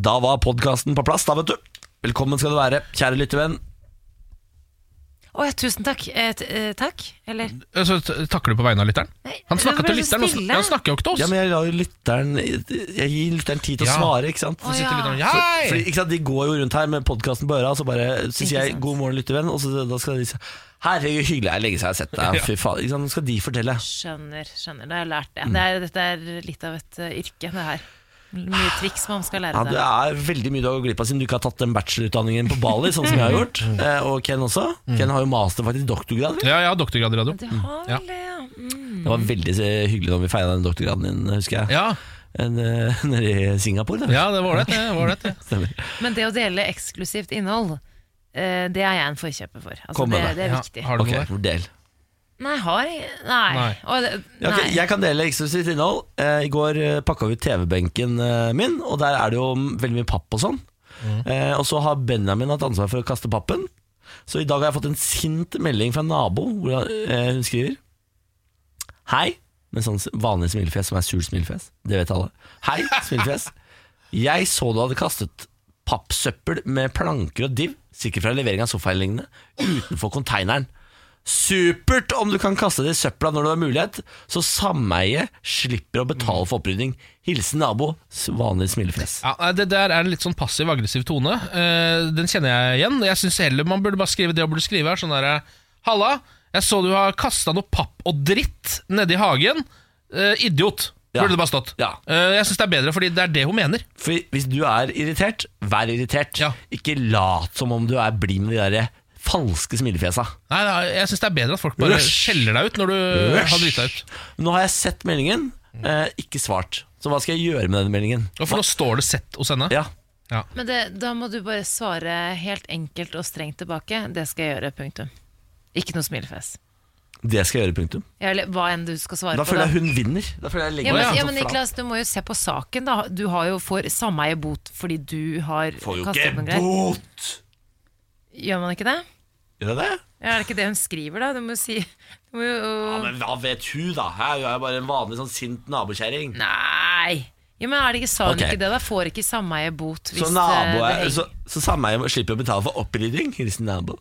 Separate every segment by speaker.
Speaker 1: Da var podkasten på plass, da, vet du. Velkommen skal du være, kjære lyttervenn.
Speaker 2: Å ja, tusen takk. Eh, t eh, takk? Eller
Speaker 3: Eh, Så t- takker du på vegne av lytteren?
Speaker 2: Nei,
Speaker 3: Mm. Han
Speaker 2: det
Speaker 3: snakket
Speaker 2: ble
Speaker 3: til
Speaker 2: så
Speaker 3: lytteren, og sn-
Speaker 2: stille.
Speaker 3: han snakker jo ikke til oss.
Speaker 1: Ja, men jeg lar jo lytteren Jeg gir lytteren tid til å
Speaker 3: Ja.
Speaker 1: svare, ikke sant?
Speaker 2: Å,
Speaker 3: sitter
Speaker 2: ja.
Speaker 3: lytteren,
Speaker 1: Så-
Speaker 3: «Hei!»
Speaker 1: Fordi, ikke sant, De går jo rundt her med podkasten på øra, og så bare syns
Speaker 2: Ikke
Speaker 1: jeg
Speaker 2: sant.
Speaker 1: 'god morgen, lyttervenn', og så da skal de si 'herregud, hyggelig jeg legger seg og sett deg', fy faen. Ikke sant? Nå skal de fortelle.
Speaker 2: skjønner, skjønner. Da har jeg lært det.
Speaker 3: Mm.
Speaker 2: det er, dette er litt av et eh, yrke, det her. Mye triks man skal lære
Speaker 1: Ja, det
Speaker 2: seg.
Speaker 1: er veldig mye du har gått glipp av siden du ikke har tatt den bachelorutdanningen på Bali, sånn som jeg har gjort.
Speaker 3: Mm.
Speaker 1: Eh, Og Ken også. Ken har jo master, faktisk doktorgrad. vel?
Speaker 3: Ja, jeg har doktorgrad i radio.
Speaker 2: Du har
Speaker 3: Ja.
Speaker 2: vel det, ja. Mm.
Speaker 1: Det var veldig eh, hyggelig når vi feira den doktorgraden din, husker jeg.
Speaker 3: Ja,
Speaker 1: En, eh, Nede i Singapore. da.
Speaker 3: ja det var ålreit, det. var ålreit, det.
Speaker 1: Stemmer.
Speaker 2: Men det å dele eksklusivt innhold, eh, det er jeg en forkjemper for. Altså,
Speaker 1: Kom med
Speaker 2: det,
Speaker 1: det.
Speaker 2: det er
Speaker 3: Ja,
Speaker 2: viktig.
Speaker 3: Har du
Speaker 1: Ok,
Speaker 3: noe der?
Speaker 1: del.
Speaker 2: Nei, har jeg Nei.
Speaker 3: Nei.
Speaker 2: Å, det,
Speaker 1: Ja,
Speaker 2: nei.
Speaker 1: ok, Jeg kan dele eksklusivt innhold. Eh, I går eh, pakka vi ut TV-benken eh, min, og der er det jo m- veldig mye papp og sånn. Eh, og så har Benjamin hatt ansvar for å kaste pappen. Så i dag har jeg fått en sint melding fra en nabo, hvor han- eh, hun skriver Hei, med sånn s- vanlig smilefjes som er sur smilefjes. Det vet alle. Hei, smilefjes. Jeg så du hadde kastet pappsøppel med planker og div, sikkert fra levering av sofaelignende, utenfor konteineren. Supert om du kan kaste det i søpla når du har mulighet, så sameiet slipper å betale for opprydning. Hilsen nabo, s- vanlig smilefjes.
Speaker 3: Ja, nei, det der er en litt sånn passiv, aggressiv tone. Eh, den kjenner jeg igjen. Jeg syns heller man burde bare skrive det man burde skrive her. Sånn derre Halla, jeg så du har kasta noe papp og dritt nedi hagen. Eh, idiot,
Speaker 1: Ja.
Speaker 3: burde det bare stått.
Speaker 1: Ja.
Speaker 3: Eh, jeg syns det er bedre, fordi det er det hun mener.
Speaker 1: For hvis du er irritert, vær irritert.
Speaker 3: Ja.
Speaker 1: Ikke lat som om du er blid med de der falske smilefjesa.
Speaker 3: Nei, nei, jeg syns det er bedre at folk bare
Speaker 1: Rush.
Speaker 3: skjeller deg ut når du har drita ut.
Speaker 1: Nå har jeg sett meldingen, eh, ikke svart. Så hva skal jeg gjøre med denne meldingen?
Speaker 3: Ja, For nå står det sett hos henne.
Speaker 1: Ja,
Speaker 2: Men det, da må du bare svare helt enkelt og strengt tilbake. Det skal jeg gjøre, punktum. Ikke noe smilefjes.
Speaker 1: det skal jeg gjøre, punktum.
Speaker 2: Ja, eller hva enn du skal svare
Speaker 1: Da
Speaker 2: på.
Speaker 1: føler jeg hun vinner. Da føler jeg
Speaker 2: ja,
Speaker 1: legger
Speaker 2: men,
Speaker 1: meg
Speaker 2: ja,
Speaker 1: så
Speaker 2: men
Speaker 1: flat.
Speaker 2: Niklas, du må jo se på saken. da Du har jo får sameie bot fordi du har
Speaker 1: Får jo
Speaker 2: kastet opp
Speaker 1: ikke
Speaker 2: en greie.
Speaker 1: bot!
Speaker 2: Gjør man ikke det?
Speaker 1: Gjør jeg det?
Speaker 2: Ja, er det ikke det hun skriver, da? Du må jo si du må jo,
Speaker 1: Ja, men hva vet hun, da? Jeg er jo bare en vanlig sånn sint nabokjerring.
Speaker 2: Nei! Ja, men er det ikke, Sa hun
Speaker 1: Ok.
Speaker 2: ikke det? da? Får ikke sameie bot hvis
Speaker 1: Så,
Speaker 2: eh,
Speaker 1: nabo
Speaker 2: det
Speaker 1: er,
Speaker 2: henger-
Speaker 1: så, så sameiet slipper å betale for opprydding? Hilsen nabo.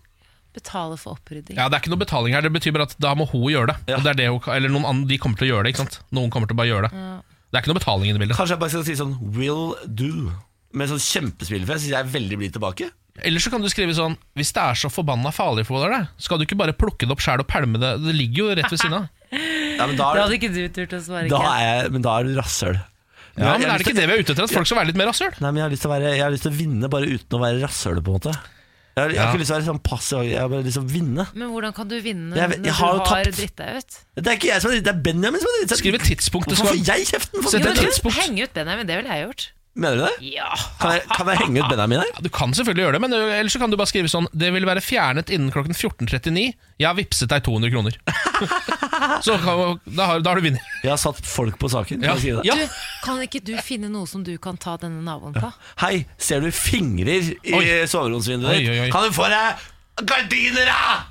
Speaker 2: betaler for opprydding.
Speaker 3: Ja, Det er ikke noe betaling her. Det betyr bare at da må hun gjøre det.
Speaker 1: Ja.
Speaker 3: Og det er det hun, eller noen andre, De kommer til å gjøre det. ikke sant? Noen kommer til å bare gjøre det. Det er ikke noe betaling inne i bildet.
Speaker 1: Kanskje jeg bare skal si sånn will do. Med sånn kjempespillefest syns jeg er veldig blid tilbake.
Speaker 3: Eller så kan du skrive sånn Hvis det er så forbanna farlig for deg, skal du ikke bare plukke det opp sjæl og pælme det? Det ligger jo rett ved siden av.
Speaker 1: Ja, men da,
Speaker 2: Da
Speaker 1: er,
Speaker 2: hadde ikke du turt å svare.
Speaker 1: da
Speaker 2: Ken.
Speaker 1: er jeg, men da er du rasshøl.
Speaker 3: Ja, men
Speaker 1: Jeg har
Speaker 3: Er det
Speaker 1: lyst
Speaker 3: ikke det vi er ute etter? At folk skal være litt mer rasshøl?
Speaker 1: Nei, men jeg har lyst til å, være, jeg har lyst til å vinne bare uten å være rasshøl, på en måte. Jeg har, jeg har
Speaker 3: Ja.
Speaker 1: ikke lyst til å være sånn passiv, jeg har bare lyst til å vinne.
Speaker 2: Men hvordan kan du vinne
Speaker 1: Jeg vet-
Speaker 2: når
Speaker 1: jeg har jo
Speaker 2: du har
Speaker 1: tapt.
Speaker 2: dritt deg ut?
Speaker 1: Det er ikke jeg som har dritt, det er Benjamin som har dritt.
Speaker 3: Skriv et tidspunkt.
Speaker 1: Hvorfor
Speaker 3: Som,
Speaker 1: får jeg kjeften? For
Speaker 3: Sett
Speaker 2: Jo,
Speaker 3: et
Speaker 2: men
Speaker 1: Benjamin?
Speaker 3: tids- tidspunkt.
Speaker 2: Henge ut Benjamin, det ville jeg gjort.
Speaker 1: Mener du det?
Speaker 2: Ja.
Speaker 1: Kan jeg, kan jeg henge ut Benjamin her?
Speaker 3: ja, du kan selvfølgelig gjøre det, men øh, ellers så kan du bare skrive sånn Det vil være fjernet innen klokken 14.39. Jeg har vippset deg 200 kroner. så kan, da, har, da har du vunnet.
Speaker 1: Jeg har satt folk på saken. Kan
Speaker 3: Ja.
Speaker 1: jeg skrive det?
Speaker 3: Ja.
Speaker 2: Du, kan ikke du finne noe som du kan ta denne naboen på?
Speaker 1: Hei, ser du fingrer i
Speaker 3: Oi.
Speaker 1: soveromsvinduet
Speaker 3: Oi,
Speaker 1: ditt?
Speaker 3: oi, oi.
Speaker 1: Kan du få deg gardiner, da?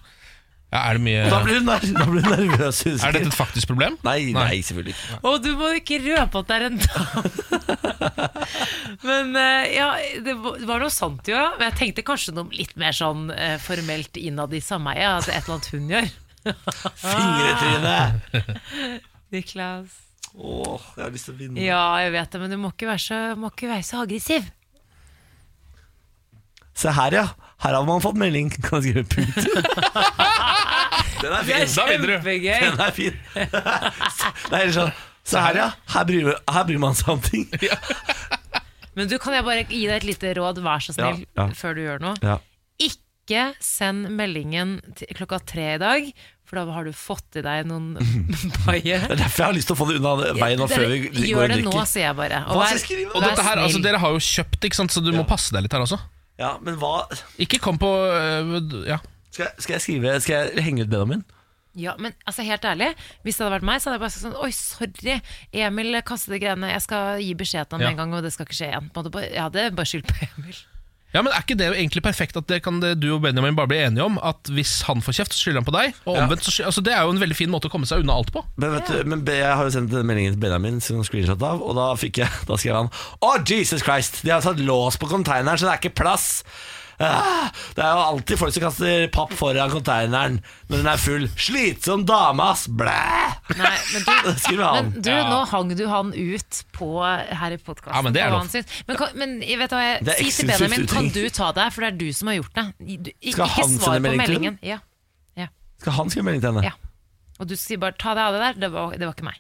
Speaker 3: Ja, er det
Speaker 1: Da
Speaker 3: mye
Speaker 1: blir du, ner da blir du nervøs. husker
Speaker 3: Er
Speaker 1: jeg.
Speaker 3: dette et faktisk problem?
Speaker 1: Nei, nei, selvfølgelig ikke.
Speaker 2: Og du må ikke røpe at det er en dame. Men eh, ja, det var det var noe sånt jo, ja. Men jeg tenkte kanskje noe litt mer sånn eh, formelt innad i sameiet. At det er et eller annet hun gjør.
Speaker 1: Fingretryne!
Speaker 2: Niklas.
Speaker 1: Åh, jeg har lyst til å vinne.
Speaker 2: Ja, jeg vet det, men du må ikke være så, må ikke være så aggressiv.
Speaker 1: Se her, ja. Her har man fått melding. Kan jeg skrive punkt? Den er fin.
Speaker 3: Da vinner du.
Speaker 2: Kjempegøy.
Speaker 1: Den er fin. Nei, eller sånn. Se her, ja. Her bryr, her bryr man seg om ting.
Speaker 2: Men du, kan jeg bare gi deg et lite råd, vær så snill,
Speaker 1: Ja, ja.
Speaker 2: før du gjør noe?
Speaker 1: Ja.
Speaker 2: Ikke send meldingen til klokka tre i dag, for da har du fått i deg noen baie.
Speaker 1: Det er derfor jeg har lyst til å få det unna veien nå før vi
Speaker 2: Dere,
Speaker 1: går
Speaker 2: Gjør
Speaker 1: og
Speaker 2: det nå,
Speaker 1: drikker.
Speaker 2: sier jeg bare.
Speaker 1: Hva
Speaker 2: vær-
Speaker 1: skal jeg skrive?
Speaker 3: Og
Speaker 2: vær
Speaker 3: dette her, altså
Speaker 2: snill.
Speaker 3: Dere har jo kjøpt, ikke sant? så du
Speaker 1: Ja.
Speaker 3: må passe deg litt her også.
Speaker 1: Ja, men hva
Speaker 3: Ikke kom på øh, Ja.
Speaker 1: Skal jeg, skal jeg skrive Skal jeg henge ut Benjamin?
Speaker 2: Ja, men altså helt ærlig, hvis det hadde vært meg, så hadde jeg bare sagt sånn Oi, sorry, Emil kastet de greiene. Jeg skal gi beskjed til ham
Speaker 3: Ja.
Speaker 2: med en gang, og det skal ikke skje igjen. På en måte bare- Jeg hadde bare skyldt på Emil.
Speaker 3: Ja, men Er ikke det egentlig perfekt at det kan det du og Benjamin bare bli enige om? At hvis han får kjeft, så skylder han på deg. Og
Speaker 1: Ja.
Speaker 3: omvendt, så skyld, altså Det er jo en veldig fin måte å komme seg unna alt på.
Speaker 1: Men, vet du, men jeg har jo sendt den meldingen til Benjamin som screenshot av, og da, fikk jeg, da skrev han Å, Jesus Christ! De har satt lås på konteineren, så det er ikke plass. Ah, det er jo alltid folk som kaster papp foran konteineren når den er full. Slitsom dame, ass! Blæ!
Speaker 2: Nei, men du,
Speaker 1: Det skriver han.
Speaker 2: men du nå hang du han ut på, her i podkasten.
Speaker 3: Ja, men det er lov.
Speaker 2: Men, kan- men jeg vet hva jeg,
Speaker 1: Det er
Speaker 2: si til
Speaker 1: eksklusivt
Speaker 2: Benjamin, kan
Speaker 1: uttrykk.
Speaker 2: du ta det her, for det er du som har gjort det. Du, ikke,
Speaker 1: Skal han
Speaker 2: ikke
Speaker 1: sende
Speaker 2: svar på
Speaker 1: melding til
Speaker 2: meldingen. Ja, ja,
Speaker 1: Skal han skrive melding til henne?
Speaker 2: ja. Og du sier bare 'ta deg av det der', det var, det var ikke meg.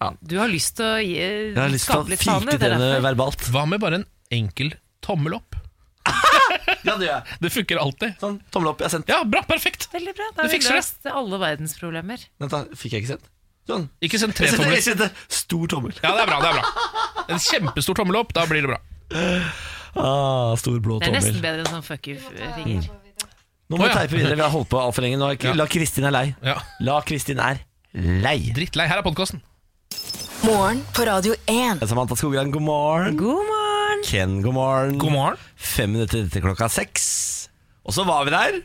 Speaker 1: Ja.
Speaker 2: Du har lyst til å gi,
Speaker 1: Jeg har lyst til å
Speaker 2: skape litt
Speaker 1: fike
Speaker 2: fane. det
Speaker 1: til
Speaker 2: er
Speaker 1: henne
Speaker 2: derfor.
Speaker 1: verbalt.
Speaker 3: Hva med bare en enkel tommel opp?
Speaker 1: Ja, det gjør jeg.
Speaker 3: Det funker alltid.
Speaker 1: Sånn, tommel opp. Jeg har sendt.
Speaker 3: Ja, bra, perfekt
Speaker 2: Veldig bra. Da har
Speaker 3: Du
Speaker 2: vi
Speaker 3: fikser det.
Speaker 2: løst alle verdens problemer.
Speaker 1: Vent, da. Fikk jeg ikke sendt? Sånn.
Speaker 3: Ikke send tre
Speaker 1: Jeg sendte,
Speaker 3: tomler.
Speaker 1: jeg sendte stor tommel.
Speaker 3: Ja, det er bra. det er bra En kjempestor tommel opp, da blir det bra.
Speaker 1: Ah, stor blå
Speaker 2: Det er nesten
Speaker 1: tommel.
Speaker 2: bedre enn sånn fuck you-ringer.
Speaker 1: Nå må
Speaker 3: Å,
Speaker 1: vi
Speaker 3: ja.
Speaker 1: teipe videre. Vi har holdt på altfor lenge. Nå har
Speaker 3: Ja.
Speaker 1: ikke, la Kristin er lei.
Speaker 3: Ja.
Speaker 1: La Kristin er lei.
Speaker 3: Drittlei. Her er podkasten.
Speaker 4: Morgen på Radio 1.
Speaker 1: Samantha Skogran, god morgen.
Speaker 2: God morgen!
Speaker 1: Ken, god morgen.
Speaker 3: God morgen.
Speaker 1: Fem minutter til klokka seks. Og så var vi der.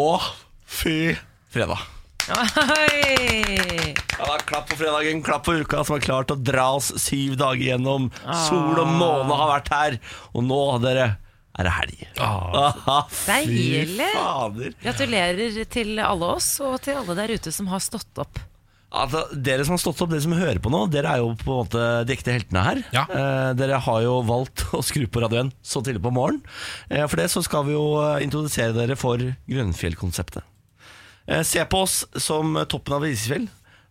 Speaker 1: Og fy fredag.
Speaker 2: Oi.
Speaker 1: Ja, da, klapp på fredagen, klapp på uka som har klart å dra oss syv dager gjennom. Sol og måne har vært her. Og nå, dere, er det helg. Ah, fy
Speaker 2: Deilig.
Speaker 1: fader.
Speaker 2: Gratulerer til alle oss, og til alle der ute som har stått opp.
Speaker 1: Altså, dere som har stått opp, dere som hører på nå, dere er jo på en måte de ekte heltene her.
Speaker 3: Ja.
Speaker 1: Eh, dere har jo valgt å skru på radioen så tidlig på morgenen. Eh, for det så skal vi jo eh, introdusere dere for Grønnfjell-konseptet. Eh, se på oss som toppen av et isfjell,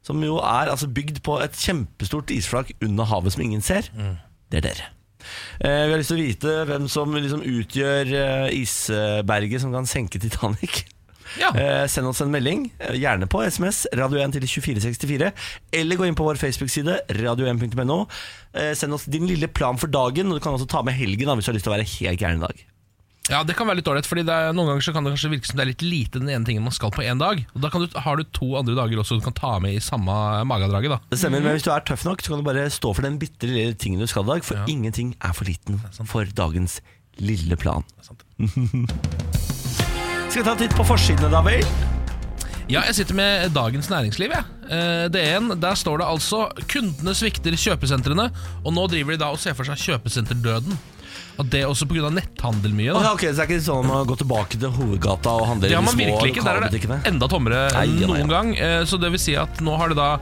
Speaker 1: som jo er altså, bygd på et kjempestort isflak under havet som ingen ser. Det er dere. Eh, vi har lyst til å vite hvem som liksom, utgjør eh, isberget som kan senke Titanic.
Speaker 3: Ja.
Speaker 1: Eh, send oss en melding, eh, gjerne på SMS, radio 1 til 2464, eller gå inn på vår Facebook-side, radio1.no. Eh, send oss din lille plan for dagen, og du kan også ta med helgen da, hvis du har lyst til å være helt gæren i dag.
Speaker 3: ja, det kan være litt dårlig, Fordi det er, noen ganger så kan det kanskje virke som det er litt lite den ene tingen man skal på én dag. Og Da kan du, har du to andre dager også du kan ta med i samme magedraget. da
Speaker 1: Det stemmer, men hvis du er tøff nok, så kan du bare stå for den bitte lille tingen du skal i dag, for
Speaker 3: Ja.
Speaker 1: ingenting er for liten for dagens lille plan.
Speaker 3: sant.
Speaker 1: Skal vi ta en titt på forsidene, da vel?
Speaker 3: Ja, jeg sitter med Dagens Næringsliv, jeg. Eh, DN, der står det altså 'Kundene svikter kjøpesentrene', og nå driver de da og ser for seg kjøpesenterdøden. Og det er også pga. netthandel mye.
Speaker 1: Ok,
Speaker 3: da
Speaker 1: ok, så det er ikke sånn at man går tilbake til hovedgata og handler
Speaker 3: Det
Speaker 1: i
Speaker 3: har
Speaker 1: de
Speaker 3: man
Speaker 1: små
Speaker 3: virkelig ikke. Der er
Speaker 1: lokalbutikkene?
Speaker 3: det enda tommere enn
Speaker 1: Nei, nei,
Speaker 3: noen
Speaker 1: nei.
Speaker 3: gang. Eh, Så det vil si at nå har det da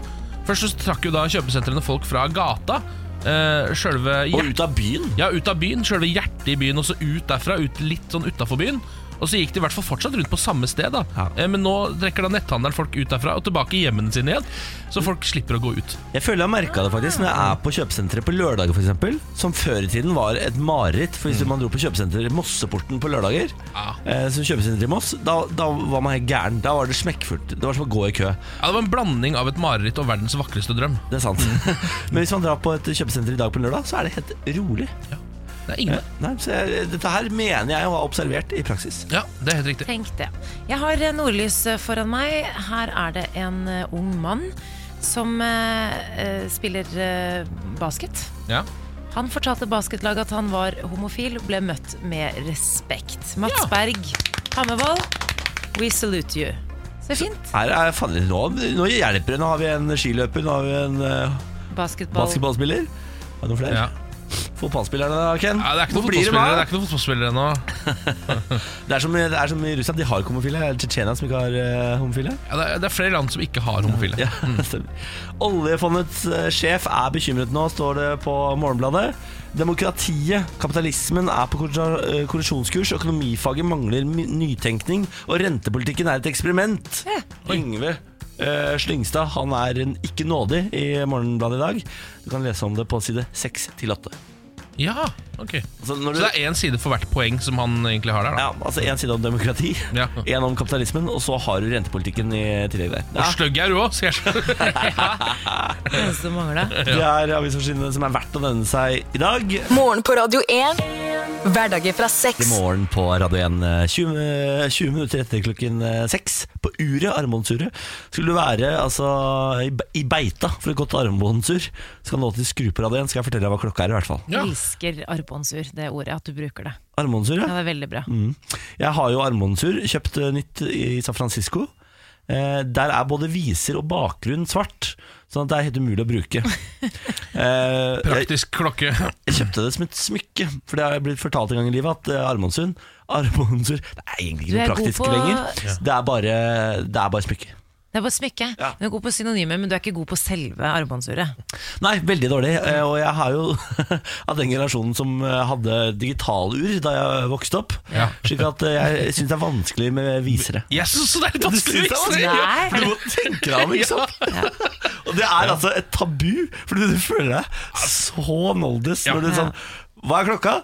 Speaker 3: Først så trakk jo da kjøpesentrene folk fra gata. eh, Sjølve
Speaker 1: Og ut av byen?
Speaker 3: Ja, ut av byen, selve hjertet i byen, og så ut derfra, ut litt sånn utafor byen. Og så gikk de i hvert fall fortsatt rundt på samme sted, da.
Speaker 1: Ja.
Speaker 3: Eh, Men nå trekker da netthandelen folk ut derfra og tilbake i hjemmene sine igjen. Så folk slipper å gå ut.
Speaker 1: Jeg føler jeg har merka det faktisk når jeg er på kjøpesenteret på lørdager, for eksempel, Som før i tiden var et mareritt. For hvis man dro på kjøpesenteret i Mosseporten på lørdager,
Speaker 3: Mm. Ja.
Speaker 1: eh, som kjøpesenteret i Moss, da, da var man helt gæren. Da var det smekkfullt. Det var som å gå i kø.
Speaker 3: Ja, Det var en blanding av et mareritt og verdens vakreste drøm.
Speaker 1: Det er sant. Men hvis man drar på et kjøpesenter i dag på en lørdag, så er det helt rolig.
Speaker 3: Det er ingen
Speaker 1: Eh, Nei, så jeg, dette her mener jeg å ha observert i praksis.
Speaker 3: Ja, det er helt riktig.
Speaker 2: Tenk det. Jeg har eh, nordlys eh, foran meg. Her er det en eh, ung mann som eh, eh, spiller eh, basket.
Speaker 3: Ja.
Speaker 2: Han fortalte basketlaget at han var homofil og ble møtt med respekt. Mats
Speaker 3: Ja.
Speaker 2: Berg Hammervoll, we salute you. Så fint.
Speaker 1: Her er fader, nå, nå hjelper det. Nå har vi en skiløper, nå har vi en eh,
Speaker 2: Basketball.
Speaker 1: basketballspiller. Har du noen flere?
Speaker 3: Ja.
Speaker 1: Fotballspillerne, da, Ken?
Speaker 3: Ja, det er ikke noen
Speaker 1: Hvor blir det med?
Speaker 3: fotballspillere, det er ikke noen fotballspillere nå.
Speaker 1: Det er som, det er som i Russland, de har ikke homofile. Det er Tsjetsjenia som ikke har eh, homofile.
Speaker 3: Ja, det, er, det er flere land som ikke har homofile. Mm.
Speaker 1: Ja, stemmer. Oljefondets eh, sjef er bekymret nå, står det på Morgenbladet. Demokratiet, kapitalismen, er på korrida- eh, korrosjonskurs. Økonomifaget mangler my- nytenkning, og rentepolitikken er et eksperiment. Yngve eh, Slyngstad han er en ikke nådig i Morgenbladet i dag. Du kan lese om det på side 6 til 8.
Speaker 3: Ja, ok
Speaker 1: Altså,
Speaker 3: Så
Speaker 1: når du,
Speaker 3: det er én side for hvert poeng som han egentlig har der, da.
Speaker 1: ja, altså En side om demokrati,
Speaker 3: Ja.
Speaker 1: en om kapitalismen, og så har du rentepolitikken i tillegg der.
Speaker 3: Og sløgg er du òg, sier jeg.
Speaker 2: Det eneste som mangla.
Speaker 1: Det er avisforsidene som er verdt å nevne seg i dag.
Speaker 4: Morgen på Radio 1. Hverdager fra
Speaker 1: I
Speaker 4: seks.
Speaker 1: morgen på Radio 1, eh, 20, eh, 20 minutter etter klokken eh, 6 på uret, armbåndsuret, skulle du være altså, i be- i beita for et godt armbåndsur. Skal nå til skru på Radio 1, skal jeg fortelle deg hva klokka er i hvert fall.
Speaker 3: Ja.
Speaker 2: Elsker armbåndsur, det ordet, at du bruker det.
Speaker 1: Armbåndsur,
Speaker 2: Ja,
Speaker 1: ja.
Speaker 2: det er veldig bra.
Speaker 1: Mm. Jeg har jo armbåndsur, kjøpt eh, nytt i San Francisco. Eh, der er både viser og bakgrunn svart, sånn at det er helt umulig å bruke. eh, jeg-
Speaker 3: Praktisk klokke.
Speaker 1: Jeg kjøpte det som et smykke, for det har jeg blitt fortalt en gang i livet at eh, armbåndsur Armbåndsur Det er
Speaker 2: Du
Speaker 1: egentlig ikke
Speaker 2: er
Speaker 1: noe
Speaker 2: god
Speaker 1: praktisk
Speaker 2: på-
Speaker 1: lenger. Det er bare, det er bare smykke.
Speaker 2: Det er bare smykke.
Speaker 1: Ja.
Speaker 2: Du er god på synonymer, men du er ikke god på selve armbåndsuret.
Speaker 1: Nei, veldig dårlig. eh, Og jeg har jo av den generasjonen som eh, hadde digitalur da jeg vokste opp.
Speaker 3: Ja.
Speaker 1: Slik at eh, jeg syns det er vanskelig med visere.
Speaker 3: Jeg syns det er litt
Speaker 1: Du
Speaker 3: vanskelig
Speaker 1: synes det er
Speaker 3: å vise!
Speaker 1: vanskelig?
Speaker 2: Nei.
Speaker 1: For du må tenke deg om, ikke sant? Og det er altså et tabu, fordi du føler deg så noldes når du er sånn Hva er klokka?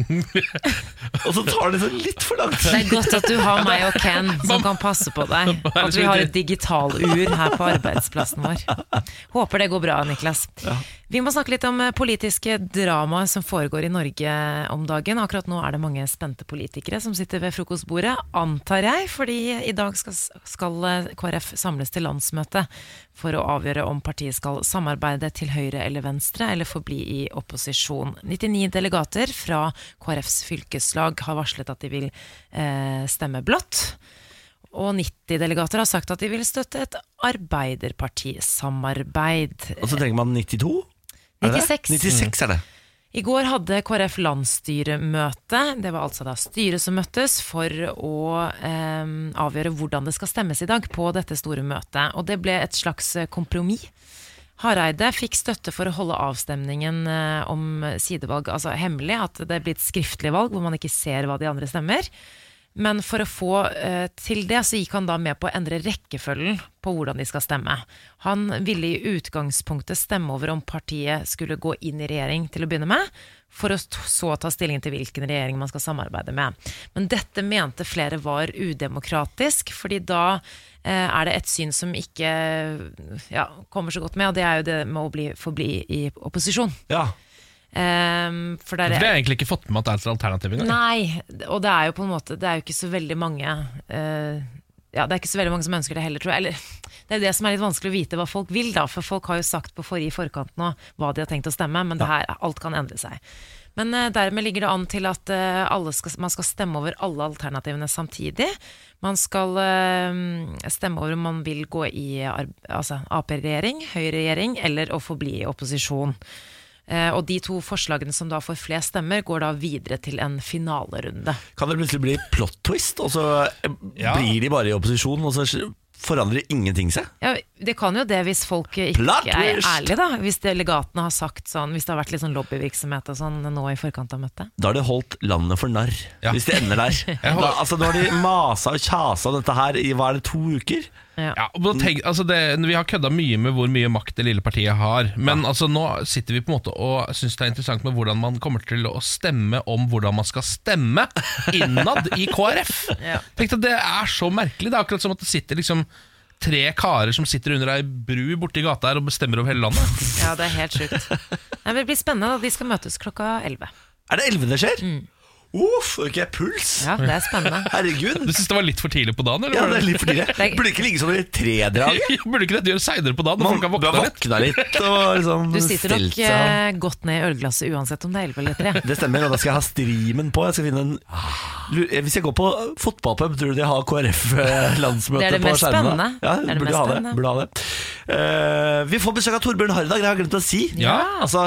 Speaker 1: og så tar det så litt for lang
Speaker 2: Det
Speaker 1: tid.
Speaker 2: er godt at du har meg og Ken som kan passe på deg. At vi har et digitalur her på arbeidsplassen vår. Håper det går bra, Niklas. Vi må snakke litt om eh, politiske dramaer som foregår i Norge om dagen. Akkurat nå er det mange spente politikere som sitter ved frokostbordet, antar jeg. Fordi i dag skal, skal eh, KrF samles til landsmøte for å avgjøre om partiet skal samarbeide til høyre eller venstre, eller forbli i opposisjon. 99 delegater fra KrFs fylkeslag har varslet at de vil eh, stemme blått. Og 90 delegater har sagt at de vil støtte et arbeiderpartisamarbeid.
Speaker 1: Og så trenger man 92? Er det det?
Speaker 2: 96.
Speaker 1: 96 er det.
Speaker 2: I går hadde KrF landsstyremøte. Det var altså da styret som møttes for å eh, avgjøre hvordan det skal stemmes i dag på dette store møtet. Og det ble et slags eh, kompromiss. Hareide fikk støtte for å holde avstemningen eh, om sidevalg altså hemmelig, at det blir et skriftlig valg hvor man ikke ser hva de andre stemmer. Men for å få eh, til det, så gikk han da med på å endre rekkefølgen på hvordan de skal stemme. Han ville i utgangspunktet stemme over om partiet skulle gå inn i regjering til å begynne med, for å st- så ta stilling til hvilken regjering man skal samarbeide med. Men dette mente flere var udemokratisk, fordi da eh, er det et syn som ikke ja, kommer så godt med, og det er jo det med å bli, forbli i opposisjon.
Speaker 1: Ja.
Speaker 2: Ehm, for
Speaker 3: For
Speaker 2: der
Speaker 3: det har jeg egentlig ikke fått med meg at det er et alternativ engang.
Speaker 2: Nei, og det er jo på en måte Det er jo ikke så veldig mange eh, Ja, det er ikke så veldig mange som ønsker det heller, tror jeg. Eller, det er jo det som er litt vanskelig å vite hva folk vil, da. For folk har jo sagt på forrige forkant nå hva de har tenkt å stemme, men det her, alt kan endre seg. Men eh, dermed ligger det an til at eh, alle skal, man skal stemme over alle alternativene samtidig. Man skal eh, stemme over om man vil gå i ar- altså, Ap-regjering, Høyre-regjering eller å forbli i opposisjon. Eh, Og de to forslagene som da får flest stemmer, går da videre til en finalerunde.
Speaker 1: Kan det plutselig bli plot twist, og så eh,
Speaker 3: Ja.
Speaker 1: blir de bare i opposisjon, og så forandrer ingenting seg?
Speaker 2: Ja, det kan jo det hvis folk ikke
Speaker 1: Plot
Speaker 2: er
Speaker 1: twist!
Speaker 2: ærlige, da. Hvis delegatene har sagt sånn, hvis det har vært litt sånn lobbyvirksomhet og sånn nå i forkant av møtet.
Speaker 1: Da har de holdt landet for narr,
Speaker 3: Ja.
Speaker 1: hvis det ender der. Da,
Speaker 3: håper-
Speaker 1: altså, nå har de masa og kjasa om dette her i hva er det, to uker?
Speaker 3: Ja, og da
Speaker 1: Mm.
Speaker 3: tenk, altså det, vi har kødda mye med hvor mye makt det lille partiet har, men altså nå sitter vi på en måte og syns det er interessant med hvordan man kommer til å stemme om hvordan man skal stemme innad i KrF. Tenk deg, Det er så merkelig. Det er akkurat som at det sitter liksom tre karer som sitter under ei bru borti gata her og bestemmer over hele landet.
Speaker 2: Ja, det er helt sjukt. Nei, men Det blir spennende. da. De skal møtes klokka 11.
Speaker 1: Er det 11 det skjer? Uff, har ikke jeg puls?
Speaker 2: Mm. Ja, det er spennende.
Speaker 1: Herregud.
Speaker 3: Du syns det var litt for tidlig på dagen?
Speaker 1: Ja,
Speaker 3: Eller?
Speaker 1: det er litt for tidlig.
Speaker 2: Det er-
Speaker 1: Burde ikke ligge sånn i tredraget.
Speaker 3: Burde ikke dette gjøre seinere på dagen? Når folk har
Speaker 1: du har
Speaker 3: våkna litt?
Speaker 1: våkna litt og liksom
Speaker 2: Du sitter
Speaker 1: stelt
Speaker 2: nok
Speaker 1: seg av.
Speaker 2: eh, godt ned i ølglasset uansett om det er 11 eller 3.
Speaker 1: Det stemmer, og da skal jeg ha streamen på. Jeg skal finne en Lu- eh, Hvis jeg går på fotballpub, tror du de har
Speaker 2: Det er
Speaker 1: KrF-landsmøte
Speaker 2: det
Speaker 1: på
Speaker 2: mest
Speaker 1: skjermene?
Speaker 2: spennende. Det
Speaker 1: Ja,
Speaker 2: er det
Speaker 1: burde
Speaker 2: mest
Speaker 1: ha det.
Speaker 2: spennende.
Speaker 1: Burde ha det. Eh, vi får besøk av Torbjørn Harr i dag, det har jeg glemt å si.
Speaker 3: Ja.
Speaker 1: Altså,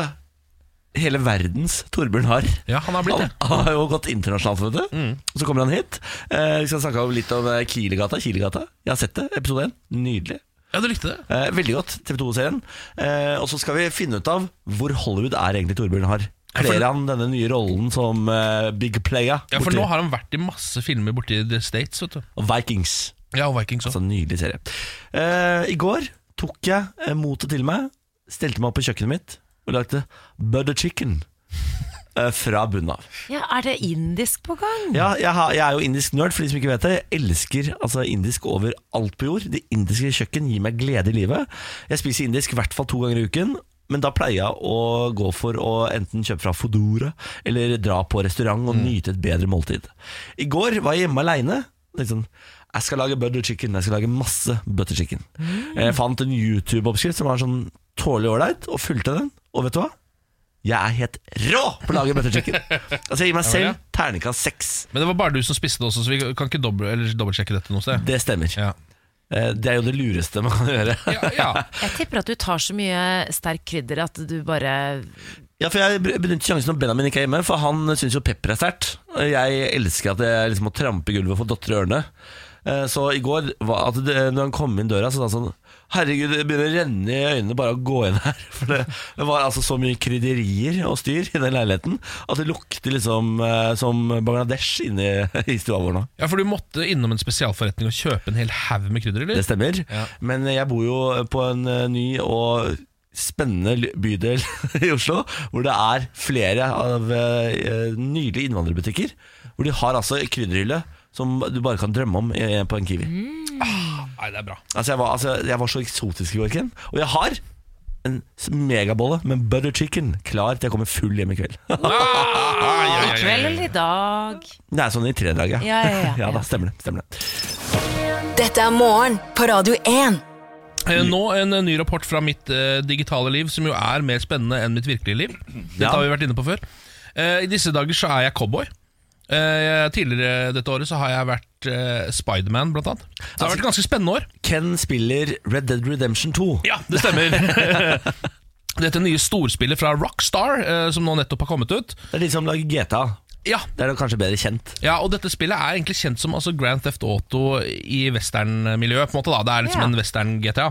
Speaker 1: hele verdens Torbjørn Harr.
Speaker 3: ja, han har blitt det. Mm.
Speaker 1: Han han har jo gått internasjonalt, vet du. Og så kommer han hit. Eh, vi skal snakke om litt om eh, Kilegata. Kilegata. Jeg har sett det, episode 1. Nydelig.
Speaker 3: Ja, du likte det.
Speaker 1: Eh, veldig godt, TV 2-serien. Eh, og så skal vi finne ut av hvor Hollywood er egentlig Torbjørn har.
Speaker 3: Ja, for-
Speaker 1: Kler han denne nye rollen som eh, Big Playa?
Speaker 3: Ja, For
Speaker 1: borti-
Speaker 3: nå har han vært i masse filmer borti The States. vet du
Speaker 1: og Vikings.
Speaker 3: Ja, og Vikings også.
Speaker 1: Så Altså, nydelig serie. Eh, I går tok jeg eh, motet til meg, stelte meg opp på kjøkkenet mitt og lagde butter chicken eh, fra bunnen av.
Speaker 2: Ja, er det indisk på gang?
Speaker 1: Ja, jeg, har, jeg er jo indisk nerd, for de som ikke vet det. Jeg elsker altså, indisk over alt på jord. Det indiske kjøkken gir meg glede i livet. Jeg spiser indisk i hvert fall to ganger i uken. Men da pleier jeg å gå for å enten kjøpe fra Fodora eller dra på restaurant og nyte et bedre måltid. I går var jeg hjemme aleine. Sånn, jeg skal lage butter chicken. Jeg skal lage masse butter chicken. Jeg fant en YouTube-oppskrift som var sånn tålelig ålreit, og fulgte den. Og vet du hva? Jeg er helt rå på å lage butter chicken. Altså, jeg gir meg
Speaker 3: ja.
Speaker 1: selv terningkast seks.
Speaker 3: Men det var bare du som spiste det også, så vi kan ikke dobbel- eller dobbeltsjekke dette noe sted.
Speaker 1: Det stemmer.
Speaker 3: Ja.
Speaker 1: Eh, Det er jo det lureste man kan gjøre.
Speaker 3: Ja, ja.
Speaker 2: Jeg tipper at du tar så mye sterk krydder at du bare
Speaker 1: Ja, for Jeg benytter sjansen når Benjamin ikke er hjemme, for han syns jo pepper er sterkt. Jeg elsker at jeg liksom må trampe gulvet og få dotter i ørene. Eh, Så i går, var- at det, når han kom inn døra, så sa han sånn Herregud, det begynner å renne i øynene bare å gå inn her. For det, det var altså så mye krydderier og styr i den leiligheten at det lukter liksom eh, som Bangladesh inne i- i stua vår nå.
Speaker 3: ja, For du måtte innom en spesialforretning og kjøpe en hel haug med krydder,
Speaker 1: Det
Speaker 3: eller?
Speaker 1: stemmer.
Speaker 3: Ja.
Speaker 1: Men jeg bor jo på en eh, ny og spennende l- bydel i Oslo, hvor det er flere av eh, nydelige innvandrerbutikker. Hvor de har altså krydderhylle som du bare kan drømme om i- på en Kiwi.
Speaker 3: Mm. Ah, Nei, det er bra.
Speaker 1: Altså, jeg var, altså, jeg var så eksotisk i går, Ken. Og jeg har en s- megabolle med butter chicken klar til jeg kommer full hjem i kveld.
Speaker 2: I kveld eller i dag?
Speaker 1: Det er sånn i tredraget.
Speaker 2: Ja, ja, ja.
Speaker 1: ja da, stemmer det. Stemmer det.
Speaker 4: Dette er morgen på Radio 1.
Speaker 3: Eh, Nå en eh, ny rapport fra mitt eh, digitale liv, som jo er mer spennende enn mitt virkelige liv. Dette
Speaker 1: Ja.
Speaker 3: har vi vært inne på før. Eh, I disse dager så er jeg cowboy. Eh, tidligere dette året så har jeg vært eh, Spiderman, blant annet. Så det har vært et ganske spennende år.
Speaker 1: Ken spiller Red Dead Altså- Redemption 2.
Speaker 3: Ja, det stemmer. Dette nye storspillet fra Rockstar, eh, som nå nettopp har kommet ut.
Speaker 1: Det er de som lager GTA.
Speaker 3: Ja,
Speaker 1: Det er da kanskje bedre kjent.
Speaker 3: ja, og dette spillet er egentlig kjent som altså, Grand Theft Auto i westernmiljøet. på en måte da. Det er liksom
Speaker 2: Ja.
Speaker 3: en western-GTA.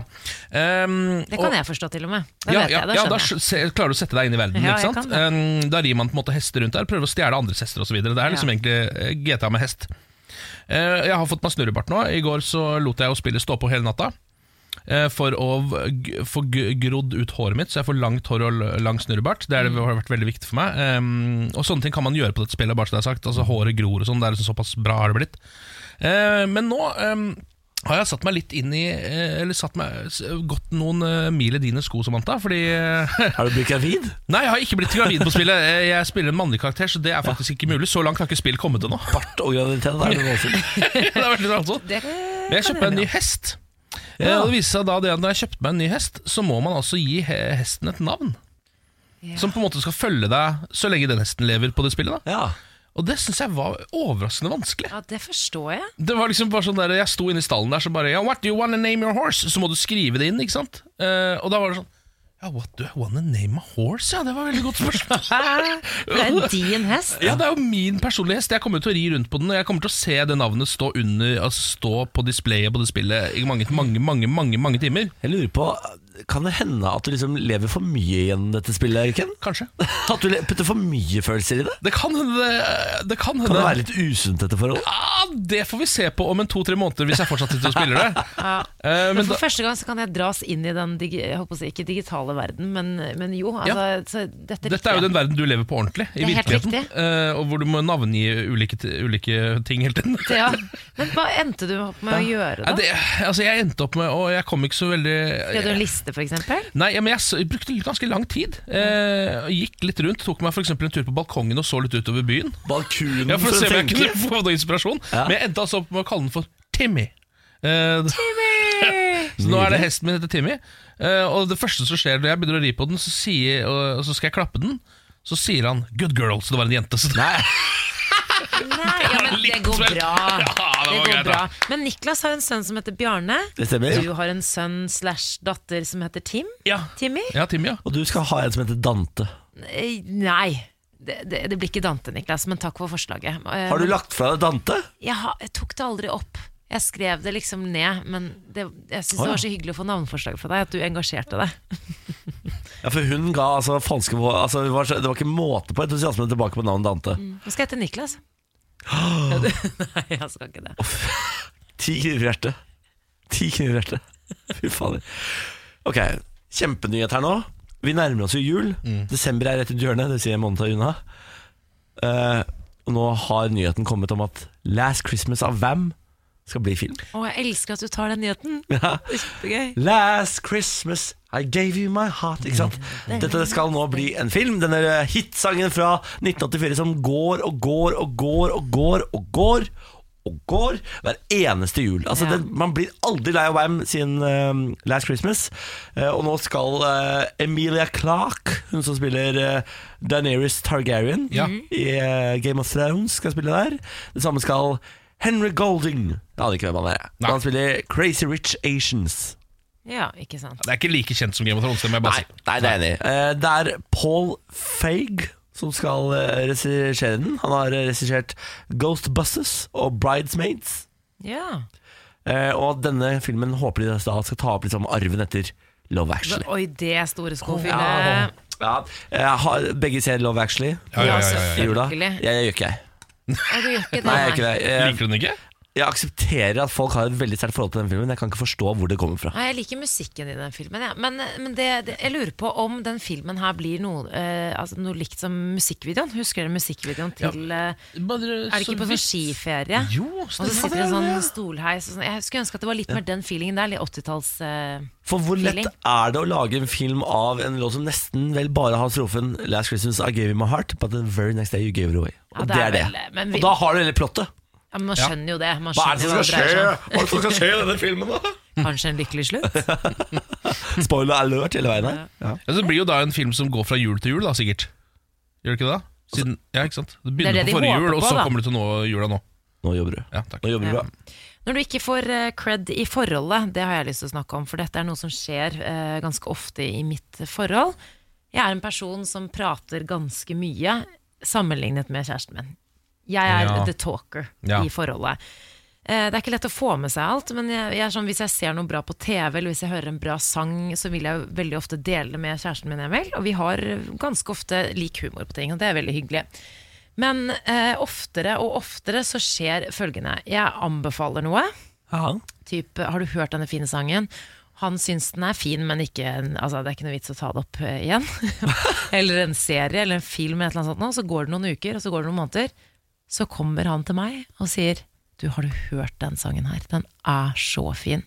Speaker 3: Ehm,
Speaker 2: Det kan jeg forstå, til og med. Da
Speaker 3: ja,
Speaker 2: vet
Speaker 3: ja,
Speaker 2: jeg, da
Speaker 3: ja, da
Speaker 2: skjønner jeg.
Speaker 3: skj- se- klarer du å sette deg inn i verden.
Speaker 2: Ja, jeg
Speaker 3: ikke sant?
Speaker 2: kan det.
Speaker 3: Um, da rir man på en måte hester rundt der, prøver å stjele andres hester osv. Det er
Speaker 2: Ja.
Speaker 3: liksom egentlig eh, GTA med hest. Eh, jeg har fått meg snurrebart nå. I går så lot jeg jo spillet stå på hele natta. eh, For å v- g- få g- grodd ut håret mitt, så jeg får langt hår og l- lang snurrebart. Det er
Speaker 2: Mm.
Speaker 3: det har vært veldig viktig for meg. Um, og sånne ting kan man gjøre på dette spillet, bare så det er sagt. Altså Håret gror og sånn. Det er liksom såpass bra har det blitt. Eh, men nå ehm, har jeg satt meg litt inn i eh, Eller satt meg s- gått noen eh, mil i dine sko, Samantha. Fordi eh,
Speaker 1: Har du blitt gravid?
Speaker 3: Nei, jeg har ikke blitt gravid på spillet. Eh, Jeg spiller en mannlig karakter, så det er faktisk ikke mulig. Så langt har ikke spill kommet ennå.
Speaker 1: Bart og graviditet det er noe voldsomt.
Speaker 3: det har vært litt rart sånn.
Speaker 2: Det
Speaker 3: Men jeg kjøpte meg en ny hest. Eh,
Speaker 1: Ja.
Speaker 3: Og det viser seg da det at Når jeg kjøpte meg en ny hest, så må man altså gi he hesten et navn.
Speaker 2: Ja.
Speaker 3: Som på en måte skal følge deg så lenge den hesten lever på det spillet. da
Speaker 1: Ja.
Speaker 3: Og det syns jeg var overraskende vanskelig.
Speaker 2: Ja, det forstår jeg.
Speaker 3: Det var liksom bare sånn der Jeg sto inne i stallen der Så bare Ja, what do you wanna name your horse? Så må du skrive det inn, ikke sant? Eh, og da var det sånn Ja, what do I wanna name my horse? Ja, det var et veldig godt spørsmål
Speaker 2: Det er din hest.
Speaker 3: Ja, det er jo min personlige hest Jeg kommer til å ri rundt på den Og jeg kommer til å se det navnet stå under Altså stå på displayet på det spillet I mange, mange, mange, mange, mange timer
Speaker 1: Jeg lurer på, kan det hende at du liksom lever for mye gjennom dette spillet, Ken?
Speaker 3: Kanskje
Speaker 1: At du le- putter for mye følelser i det?
Speaker 3: Det kan hende det- Det kan hende
Speaker 1: Kan det være litt usunt dette forholdet?
Speaker 3: Ah, det får vi se på om en to-tre måneder Hvis jeg fortsatt sitter og spiller det
Speaker 2: Ja.
Speaker 3: Eh,
Speaker 2: Men
Speaker 3: Men da,
Speaker 2: for første gang så kan jeg dras inn i den digi, jeg håper å si, ikke digitale verden, men, men jo. Altså, så dette,
Speaker 3: Dette er jo den verden du lever på ordentlig, i
Speaker 2: Det er helt
Speaker 3: virkeligheten.
Speaker 2: riktig.
Speaker 3: eh, og hvor du må navngi ulike, t- ulike ting hele tiden.
Speaker 2: verden ja. Men hva endte du opp med å gjøre,
Speaker 3: Ja,
Speaker 2: da?
Speaker 3: det, altså jeg endte opp med Og jeg kom ikke så veldig
Speaker 2: Skrev du en liste, for eksempel?
Speaker 3: Nei, ja, men jeg s- brukte litt- ganske lang tid. Eh, og gikk litt rundt. Tok meg for eksempel en tur på balkongen og så litt utover byen.
Speaker 1: Balkunen
Speaker 3: Ja, for å se om jeg
Speaker 1: tenke.
Speaker 3: kunne få noe inspirasjon.
Speaker 1: Ja.
Speaker 3: Men jeg endte altså opp med å kalle den for Timmy. Eh, så nå er det hesten min heter Timmy. Eh, og det første som skjer når jeg begynner å ri på den, så, sier, og, og så skal jeg klappe den. Så sier han 'good girl', så det var en jente. Så det
Speaker 1: Nei,
Speaker 2: Nei, ja, men det
Speaker 3: Litt
Speaker 2: går
Speaker 3: vel.
Speaker 2: bra.
Speaker 3: Ja, det
Speaker 2: det
Speaker 3: var
Speaker 2: går
Speaker 3: greit,
Speaker 2: bra.
Speaker 3: da.
Speaker 2: Men Niklas har en sønn som heter Bjarne.
Speaker 1: det stemmer.
Speaker 2: Du har en sønn slash datter som heter Tim.
Speaker 3: Ja.
Speaker 2: Timmy?
Speaker 3: Ja, Timmy, ja.
Speaker 1: Og du skal ha en som heter Dante.
Speaker 2: Eh, Nei. Det, det, det blir ikke Dante, Niklas, men takk for forslaget. Eh,
Speaker 1: Har du lagt fra deg Dante?
Speaker 2: jeg, har, jeg tok det aldri opp. Jeg skrev det liksom ned, men det, jeg syns
Speaker 1: Å,
Speaker 2: det
Speaker 1: ja.
Speaker 2: var så hyggelig å få navneforslag fra deg, at du engasjerte deg.
Speaker 1: Ja, for hun ga altså falske vå- altså, det, var, så- det var ikke måte på entusiasmen tilbake på navnet Dante.
Speaker 2: Nå skal jeg hete Niklas. Nei, jeg skal ikke det.
Speaker 1: Ti kniver i hjertet. Ti kniver i hjertet. Fy fader. Ok, kjempenyhet her nå. Vi nærmer oss jo jul. Desember er rett rundt hjørnet, det sier en måned unna. Eh, og nå har nyheten kommet om at Last Christmas av Vam skal bli film.
Speaker 2: Å, jeg elsker at du tar den nyheten. Det er kjempegøy.
Speaker 1: Last Christmas I gave you my heart Ikke sant? Dette skal nå bli en film Denne hitsangen fra 1984 som går og går og går og går og går og går hver eneste jul altså,
Speaker 2: Ja.
Speaker 1: den, Man blir aldri lei av Wham siden eh, Last Christmas Eh, Og nå skal eh, Emilia Clarke Hun som spiller uh, Daenerys Targaryen
Speaker 3: Ja.
Speaker 1: I eh, Game of Thrones skal spille der Det samme skal Henry Golding Jeg aner ikke hvem han er jeg.
Speaker 3: Nei.
Speaker 1: Han spiller Crazy Rich Asians
Speaker 2: Ja, ikke sant.
Speaker 3: Det er ikke like kjent som Game of Thrones. Det må jeg bare
Speaker 1: Nei,
Speaker 3: si.
Speaker 1: nei, det er jeg enig i. Eh, Det er Paul Feig som skal eh, regissere den. Han har eh, regissert Ghostbusters og Bridesmaids.
Speaker 2: Ja.
Speaker 1: Eh, Og denne filmen håper de da skal ta opp liksom arven etter Love Actually.
Speaker 2: Oi, det er store
Speaker 1: Ja.
Speaker 2: skofyllet.
Speaker 1: Ja, jeg har, begge ser Love Actually
Speaker 3: Ja, ja, ja, ja,
Speaker 1: i jula.
Speaker 2: Selvfølgelig.
Speaker 1: Jeg, jeg gjør ikke det.
Speaker 2: Ja, du gjør ikke det,
Speaker 1: Nei, jeg gjør
Speaker 2: nei.
Speaker 1: ikke det.
Speaker 3: ja.
Speaker 1: Jeg,
Speaker 3: Liker du den ikke?
Speaker 1: jeg aksepterer at folk har et veldig sterkt forhold til den filmen. Jeg kan ikke forstå hvor det kommer fra.
Speaker 2: Nei, jeg liker musikken i den filmen, ja. men, men det, det, jeg lurer på om den filmen her blir noe, eh, altså noe likt som musikkvideoen. Husker dere musikkvideoen til eh, Er det ikke på sånn skiferie?
Speaker 3: Jo,
Speaker 2: Og så sitter det en sånn stolheis og sånn. Jeg skulle ønske at det var litt mer den feelingen der. Litt 80-talls eh,
Speaker 1: For hvor lett
Speaker 2: Feeling.
Speaker 1: er det å lage en film av en låt som nesten vel bare har strofen 'Last Christmas I gave you my heart, but the very next day you gave it away'.
Speaker 2: Ja,
Speaker 1: Og
Speaker 2: det
Speaker 1: det
Speaker 2: er
Speaker 1: er det.
Speaker 2: vel- men vi-
Speaker 1: Og da har du hele plottet.
Speaker 2: ja, men Man skjønner jo det. Man
Speaker 1: Hva er det
Speaker 2: skjønner jo hva
Speaker 1: som
Speaker 2: det
Speaker 1: skal
Speaker 2: dreier
Speaker 1: skje
Speaker 2: seg om.
Speaker 1: Hva er det som skal skje i denne filmen, da?
Speaker 2: Kanskje en lykkelig slutt?
Speaker 1: Spoiler alert hele veien her. Ja.
Speaker 3: Ja, så det blir jo da en film som går fra jul til jul, da, sikkert. Gjør det ikke det? da?
Speaker 1: Altså-
Speaker 3: Siden, ja, ikke sant? Det
Speaker 2: Det
Speaker 3: begynner
Speaker 2: er det
Speaker 3: på
Speaker 2: de
Speaker 3: forrige
Speaker 2: håper
Speaker 3: jul, og
Speaker 2: på,
Speaker 3: så
Speaker 2: da.
Speaker 3: kommer det til nå, jula nå.
Speaker 1: Nå jobber du.
Speaker 3: Ja, takk.
Speaker 1: Nå jobber du
Speaker 2: Ja.
Speaker 1: bra.
Speaker 2: Når du ikke får eh, cred i forholdet, det har jeg lyst til å snakke om, for dette er noe som skjer eh, ganske ofte i mitt forhold. Jeg er en person som prater ganske mye sammenlignet med kjæresten min. Jeg er
Speaker 3: Ja.
Speaker 2: the talker
Speaker 3: Ja.
Speaker 2: i forholdet. Eh, Det er ikke lett å få med seg alt, men jeg, jeg er sånn, hvis jeg ser noe bra på TV, eller hvis jeg hører en bra sang, så vil jeg jo veldig ofte dele det med kjæresten min, Emil. Og vi har ganske ofte lik humor på ting, og det er veldig hyggelig. Men eh, oftere og oftere så skjer følgende. Jeg anbefaler noe.
Speaker 1: Ja.
Speaker 2: Typ, har du hørt denne fine sangen? Han syns den er fin, men ikke, altså, det er ikke noe vits å ta det opp eh, igjen. eller en serie eller en film, eller et eller annet sånt. nå. Så går det noen uker, og så går det noen måneder. Så kommer han til meg og sier Du, har du hørt den sangen her? Den er så fin.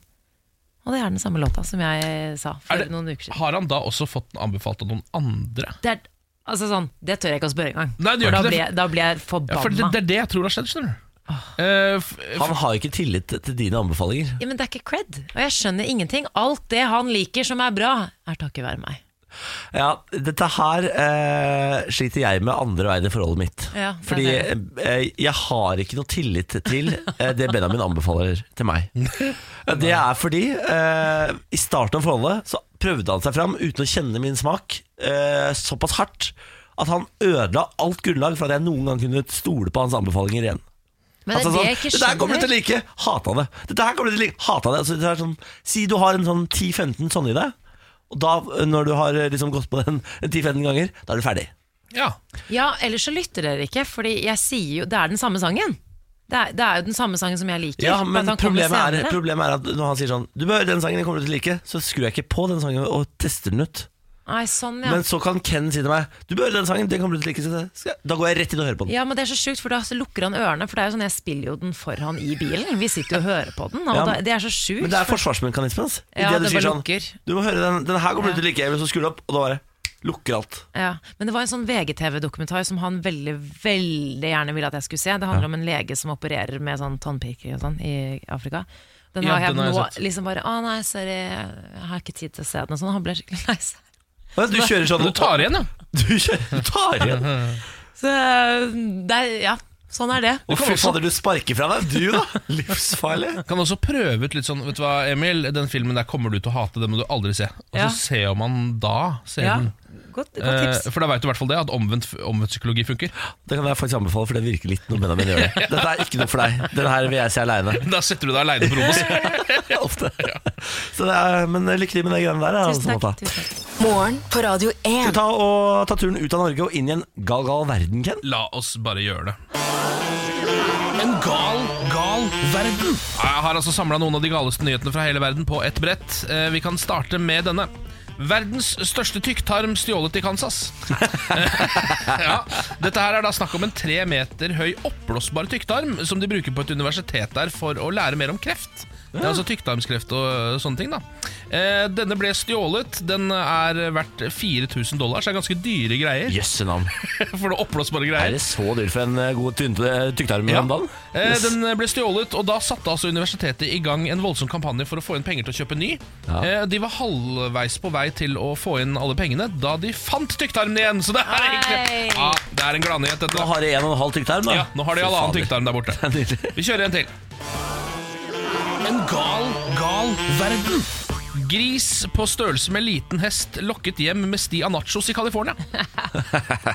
Speaker 2: Og det er den samme låta som jeg eh, sa
Speaker 3: Er
Speaker 2: for
Speaker 3: det-
Speaker 2: noen uker siden.
Speaker 3: Har han da også fått den anbefalt av noen andre?
Speaker 2: Det, er, altså, sånn, det tør jeg ikke å spørre engang.
Speaker 3: Nei, det gjør
Speaker 2: For
Speaker 3: ikke
Speaker 2: da,
Speaker 3: det.
Speaker 2: blir jeg- da blir jeg
Speaker 3: Ja,
Speaker 2: forbanna.
Speaker 3: for det, det er det jeg tror har skjedd, skjønner du. Eh, f- f-
Speaker 1: Han har ikke tillit til dine anbefalinger.
Speaker 2: Ja, men det er ikke cred, og jeg skjønner ingenting. Alt det han liker som er bra, er takket være meg.
Speaker 1: Ja, dette her eh, sliter jeg med andre veien i forholdet mitt.
Speaker 2: Ja, det er
Speaker 1: Fordi eh, jeg har ikke noe tillit til eh, det Benjamin anbefaler til meg. Det er fordi eh, i starten av forholdet så prøvde han seg fram uten å kjenne min smak eh, såpass hardt at han ødela alt grunnlag for at jeg noen gang kunne stole på hans anbefalinger igjen.
Speaker 2: Men det er
Speaker 1: Altså
Speaker 2: det
Speaker 1: sånn,
Speaker 2: jeg ikke
Speaker 1: Dette her kommer du til å
Speaker 2: skjønner.
Speaker 1: like, hata det. Dette her kommer du til å like, hata det. Altså, det er sånn, si du har en sånn 10-15 sånne i deg, og da, når du har eh, liksom gått på den 10-15 ganger, da er du ferdig.
Speaker 3: ja.
Speaker 2: Ja, ellers så lytter dere ikke, fordi jeg sier jo Det er den samme sangen. Det er, det er jo den samme sangen som jeg liker.
Speaker 1: Ja,
Speaker 2: bare at
Speaker 1: men
Speaker 2: han kommer
Speaker 1: problemet er,
Speaker 2: senere.
Speaker 1: problemet er at når han sier sånn Du bør høre den sangen, den kommer du til å like, så skrur jeg ikke på den sangen og tester den ut.
Speaker 2: Nei, sånn, ja.
Speaker 1: Men så kan Ken si til meg Du bør høre den sangen, den kommer du til å like. Så det- skal jeg- Da går jeg rett inn og hører på den.
Speaker 2: ja, men det er så sjukt, for da så lukker han ørene. For det er jo sånn, jeg spiller jo den for han i bilen. Vi sitter jo og hører på den, og
Speaker 1: Ja,
Speaker 2: da, det er så
Speaker 1: Men
Speaker 2: sjukt.
Speaker 1: det er forsvarsmekanismen hans. I
Speaker 2: Ja,
Speaker 1: det du
Speaker 2: det
Speaker 1: sier
Speaker 2: bare
Speaker 1: sånn
Speaker 2: lukker.
Speaker 1: Du må høre den, den her kommer
Speaker 2: Ja.
Speaker 1: du til å like, Emil, så skrur du opp, og da bare lukker alt.
Speaker 2: Ja, men det var en sånn VGTV-dokumentar som han veldig, veldig gjerne ville at jeg skulle se. Det handler om en lege som opererer med sånn tannpirker og sånn i Afrika. Den
Speaker 3: Ja,
Speaker 2: har jeg
Speaker 3: den har jeg
Speaker 2: nå
Speaker 3: sett.
Speaker 2: liksom bare Å nei, sorry, jeg har ikke tid til å se den. Og sånn. Han ble skikkelig lei seg.
Speaker 1: Ja, Du kjører sånn
Speaker 3: Men du tar igjen, ja.
Speaker 1: Du kjører, du tar igjen.
Speaker 2: Så det er, ja, sånn er det.
Speaker 1: Og fy fader, du sparker fra deg. Du, da. Livsfarlig.
Speaker 3: Kan også prøve ut litt sånn Vet du hva, Emil, den filmen der kommer du til å hate, den må du aldri se. Og så
Speaker 2: Ja.
Speaker 3: se om han da ser
Speaker 2: Ja,
Speaker 3: den.
Speaker 2: godt, godt
Speaker 3: Eh,
Speaker 2: tips.
Speaker 3: for da veit du i hvert fall det, at omvendt, omvendt psykologi funker.
Speaker 1: Det kan jeg faktisk anbefale, for det virker litt når Benjamin gjør det. Dette er ikke noe for deg. Den her vil jeg se aleine.
Speaker 3: Da setter du deg aleine på rommet og ser.
Speaker 1: Ofte. Så det er, men lykke til med de greiene der. da,
Speaker 2: Tusen
Speaker 1: på en måte.
Speaker 2: takk. Tusen takk.
Speaker 4: Morgen på Radio
Speaker 1: Skal vi
Speaker 4: 1.
Speaker 1: ta, og, ta turen ut av Norge og inn i en gal, gal verden, Ken?
Speaker 3: La oss bare gjøre det. En gal, gal verden. Jeg har altså samla noen av de galeste nyhetene fra hele verden på ett brett. Eh, Vi kan starte med denne. Verdens største tykktarm stjålet i Kansas. ja, dette her er da snakk om en tre meter høy oppblåsbar tykktarm som de bruker på et universitet der for å lære mer om kreft. Det er altså tykktarmskreft og øh, sånne ting. da eh, Denne ble stjålet. Den er verdt 4000 dollar, så det er ganske dyre greier.
Speaker 1: Jøsse navn.
Speaker 3: For det er oppblåsbare greier.
Speaker 1: Er det så dyrt for en eh, god tynn- eh, tykktarm i
Speaker 3: Ja.
Speaker 1: Ramdalen?
Speaker 3: Eh, Den ble stjålet, og da satte altså universitetet i gang en voldsom kampanje for å få inn penger til å kjøpe ny.
Speaker 1: Ja.
Speaker 3: Eh, De var halvveis på vei til å få inn alle pengene da de fant tykktarmen igjen! Så det er egentlig
Speaker 2: Nei.
Speaker 3: ja, det er en gladnyhet,
Speaker 1: Nå
Speaker 3: dette.
Speaker 1: har de en og en halv tykktarm, da.
Speaker 3: Ja, nå har de
Speaker 1: Fy
Speaker 3: all annen
Speaker 1: fader.
Speaker 3: tykktarm der borte.
Speaker 1: Nydelig.
Speaker 3: Vi kjører en til. En gal, gal verden. Gris på størrelse med liten hest lokket hjem med sti av nachos i California.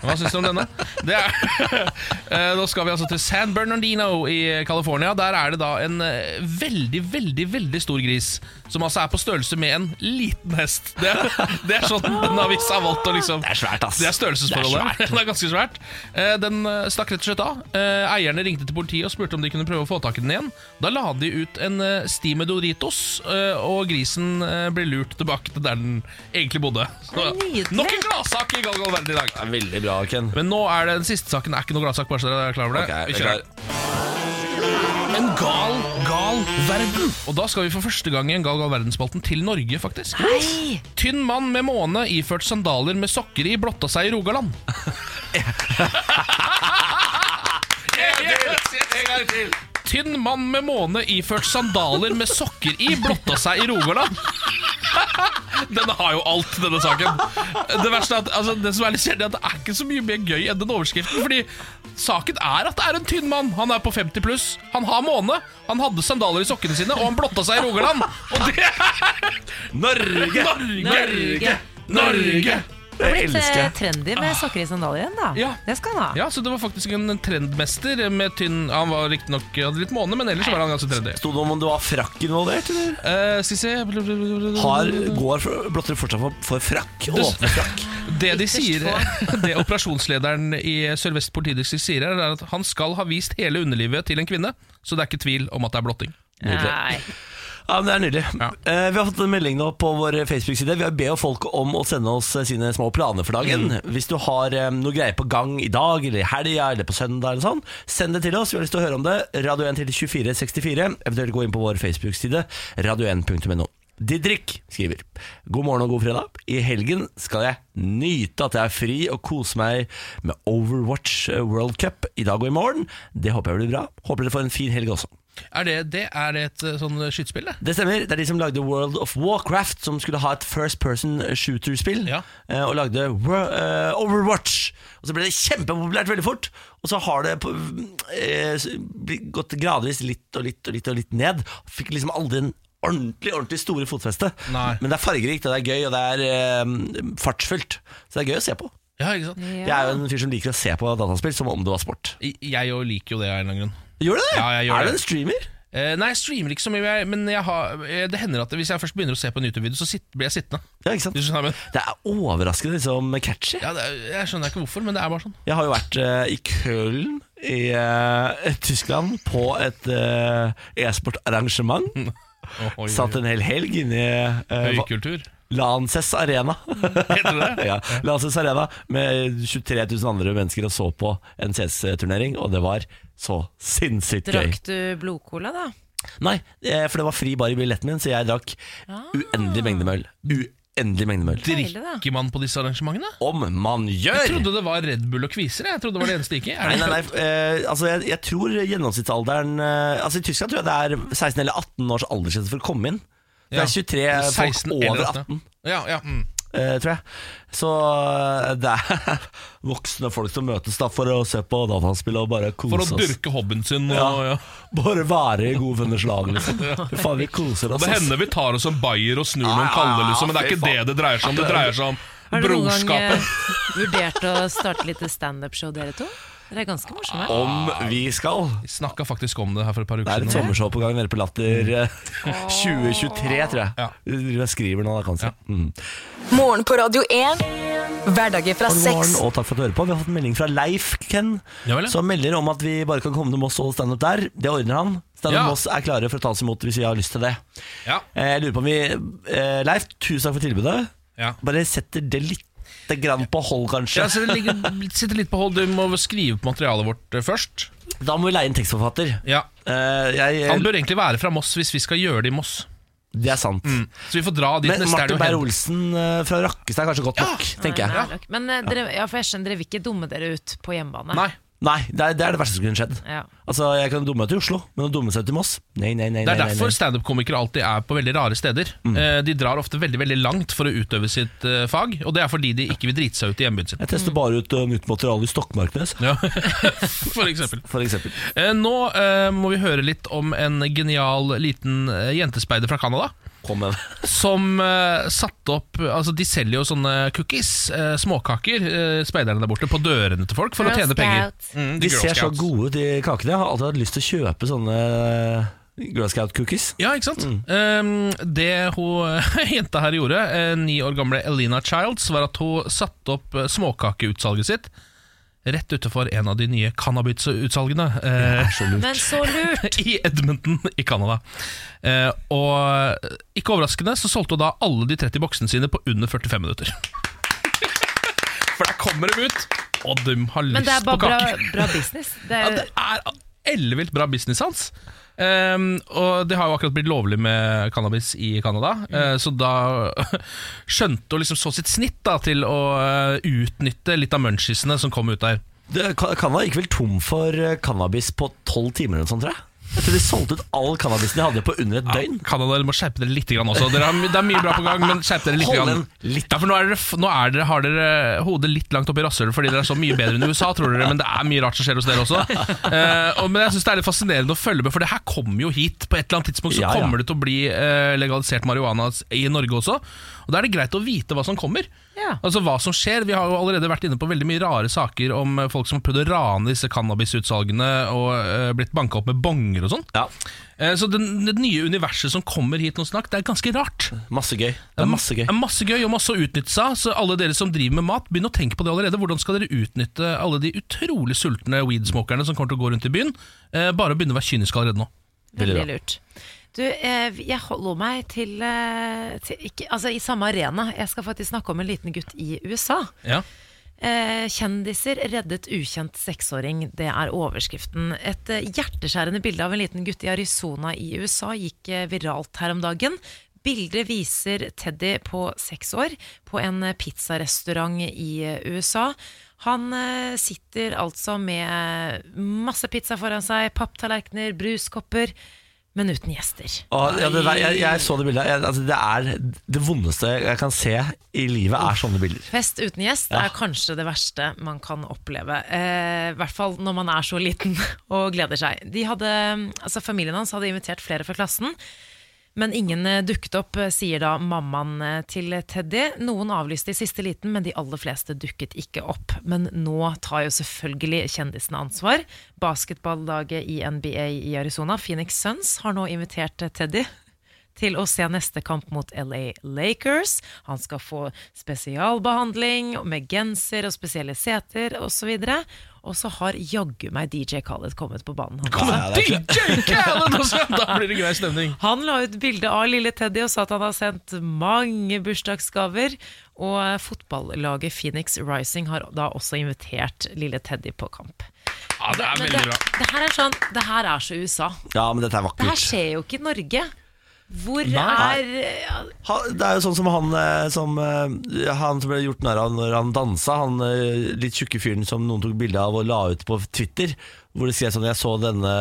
Speaker 3: Hva syns du om denne? Det er, Eh, da skal vi altså til San Bernardino i California. Der er det da en eh, veldig, veldig veldig stor gris, som altså er på størrelse med en liten hest. Det, er- det er sånn den avis har valgt å liksom
Speaker 1: Det er svært, ass.
Speaker 3: det er størrelsesforholdet.
Speaker 1: Det
Speaker 3: Det er, ganske svært. Eh, Den eh, stakk rett og slett av. Eh, Eierne ringte til politiet og spurte om de kunne prøve å få tak i den igjen. Da la de ut en eh, sti med Doritos, eh, og grisen eh, ble lurt tilbake til der den egentlig bodde. Så,
Speaker 2: Nydelig.
Speaker 3: nok en gladsak i Galgal verden i dag.
Speaker 1: Det er Veldig bra, Ken.
Speaker 3: Men nå er det den siste saken. Det er ikke noe gladsak, bare så dere er klar over det.
Speaker 1: Ok, jeg
Speaker 3: Vi
Speaker 1: er
Speaker 3: kjører. En gal, gal verden. Og da skal vi for første gang i en Gal Gal Verden-spalten til Norge, faktisk.
Speaker 2: Hei!
Speaker 3: Tynn mann med måne iført sandaler med sokker i blotta seg i Rogaland. Yes, yes, yes, en gang til. Tynn mann med måne iført sandaler med sokker i blotta seg i Rogaland. Denne har jo alt, denne saken. Det verste er at altså, Det som er litt kjedelig, er at det er ikke så mye mer gøy enn den overskriften. Fordi saken er at det er en tynn mann. Han er på 50 pluss. Han har måne. Han hadde sandaler i sokkene sine, og han blotta seg i Rogaland. Og det er
Speaker 1: Norge!
Speaker 2: Norge!
Speaker 3: Norge!
Speaker 1: Det elsker Ah.
Speaker 2: Eh,
Speaker 1: jeg.
Speaker 2: Trendy med
Speaker 3: Ah.
Speaker 2: sokker i sandaler igjen, da.
Speaker 3: Ja.
Speaker 2: Det skal han ha.
Speaker 3: Ja, så det var faktisk en trendmester med tynn Han var riktignok hadde litt måne, men ellers var han ganske trendy.
Speaker 1: Sto det om om det var frakk involvert, eller?
Speaker 3: Eh, skal vi se bl- bl- bl- bl- bl-
Speaker 1: Har, går for- blotter fortsatt for, for frakk?
Speaker 3: Du-
Speaker 1: Åpne frakk?
Speaker 3: Det de
Speaker 2: Ytterst
Speaker 3: sier, det operasjonslederen i Sør-Vest politidistrikt sier, her, er at han skal ha vist hele underlivet til en kvinne, så det er ikke tvil om at det er blotting.
Speaker 2: Nei.
Speaker 1: Ja, men Det er nydelig.
Speaker 3: Ja.
Speaker 1: Eh, vi har fått en melding nå på vår Facebook-side. Vi har ber jo folk om å sende oss eh, sine små planer for dagen. Hvis du har eh, noe greier på gang i dag, eller i helga, eller på søndag, eller sånn, send det til oss. Vi har lyst til å høre om det. Radio 1 til 2464. Eventuelt gå inn på vår Facebook-side, radio1.no. Didrik skriver God morgen og god fredag. I helgen skal jeg nyte at jeg er fri og kose meg med Overwatch eh, World Cup i dag og i morgen. Det håper jeg blir bra. Håper dere får en fin helg også.
Speaker 3: Er det, det er et eh, sånn skytespill, det?
Speaker 1: Det stemmer. Det er de som lagde World of Warcraft, som skulle ha et first person shooter-spill.
Speaker 3: Ja.
Speaker 1: eh, Og lagde Wor- eh, Overwatch. Og så ble det kjempepopulært veldig fort. Og så har det på, eh, s- bli- gått gradvis litt og litt og litt og litt ned. Fikk liksom aldri en ordentlig ordentlig store fotfeste.
Speaker 3: Nei.
Speaker 1: Men det er fargerikt, og det er gøy, og det er eh, fartsfullt. Så det er gøy å se på.
Speaker 3: Ja, ikke sant?
Speaker 1: Jeg er jo en fyr som liker å se på dataspill som om det var sport.
Speaker 3: I- Jeg jo liker jo det av en eller annen grunn.
Speaker 1: Gjør du det?
Speaker 3: Ja, jeg gjør
Speaker 1: er du
Speaker 3: det.
Speaker 1: en streamer?
Speaker 3: Eh, nei, jeg streamer ikke så mye, jeg- men jeg har, eh, det hender at hvis jeg først begynner å se på en YouTube-video, så sitt, blir jeg sittende.
Speaker 1: Ja, ikke sant?
Speaker 3: Hvis du skjønner hva jeg mener.
Speaker 1: Det er overraskende liksom catchy.
Speaker 3: Ja, det er, jeg skjønner ikke hvorfor, men det er bare sånn.
Speaker 1: Jeg har jo vært eh, i Køln i eh, Tyskland på et eh, e-sportarrangement.
Speaker 3: Oh,
Speaker 1: Satt en hel helg inne i eh, hva-
Speaker 3: Høykultur.
Speaker 1: Lances Arena.
Speaker 3: Heter det det?
Speaker 1: ja, Lances Arena med 23 000 andre mennesker og så på en CS-turnering, og det var så sinnssykt gøy.
Speaker 2: Drakk du blodcola, da?
Speaker 1: Nei, eh, for det var fri bar i billetten min, så jeg drakk
Speaker 3: Ah.
Speaker 1: uendelig mengde med øl. Uendelig mengde med øl.
Speaker 2: Deilig, da.
Speaker 3: Drikker man på disse arrangementene?
Speaker 1: Om man
Speaker 3: Jeg
Speaker 1: gjør!
Speaker 3: trodde det var Red Bull og kviser. Jeg Jeg trodde det var det eneste det gikk i. Er
Speaker 1: Nei,
Speaker 3: det
Speaker 1: nei, nei, eh, altså jeg, jeg tror gjennomsnittsalderen eh, Altså I Tyskland tror jeg det er 16 eller 18 års aldersgrense for å komme inn. Det
Speaker 3: Ja.
Speaker 1: er 23
Speaker 3: 16
Speaker 1: folk
Speaker 3: eller
Speaker 1: over
Speaker 3: 18.
Speaker 1: 18,
Speaker 3: Ja, ja, mm.
Speaker 1: eh, tror jeg. Så eh, det er voksne folk som møtes da for å se på dataspill og bare
Speaker 3: For å
Speaker 1: kose oss.
Speaker 3: dyrke hobbyen sin. Og,
Speaker 1: Ja.
Speaker 3: ja.
Speaker 1: Bare være i gode venners lag, liksom. Fy Faen, vi koser oss.
Speaker 3: Det
Speaker 1: ass.
Speaker 3: hender vi tar oss en bayer og snur
Speaker 1: Ja,
Speaker 3: noen
Speaker 1: ja,
Speaker 3: kalde, liksom, men det
Speaker 1: fy
Speaker 3: er ikke
Speaker 1: faen.
Speaker 3: det det dreier seg om. Det dreier seg om
Speaker 2: Har dere noen gang
Speaker 3: brorskapet.
Speaker 2: eh, vurdert å starte litt standup-show, dere to? Dere er ganske morsomme.
Speaker 1: Om vi skal.
Speaker 3: Vi snakka faktisk om det her for et par
Speaker 1: Det
Speaker 3: uker
Speaker 1: er et
Speaker 3: siden.
Speaker 1: sommershow på gang nede på Latter eh, 2023, tror jeg.
Speaker 3: Ja.
Speaker 1: Jeg skriver nå, da, kanskje. Mm.
Speaker 4: Morgen på Radio 1. Hverdager fra
Speaker 1: God morgen,
Speaker 4: seks.
Speaker 1: og takk for at du hører på. Vi har fått en melding fra Leif Ken,
Speaker 3: Ja vel, ja.
Speaker 1: som melder om at vi bare kan komme til Moss og standup der. Det ordner han. Standup
Speaker 3: Ja.
Speaker 1: Moss er klare for å ta oss imot hvis vi har lyst til det.
Speaker 3: Ja.
Speaker 1: Eh, Jeg lurer på om vi eh, Leif, tusen takk for tilbudet.
Speaker 3: Ja.
Speaker 1: Bare setter det litt grann på hold, kanskje.
Speaker 3: Ja, så det ligger, sitter litt på hold. Du må skrive på materialet vårt eh, først.
Speaker 1: Da må vi leie en tekstforfatter.
Speaker 3: Ja.
Speaker 1: Eh,
Speaker 3: Han
Speaker 1: jeg,
Speaker 3: bør egentlig være fra Moss hvis vi skal gjøre det i Moss. Mm.
Speaker 1: det er sant.
Speaker 3: Så vi får dra dit
Speaker 1: Men
Speaker 3: neste helg
Speaker 1: Martin
Speaker 3: og hente-
Speaker 1: Beyer-Olsen eh, fra Rakkestad er kanskje godt nok, tenker jeg.
Speaker 2: Nei, nei, nok. Men eh, dere, ja, for jeg skjønner dere vil ikke dumme dere ut på hjemmebane.
Speaker 3: Nei,
Speaker 1: Nei, det er, det er det verste som kunne skjedd.
Speaker 2: Ja.
Speaker 1: Altså, Jeg kan dumme meg til Oslo, men å dumme seg til Moss? Nei, nei,
Speaker 3: Det
Speaker 1: nei.
Speaker 3: er
Speaker 1: nei, nei,
Speaker 3: derfor
Speaker 1: nei.
Speaker 3: standup-komikere alltid er på veldig rare steder.
Speaker 1: Mm.
Speaker 3: Eh, De drar ofte veldig veldig langt for å utøve sitt eh, fag, og det er fordi de ikke vil drite seg ut i hjembyen sin.
Speaker 1: Jeg tester bare ut eh, nytt materiale i Stokmarknes,
Speaker 3: Ja. For eksempel.
Speaker 1: for eksempel.
Speaker 3: Eh, Nå eh, må vi høre litt om en genial liten eh, jentespeider fra Canada.
Speaker 1: Kom med
Speaker 3: Som eh, satte opp Altså De selger jo sånne cookies, eh, småkaker, eh, speiderne der borte, på dørene til folk for å
Speaker 2: Girl
Speaker 3: tjene penger.
Speaker 2: Scouts.
Speaker 3: Mm,
Speaker 1: De
Speaker 3: Girl
Speaker 1: ser så
Speaker 3: Scouts.
Speaker 1: gode ut, de kakene. Jeg har alltid hatt lyst til å kjøpe sånne eh, Girl Mm. Scout-cookies.
Speaker 3: Ja, ikke sant? Eh, det hun jenta her gjorde, eh, ni år gamle Elena Childs, var at hun satte opp eh, småkakeutsalget sitt rett utenfor en av de nye cannabisutsalgene. eh,
Speaker 2: Men så lurt!
Speaker 3: i Edmonton i Canada. Eh, og ikke overraskende så solgte hun da alle de 30 boksene sine på under 45 minutter. For der kommer de ut, og de har
Speaker 2: Men
Speaker 3: lyst
Speaker 2: det er
Speaker 3: på
Speaker 2: bare bra,
Speaker 3: kake.
Speaker 2: bra business. Det
Speaker 3: Ja,
Speaker 2: er,
Speaker 3: det er ellevilt bra business hans. Ehm, og det har jo akkurat blitt lovlig med cannabis i Canada,
Speaker 1: Mm.
Speaker 3: eh, så da skjønte hun liksom så sitt snitt da, til å eh, utnytte litt av munchisene som kom ut der.
Speaker 1: Det- Ka- Canada gikk vel tom for eh, cannabis på tolv timer eller noe sånt, tror jeg. Jeg tror de solgte ut all cannabisen de hadde på under et døgn.
Speaker 3: Canada, dere må skjerpe dere litt grann også. Dere har, my- det er mye bra på gang, men skjerp dere litt.
Speaker 1: Hold
Speaker 3: Grann.
Speaker 1: den litt.
Speaker 3: Ja, for nå, er dere, f- nå er dere, har dere hodet litt langt oppi rasshølet fordi dere er så mye bedre enn USA, tror dere, men det er mye rart som skjer hos dere også. Eh, og, men jeg syns det er litt fascinerende å følge med, for det her kommer jo hit. På et eller annet tidspunkt så
Speaker 1: Ja, ja.
Speaker 3: kommer det til å bli eh, legalisert marihuana s- i Norge også. Og da er det greit å vite hva som kommer.
Speaker 2: Ja.
Speaker 3: Altså hva som skjer. Vi har jo allerede vært inne på veldig mye rare saker om eh, folk som har prøvd å rane disse cannabisutsalgene og eh, blitt banka opp med bonger og sånn.
Speaker 1: Ja,
Speaker 3: Eh, Så den- det nye universet som kommer hit nå snakk, det er ganske rart.
Speaker 1: Masse gøy. Det er masse gøy.
Speaker 3: Det er masse gøy og masse å utnytte seg av, Så alle dere som driver med mat, begynn å tenke på det allerede. Hvordan skal dere utnytte alle de utrolig sultne weedsmokerne som kommer til å gå rundt i byen? Eh, Bare begynne å være kynisk allerede nå.
Speaker 1: Veldig
Speaker 2: Veldig lurt. Du, eh, jeg holder meg til, eh, til ikke, altså, i samme arena. Jeg skal faktisk snakke om en liten gutt i USA.
Speaker 3: Ja.
Speaker 2: Eh, Kjendiser reddet ukjent seksåring, det er overskriften. Et eh, hjerteskjærende bilde av en liten gutt i Arizona i USA gikk eh, viralt her om dagen. Bildet viser Teddy på seks år på en eh, pizzarestaurant i eh, USA. Han eh, sitter altså med masse pizza foran seg, papptallerkener, bruskopper, men uten gjester.
Speaker 1: Å, ja, det der, jeg, jeg så det bildet. Jeg, altså, det er det vondeste jeg kan se i livet, er sånne bilder.
Speaker 2: Fest uten gjest er kanskje det verste man kan oppleve. Eh, I hvert fall når man er så liten og gleder seg. De hadde, altså familien hans hadde invitert flere fra klassen, men ingen eh, dukket opp, eh, sier da mammaen eh, til Teddy. Noen avlyste i siste liten, men de aller fleste dukket ikke opp. Men nå tar jo selvfølgelig kjendisene ansvar. Basketballaget i NBA i Arizona, Phoenix Suns, har nå invitert eh, Teddy til å se neste kamp mot LA Lakers. Han skal få spesialbehandling med genser og spesielle seter osv. Og så har jaggu meg DJ Khaled kommet på banen. Han,
Speaker 1: Kom
Speaker 3: Men DJ Callen også! Altså, Da blir det grei stemning.
Speaker 2: han la ut bilde av lille Teddy og sa at han har sendt mange bursdagsgaver. Og fotballaget Phoenix Rising har da også invitert lille Teddy på kamp.
Speaker 3: Ja, det er
Speaker 2: Men
Speaker 3: veldig
Speaker 2: det,
Speaker 3: bra.
Speaker 2: det her er sånn Det her er så USA.
Speaker 1: Ja, men dette er
Speaker 2: Det her
Speaker 1: vakkert.
Speaker 2: skjer jo ikke i Norge. Hvor
Speaker 1: Nei.
Speaker 2: er eh, ja,
Speaker 1: Ha, det er jo sånn som han eh, som, eh, han som ble gjort narr av når han dansa, han eh, litt tjukke fyren som noen tok bilde av og la ut på Twitter, hvor det skrev sånn Jeg så denne,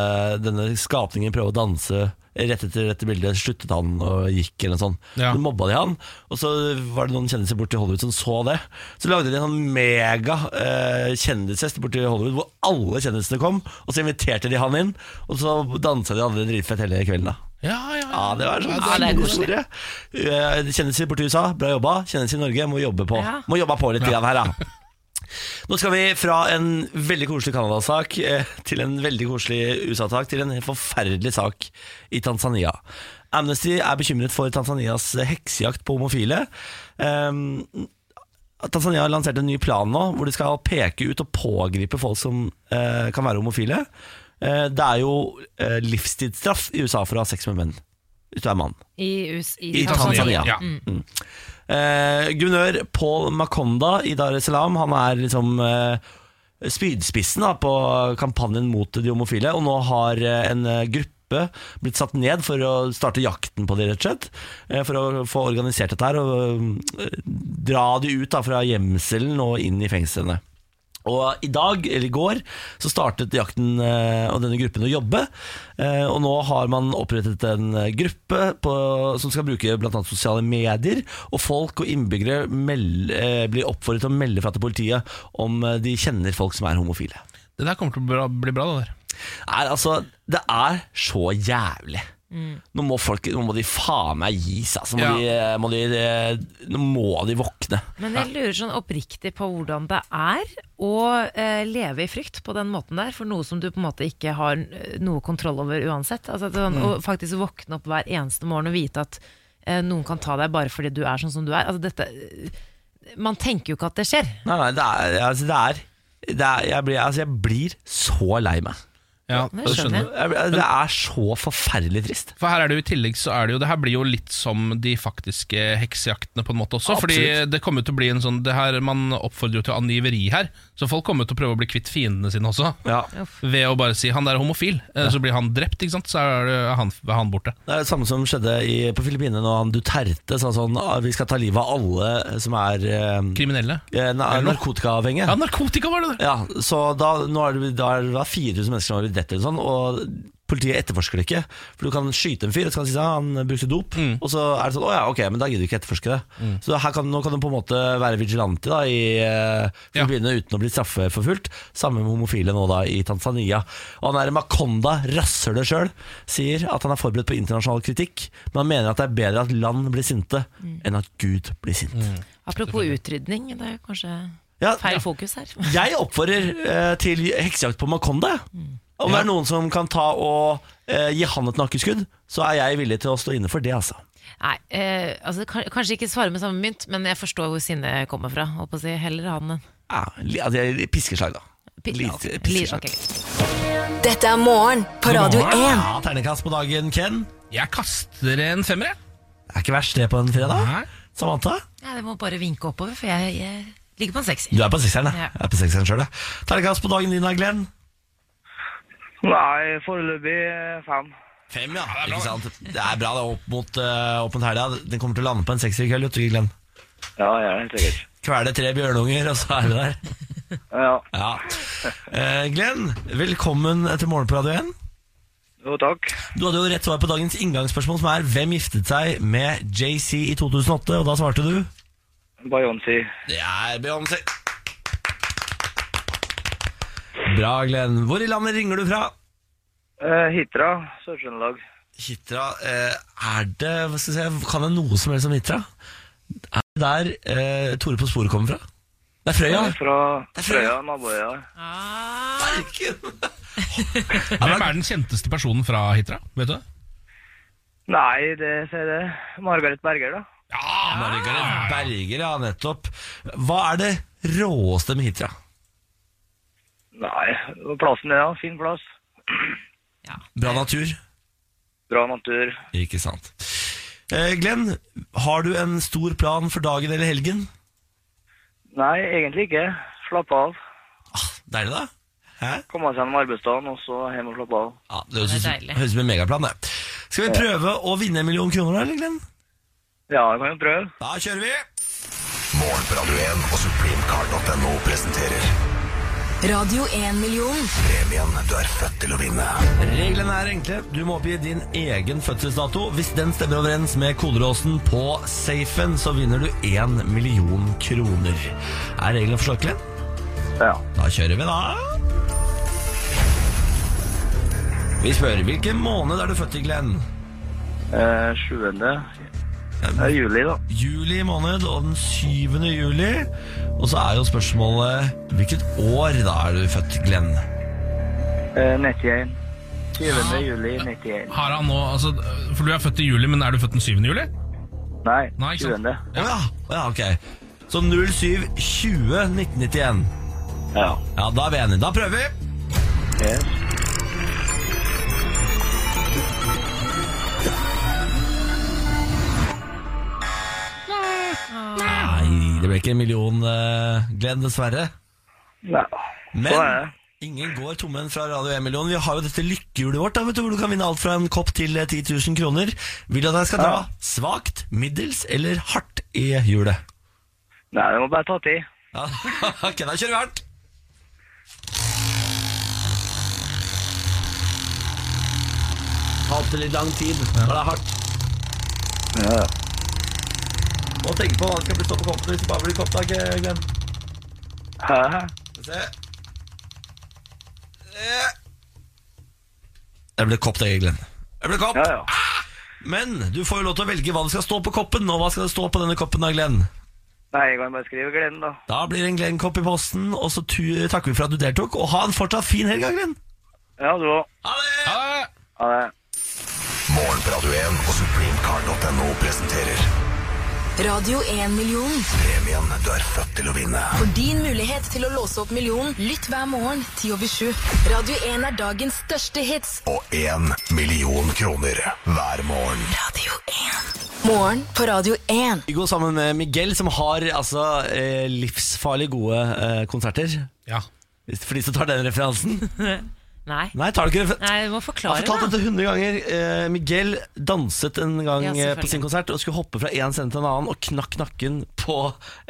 Speaker 1: denne skapningen prøve å danse. Rett etter dette bildet sluttet han og gikk. eller noe sånt
Speaker 3: Ja.
Speaker 1: Så mobba de han, og så var det noen kjendiser borti Hollywood som så det. Så lagde de en sånn mega eh, kjendisfest borti Hollywood hvor alle kjendisene kom. Og så inviterte de han inn, og så dansa de alle dritfett hele kvelden. da
Speaker 3: Ja, ja,
Speaker 1: ja, det var sånn
Speaker 2: det er
Speaker 1: stor
Speaker 2: koselig.
Speaker 1: historie. Eh, Kjendiser borti USA, bra jobba. Kjendiser i Norge, må jobbe på,
Speaker 2: Ja.
Speaker 1: må jobbe på litt grann her, da. Nå skal vi fra en veldig koselig Canada-sak eh, til en veldig koselig USA-sak, til en helt forferdelig sak i Tanzania. Amnesty er bekymret for Tanzanias heksejakt på homofile. Um, Tanzania har lansert en ny plan nå, hvor de skal peke ut og pågripe folk som eh, kan være homofile. Eh, det er jo eh, livstidsstraff i USA for å ha sex med menn. hvis du er mann.
Speaker 2: I, US, i, Mm.
Speaker 1: I Tanzania. Mm.
Speaker 3: Ja.
Speaker 1: Eh, guvernør Paul Makonda i Dar es Salaam Han er liksom eh, spydspissen da, på kampanjen mot de homofile. Og nå har eh, en eh, gruppe blitt satt ned for å starte jakten på de, rett og slett. Eh, for å få organisert dette her og eh, dra de ut da, fra gjemselen og inn i fengslene. Og i dag, eller i går, så startet jakten eh, og denne gruppen å jobbe. Eh, og nå har man opprettet en eh, gruppe på, som skal bruke bl.a. sosiale medier. Og folk og innbyggere meld, eh, blir oppfordret til å melde fra til politiet om eh, de kjenner folk som er homofile.
Speaker 3: Det der kommer til å bra- bli bra, det der.
Speaker 1: Er, altså, det er så jævlig. Nå, må folk, nå må de faen meg gis, altså. Må
Speaker 3: Ja.
Speaker 1: de, eh, må de, eh, nå må de våkne.
Speaker 2: Men jeg lurer sånn oppriktig på hvordan det er å eh, leve i frykt på den måten der, for noe som du på en måte ikke har eh, noe kontroll over uansett. Altså, at det er sånn,
Speaker 1: Mm.
Speaker 2: Å faktisk våkne opp hver eneste morgen og vite at eh, noen kan ta deg bare fordi du er sånn som du er. Altså, dette, eh, man tenker jo ikke at det skjer.
Speaker 1: Nei, nei, det er, altså, det er, det er jeg, blir, altså, jeg blir så lei meg.
Speaker 3: Ja,
Speaker 2: det skjønner jeg.
Speaker 1: Jeg- jeg- Det er så forferdelig trist.
Speaker 3: For her er det jo i tillegg så er det jo Det her blir jo litt som de faktiske heksejaktene på en måte også. Fordi
Speaker 1: Absolutt.
Speaker 3: det kommer til å bli en sånn det her, Man oppfordrer jo til angiveri her, så folk kommer til å prøve å bli kvitt fiendene sine også.
Speaker 1: Ja.
Speaker 3: Ved å bare si 'han der er homofil', eh, så blir han drept, ikke sant? så er, det, er, han, er han borte.
Speaker 1: Det er det samme som skjedde i, på Filippinene når han Duterte sa sånn «Ah, Vi skal ta livet av alle som er eh,
Speaker 3: Kriminelle.
Speaker 1: eh, na- narkotikaavhengige.
Speaker 3: Ja, narkotika var det! det.
Speaker 1: Ja, så da, nå er det, da er det da 4000 mennesker som har blitt drept, eller sånn, og politiet etterforsker det ikke. For du kan skyte en fyr, og så kan du si at han brukte dop,
Speaker 3: Mm.
Speaker 1: og så er det sånn Å ja, ok, men da gidder du ikke etterforske det. Så her kan, nå kan du på en måte være vigilante da, i eh, Filippinene uten å bli straffeforfulgt. Samme med homofile nå da i Tanzania. Og han er Makonda, rasshølet sjøl, sier at han er forberedt på internasjonal kritikk, men han mener at det er bedre at land blir sinte
Speaker 4: Mm.
Speaker 1: enn at Gud blir sint.
Speaker 2: Apropos utrydning, det er kanskje
Speaker 1: Ja,
Speaker 2: feil fokus her.
Speaker 1: jeg oppfordrer eh, til heksejakt på Makonda.
Speaker 4: Mm.
Speaker 1: Om det er noen som kan ta og eh, gi han et nakkeskudd, så er jeg villig til å stå inne for det. altså
Speaker 2: Nei, eh, altså, kan- kanskje ikke svare med samme mynt, men jeg forstår hvor sinnet kommer fra. Holdt på å si, heller han enn
Speaker 1: ja, li- altså, jeg- Piskeslag, da. Lite
Speaker 2: ok.
Speaker 1: piskeslag.
Speaker 2: Ok.
Speaker 4: Dette er morgen på Radio 1.
Speaker 1: Ja, Ternekast på dagen, Ken.
Speaker 3: Jeg kaster en femmer, jeg.
Speaker 1: Det er ikke verst, det, på en fredag.
Speaker 3: Nei.
Speaker 1: Samantha?
Speaker 2: Ja, det må bare vinke oppover, for jeg, jeg ligger på en sekser.
Speaker 1: Du er på
Speaker 2: Ja.
Speaker 1: sekseren, ja. Jeg er på sekseren selv, jeg. Ternekast på dagen din, da, Glenn.
Speaker 5: Nei, foreløpig fem.
Speaker 1: Fem, ja. Ikke sant? Det er bra, det. er Opp mot, eh, opp mot helga. Den kommer til å lande på en sekser i kveld, vet du, Glenn.
Speaker 5: Ja, jeg er helt sikkert.
Speaker 1: Kvele tre bjørnunger, og så er vi der.
Speaker 5: Ja,
Speaker 1: Ja. Eh, Glenn, velkommen til Morgen på Radio 1.
Speaker 5: jo takk.
Speaker 1: Du hadde jo rett svar på dagens inngangsspørsmål, som er hvem giftet seg med JC i 2008? Og da svarte du
Speaker 5: Beyoncé.
Speaker 1: Det er Beyoncé. Bra, Glenn. Hvor i landet ringer du fra?
Speaker 5: Eh, Hitra, Sør-Trøndelag.
Speaker 1: Hitra eh, Er det hva skal jeg si, Kan jeg noe som helst om Hitra? Er det der eh, Tore på sporet kommer fra? Det er Frøya.
Speaker 5: Jeg er Fra
Speaker 1: er Frøya.
Speaker 5: Frøya, naboøya.
Speaker 2: Ah.
Speaker 1: Herregud.
Speaker 3: Hvem er den kjenteste personen fra Hitra? Vet du det?
Speaker 5: Nei, det sier det. Margaret Berger, da.
Speaker 1: Margaret Berger, ja, nettopp. Hva er det råeste med Hitra?
Speaker 5: Nei, plassen er da. Fin plass.
Speaker 1: Bra natur.
Speaker 5: Bra natur.
Speaker 1: Ikke sant. Eh, Glenn, har du en stor plan for dagen eller helgen?
Speaker 5: Nei, egentlig ikke. Slappe av.
Speaker 1: Ah, Deilig, da. Hæ?
Speaker 5: Komme seg gjennom arbeidsdagen, og så hjem og slappe av.
Speaker 1: Ja, det høres
Speaker 2: Det er
Speaker 1: ut
Speaker 2: deilig.
Speaker 1: høres ut som en megaplan, det. Skal vi prøve å vinne en million kroner, da, eller, Glenn?
Speaker 5: Ja, jeg kan jo prøve.
Speaker 1: Da kjører vi!
Speaker 6: Morgen på Radio 1 og Supremecard.no presenterer
Speaker 4: Radio 1-million.
Speaker 6: premien du er født til å vinne.
Speaker 1: Reglene er enkle. Du må oppgi din egen fødselsdato. Hvis den stemmer overens med koderåsen på safen, så vinner du én million kroner. Er reglene forstått, Glenn?
Speaker 5: Ja.
Speaker 1: Da kjører vi, da. Vi spør hvilken måned er du født i, Glenn?
Speaker 5: Eh, 7. Det er juli, da.
Speaker 1: juli måned og den 7. juli. Og så er jo spørsmålet hvilket år da er du født, Glenn?
Speaker 5: Eh, 91. 20. juli 91.
Speaker 3: Ah. Har han nå, altså, for Du er født i juli, men er du født den 7. juli?
Speaker 5: Nei,
Speaker 3: Nei, ikke sant.
Speaker 5: 20.
Speaker 1: Å ja. å ja, ok. Så 07.20.1991.
Speaker 5: Ja.
Speaker 1: Ja, da er vi enige. Da prøver vi.
Speaker 5: Yes.
Speaker 1: Nei, det ble ikke en million, eh, Glenn, dessverre.
Speaker 5: Nei. Så er
Speaker 1: Men
Speaker 5: det.
Speaker 1: ingen går tommen fra Radio 1-million. Vi har jo dette lykkehjulet vårt, da, vet du, hvor du kan vinne alt fra en kopp til eh, 10 000 kroner. Vil du at jeg skal dra svakt, middels eller hardt i hjulet?
Speaker 5: Nei, det må bare ta tid.
Speaker 1: Ja, ok, da kjører vi hardt. Hatt litt lang tid, da er det hardt.
Speaker 5: Ja.
Speaker 1: Må tenke på hva det skal bli stå på koppen hvis det bare blir kopp, da, ikke, Glenn.
Speaker 5: Hæ? hæ?
Speaker 1: Skal vi se. Eh. Jeg ble kopp, det, Glenn. Jeg ble kopp.
Speaker 5: Ja, ja.
Speaker 1: Men du får jo lov til å velge hva det skal stå på koppen. Og hva skal det stå på denne koppen da, Glenn?
Speaker 5: Nei, jeg kan bare skrive Glenn, da.
Speaker 1: Da blir det en Glenn-kopp i posten, og så tu- takker vi for at du deltok. Og ha en fortsatt fin helg, da, Glenn.
Speaker 5: Ja, du òg.
Speaker 1: Ha det!
Speaker 3: Ha det!
Speaker 5: Ha det.
Speaker 6: Morgen på Radio 1 og supremecard.no presenterer
Speaker 4: Radio 1-millionen.
Speaker 6: premien du er født til å vinne.
Speaker 4: For din mulighet til å låse opp millionen, lytt hver morgen 10 over 7. Radio 1 er dagens største hits.
Speaker 6: Og én million kroner hver morgen.
Speaker 4: Radio 1. Morgen på Radio 1.
Speaker 1: Vi går sammen med Miguel, som har altså, eh, livsfarlig gode eh, konserter.
Speaker 3: Ja.
Speaker 1: Hvis- For de som tar den referansen.
Speaker 2: Nei.
Speaker 1: Nei, tar du ikke referansen?
Speaker 2: Nei, du må
Speaker 1: Jeg har
Speaker 2: forklare,
Speaker 1: fortalt
Speaker 2: da.
Speaker 1: dette 100 ganger. Eh, Miguel danset en gang
Speaker 2: Ja,
Speaker 1: eh, på
Speaker 2: selvfølgelig.
Speaker 1: sin konsert og skulle hoppe fra én scene til en annen og knakk nakken på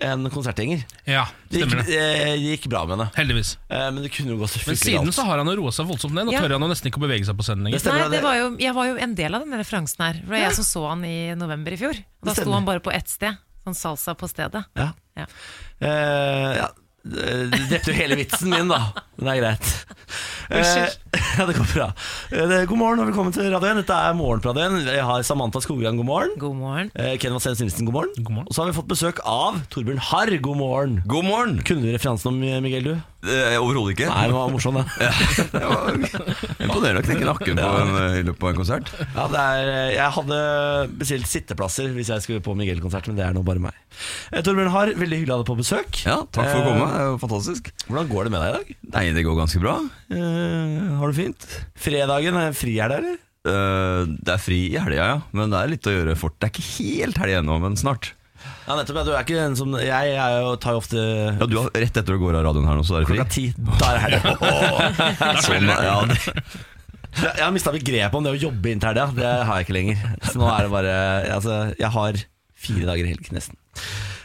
Speaker 1: en konsertgjenger.
Speaker 3: ja,
Speaker 1: Det gikk,
Speaker 3: stemmer det.
Speaker 1: eh, det gikk bra med henne,
Speaker 3: Heldigvis.
Speaker 1: eh, men det kunne jo gått så
Speaker 3: Men
Speaker 1: fryktelig
Speaker 3: siden
Speaker 1: galt.
Speaker 3: så har han jo roa seg voldsomt ned. Nå
Speaker 2: Ja.
Speaker 3: tør han jo nesten ikke å bevege seg på scenen
Speaker 1: Det
Speaker 3: lenger.
Speaker 1: stemmer,
Speaker 2: Nei,
Speaker 1: ja,
Speaker 2: det var jo, jeg var jo en del av denne referansen her. Det var jeg som så han i november i fjor. Da sto
Speaker 1: stemmer.
Speaker 2: han bare på ett sted. Sånn salsa på stedet.
Speaker 1: ja.
Speaker 2: Ja.
Speaker 1: Eh, ja. eh, Det drepte jo hele vitsen min, da. Men det er greit. Eh, ja, det går bra. Eh, det- God morgen og velkommen til Radio 1. Dette er Morgen på Radio 1. Jeg har Samantha Skogran, god morgen.
Speaker 2: God morgen.
Speaker 1: Eh, Ken Vasenus Nilsen, god morgen.
Speaker 3: God morgen.
Speaker 1: Og så har vi fått besøk av Torbjørn Harr, god morgen.
Speaker 7: God morgen!
Speaker 1: Kunne du referansen om eh, Miguel, du?
Speaker 7: Eh, Overhodet ikke.
Speaker 1: Nei, det var morsom, da.
Speaker 7: Det var Imponerende å knekke nakken på en, eh, i løpet av en konsert.
Speaker 1: Ja, det er, eh, jeg hadde bestilt sitteplasser hvis jeg skulle på Miguel-konsert, men det er nå bare meg. Eh, Torbjørn Har, veldig hyggelig å ha deg på besøk.
Speaker 7: Ja, Takk for å
Speaker 1: Eh,
Speaker 7: komme. Det er jo fantastisk.
Speaker 1: Hvordan går det med deg i dag?
Speaker 7: Nei, det går ganske bra.
Speaker 1: Eh, har du fint? Fredagen, er fri er det, eller?
Speaker 7: Eh, det er fri i helga, ja. Men det er litt å gjøre fort. Det er ikke helt helg ennå, men snart.
Speaker 1: Ja, nettopp. ja, Du er ikke den som Jeg er jo, tar jo ofte
Speaker 7: Ja, du har Rett etter du går av radioen her nå, så er det fri.
Speaker 1: klokka ti. Da er det helg.
Speaker 7: Sånn, ja, det,
Speaker 1: Jeg har mista begrepet om det å jobbe inn til helga. Det har jeg ikke lenger. Så nå er det bare Altså, jeg har fire dager i helg, nesten.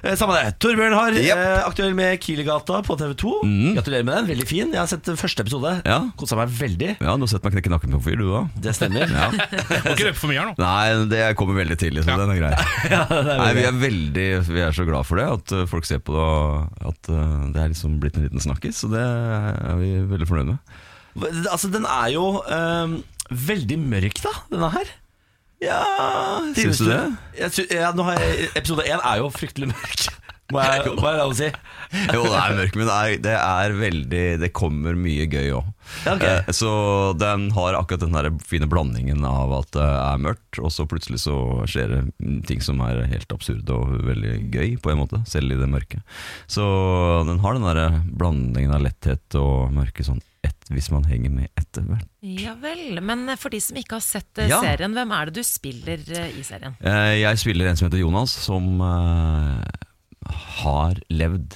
Speaker 1: Eh, Samme det. Torbjørn Har,
Speaker 7: Jep.
Speaker 1: eh, aktuell med Kielergata på TV 2. Gratulerer med den. Veldig fin. Jeg har sett første episode.
Speaker 7: Mm. Ja.
Speaker 1: Kosa meg veldig.
Speaker 7: ja, du har sett meg knekke nakken på en fyr, du òg.
Speaker 1: Det stemmer.
Speaker 3: Må ikke røpe for mye her nå.
Speaker 7: Nei, det kommer veldig tidlig, så den er grei. Nei, vi er veldig Vi er så glad for det, at eh, folk ser på det, og at eh, det er liksom blitt en liten snakkis. Så det er vi veldig fornøyd med.
Speaker 1: Altså, den er jo øhm, veldig mørk, da, denne her. Ja
Speaker 7: Syns du det?
Speaker 1: Jeg sy ja, nå har jeg, episode én er jo fryktelig mørk. Må jeg, må jeg lov å si.
Speaker 7: Jo, det er mørkt, men det er, det er veldig Det kommer mye gøy òg.
Speaker 1: Ja, ok.
Speaker 7: Så den har akkurat den der fine blandingen av at det er mørkt, og så plutselig så skjer det mm, ting som er helt absurde og veldig gøy, på en måte, selv i det mørke. Så den har den der blandingen av letthet og mørke sånn ett, hvis man henger med etter hvert.
Speaker 2: Ja vel. Men eh, for de som ikke har sett eh,
Speaker 7: Ja.
Speaker 2: serien, hvem er det du spiller eh, i serien?
Speaker 7: Eh, Jeg spiller en som heter Jonas, som eh, har levd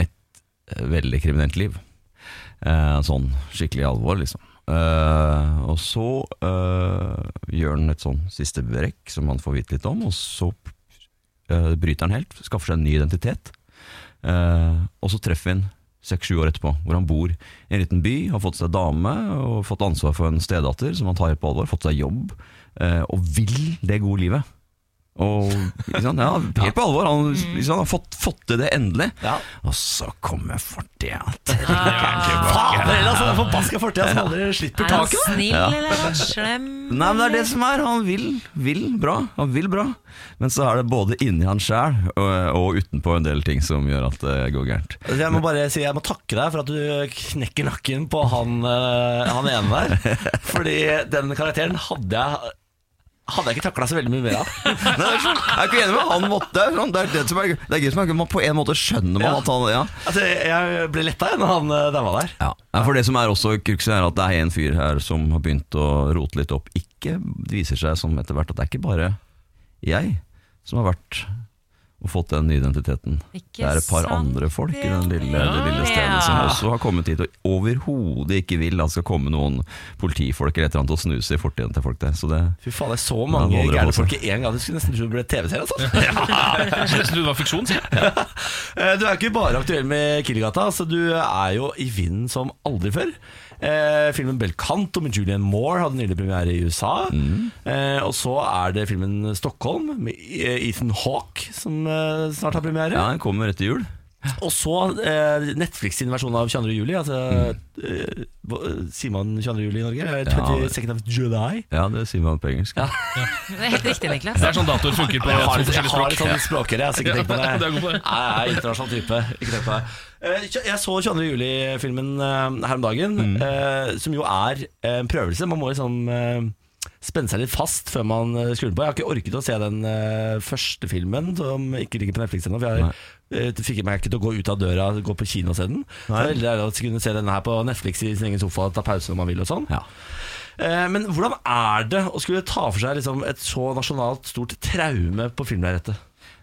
Speaker 7: et eh, veldig kriminelt liv. Eh, sånn skikkelig alvor, liksom. Eh, og så eh, gjør han et sånn siste brekk som han får vite litt om, og så eh, bryter han helt, skaffer seg en ny identitet. Eh, og så treffer vi han seks-sju år etterpå, hvor han bor i en liten by, har fått seg dame og fått ansvar for en stedatter som han tar helt på alvor, fått seg jobb, eh, og vil det gode livet. Og ikke sant? Ja, Helt på alvor. Han, ikke sant? han har fått, fått til det endelig.
Speaker 1: Mm. Ja.
Speaker 7: Og så kommer fortjent.
Speaker 1: Fader heller, altså! Den forbaska fortida som aldri slipper
Speaker 2: Er han
Speaker 1: taket.
Speaker 2: snill,
Speaker 7: Ja.
Speaker 2: eller er han slem?
Speaker 7: Nei, men det er det som er. Han vil, vil bra. Han vil bra. Men så er det både inni han sjæl og, og utenpå en del ting som gjør at det går gærent.
Speaker 1: Altså, Jeg må bare si Jeg må takke deg for at du knekker nakken på han, øh, han ene der. Fordi den karakteren hadde jeg Hadde jeg ikke takla så veldig mye mer av.
Speaker 7: Nei, det er sånn. jeg er ikke enig med han måtte det er sånn, Det er det som er gøy. Det er gøy som er gøy. Man på en måte skjønner man
Speaker 1: Ja.
Speaker 7: at han ja.
Speaker 1: Altså, jeg ble letta når han øh, daua der.
Speaker 7: Ja. For det som er også kruxen, er at det er en fyr her som har begynt å rote litt opp. Ikke, det viser seg som etter hvert at det er ikke bare jeg som har vært og fått den identiteten.
Speaker 2: Ikke
Speaker 7: det er et par
Speaker 2: sant,
Speaker 7: andre folk i den lille, det lille stedet
Speaker 2: Ja.
Speaker 7: som også har kommet hit og overhodet ikke vil at det skal komme noen politifolk eller et eller annet og snuse i fortiden til folk der. Så det,
Speaker 1: Fy faen, det er så
Speaker 7: Da
Speaker 1: mange
Speaker 7: holder det
Speaker 1: gærne
Speaker 7: på seg.
Speaker 1: folk i én gang. Du skulle nesten tro det ble TV-serie. Altså.
Speaker 3: Jeg synes det var fiksjon, sier jeg.
Speaker 1: Eh, Du er ikke bare aktuell med Killegata, altså, du er jo i vinden som aldri før. Eh, filmen 'Belcanto' med Julian Moore hadde nylig premiere i USA.
Speaker 7: Mm.
Speaker 1: Eh, og så er det filmen 'Stockholm' med eh, Ethan Hawke som eh, snart har premiere.
Speaker 7: ja, den kommer etter jul.
Speaker 1: Og så eh, Netflix sin versjon av 22. juli. Altså,
Speaker 7: Mm.
Speaker 1: eh, hva- sier man 22. juli i Norge? Eh, 22nd of July?
Speaker 7: Ja, det sier man på engelsk.
Speaker 2: Det er helt riktig, Niklas.
Speaker 3: Det er sånn datoer funker på
Speaker 1: Jeg har,
Speaker 3: to
Speaker 1: jeg
Speaker 3: forskjellige
Speaker 1: har et
Speaker 3: språk.
Speaker 1: sånt språkere, jeg er sikker tenkt på det.
Speaker 3: Ja, du er god på det.
Speaker 1: Nei, Jeg er internasjonal type. Ikke tenk på det. Eh, tj- Jeg så 22. juli-filmen eh, her om dagen, eh, som jo er en prøvelse. Man må liksom eh, spenne seg litt fast før man eh, skrur den på. Jeg har ikke orket å se den eh, første filmen, som ikke ligger på Netflix ennå. For jeg eh, fikk meg ikke til å gå ut av døra gå på kino og se den. Så det er veldig deilig å kunne se den her på Netflix i sin egen sofa, ta pause når man vil og sånn.
Speaker 7: Ja.
Speaker 1: Eh, Men hvordan er det å skulle ta for seg liksom et så nasjonalt stort traume på filmlerretet?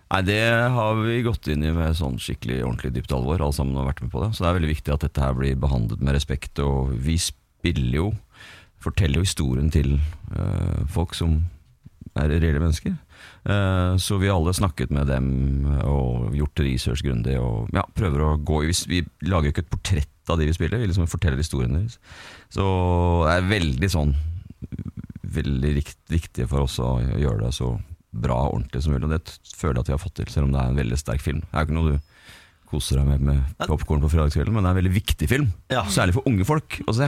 Speaker 7: Nei, det har vi gått inn i med sånn skikkelig ordentlig dypt alvor, alle sammen har vært med på det. Så det er veldig viktig at dette her blir behandlet med respekt, og vi spiller jo, forteller jo historien til øh, folk som er reelle mennesker. Eh, så vi har alle snakket med dem og gjort research grundig og ja, prøver å gå i Vi lager jo ikke et portrett av de vi spiller, vi liksom forteller historien deres. Så det er veldig sånn veldig rikt, viktig for oss å gjøre det så bra og ordentlig som mulig. Og det t- føler jeg at vi har fått til, selv om det er en veldig sterk film. Det er jo ikke noe du koser deg med med popkorn på fredagskvelden, men det er en veldig viktig film.
Speaker 1: Ja.
Speaker 7: Særlig for unge folk å se.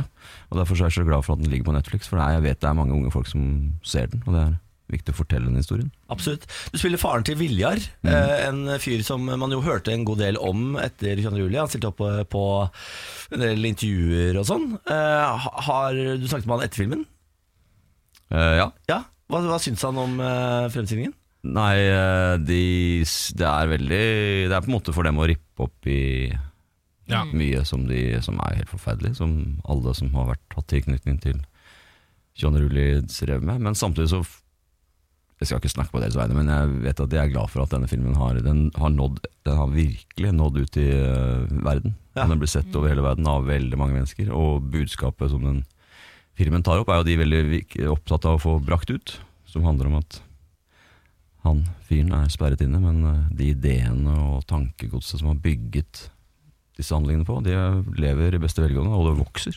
Speaker 7: Og Derfor så er jeg så glad for at den ligger på Netflix, for det er, jeg vet det er mange unge folk som ser den. Og det er viktig å fortelle den historien.
Speaker 1: Absolutt. Du spiller faren til Viljar,
Speaker 7: Mhm.
Speaker 1: eh, en fyr som man jo hørte en god del om etter 22. juli. Han stilte opp eh, på en del intervjuer og sånn. Eh, ha- Har du snakket med han etter filmen?
Speaker 7: Eh, ja.
Speaker 1: Ja. Hva, hva syns han om eh, fremstillingen?
Speaker 7: Nei, eh, de, s- det er veldig Det er på en måte for dem å rippe opp i
Speaker 3: Ja.
Speaker 7: mye som, de, som er helt forferdelig, som alle som har vært, hatt tilknytning til 22. juli strever med. Men samtidig så f- Jeg skal ikke snakke på deres vegne, men jeg vet at jeg er glad for at denne filmen har, den har, nådd, den har virkelig nådd ut i eh, verden.
Speaker 1: Ja.
Speaker 7: Og Den blir sett over hele verden av veldig mange mennesker, og budskapet som den filmen tar opp, er jo de veldig vik- opptatt av å få brakt ut. Som handler om at han fyren er sperret inne, men eh, de ideene og tankegodset som har bygget disse handlingene på, de lever i beste velgående, og det vokser.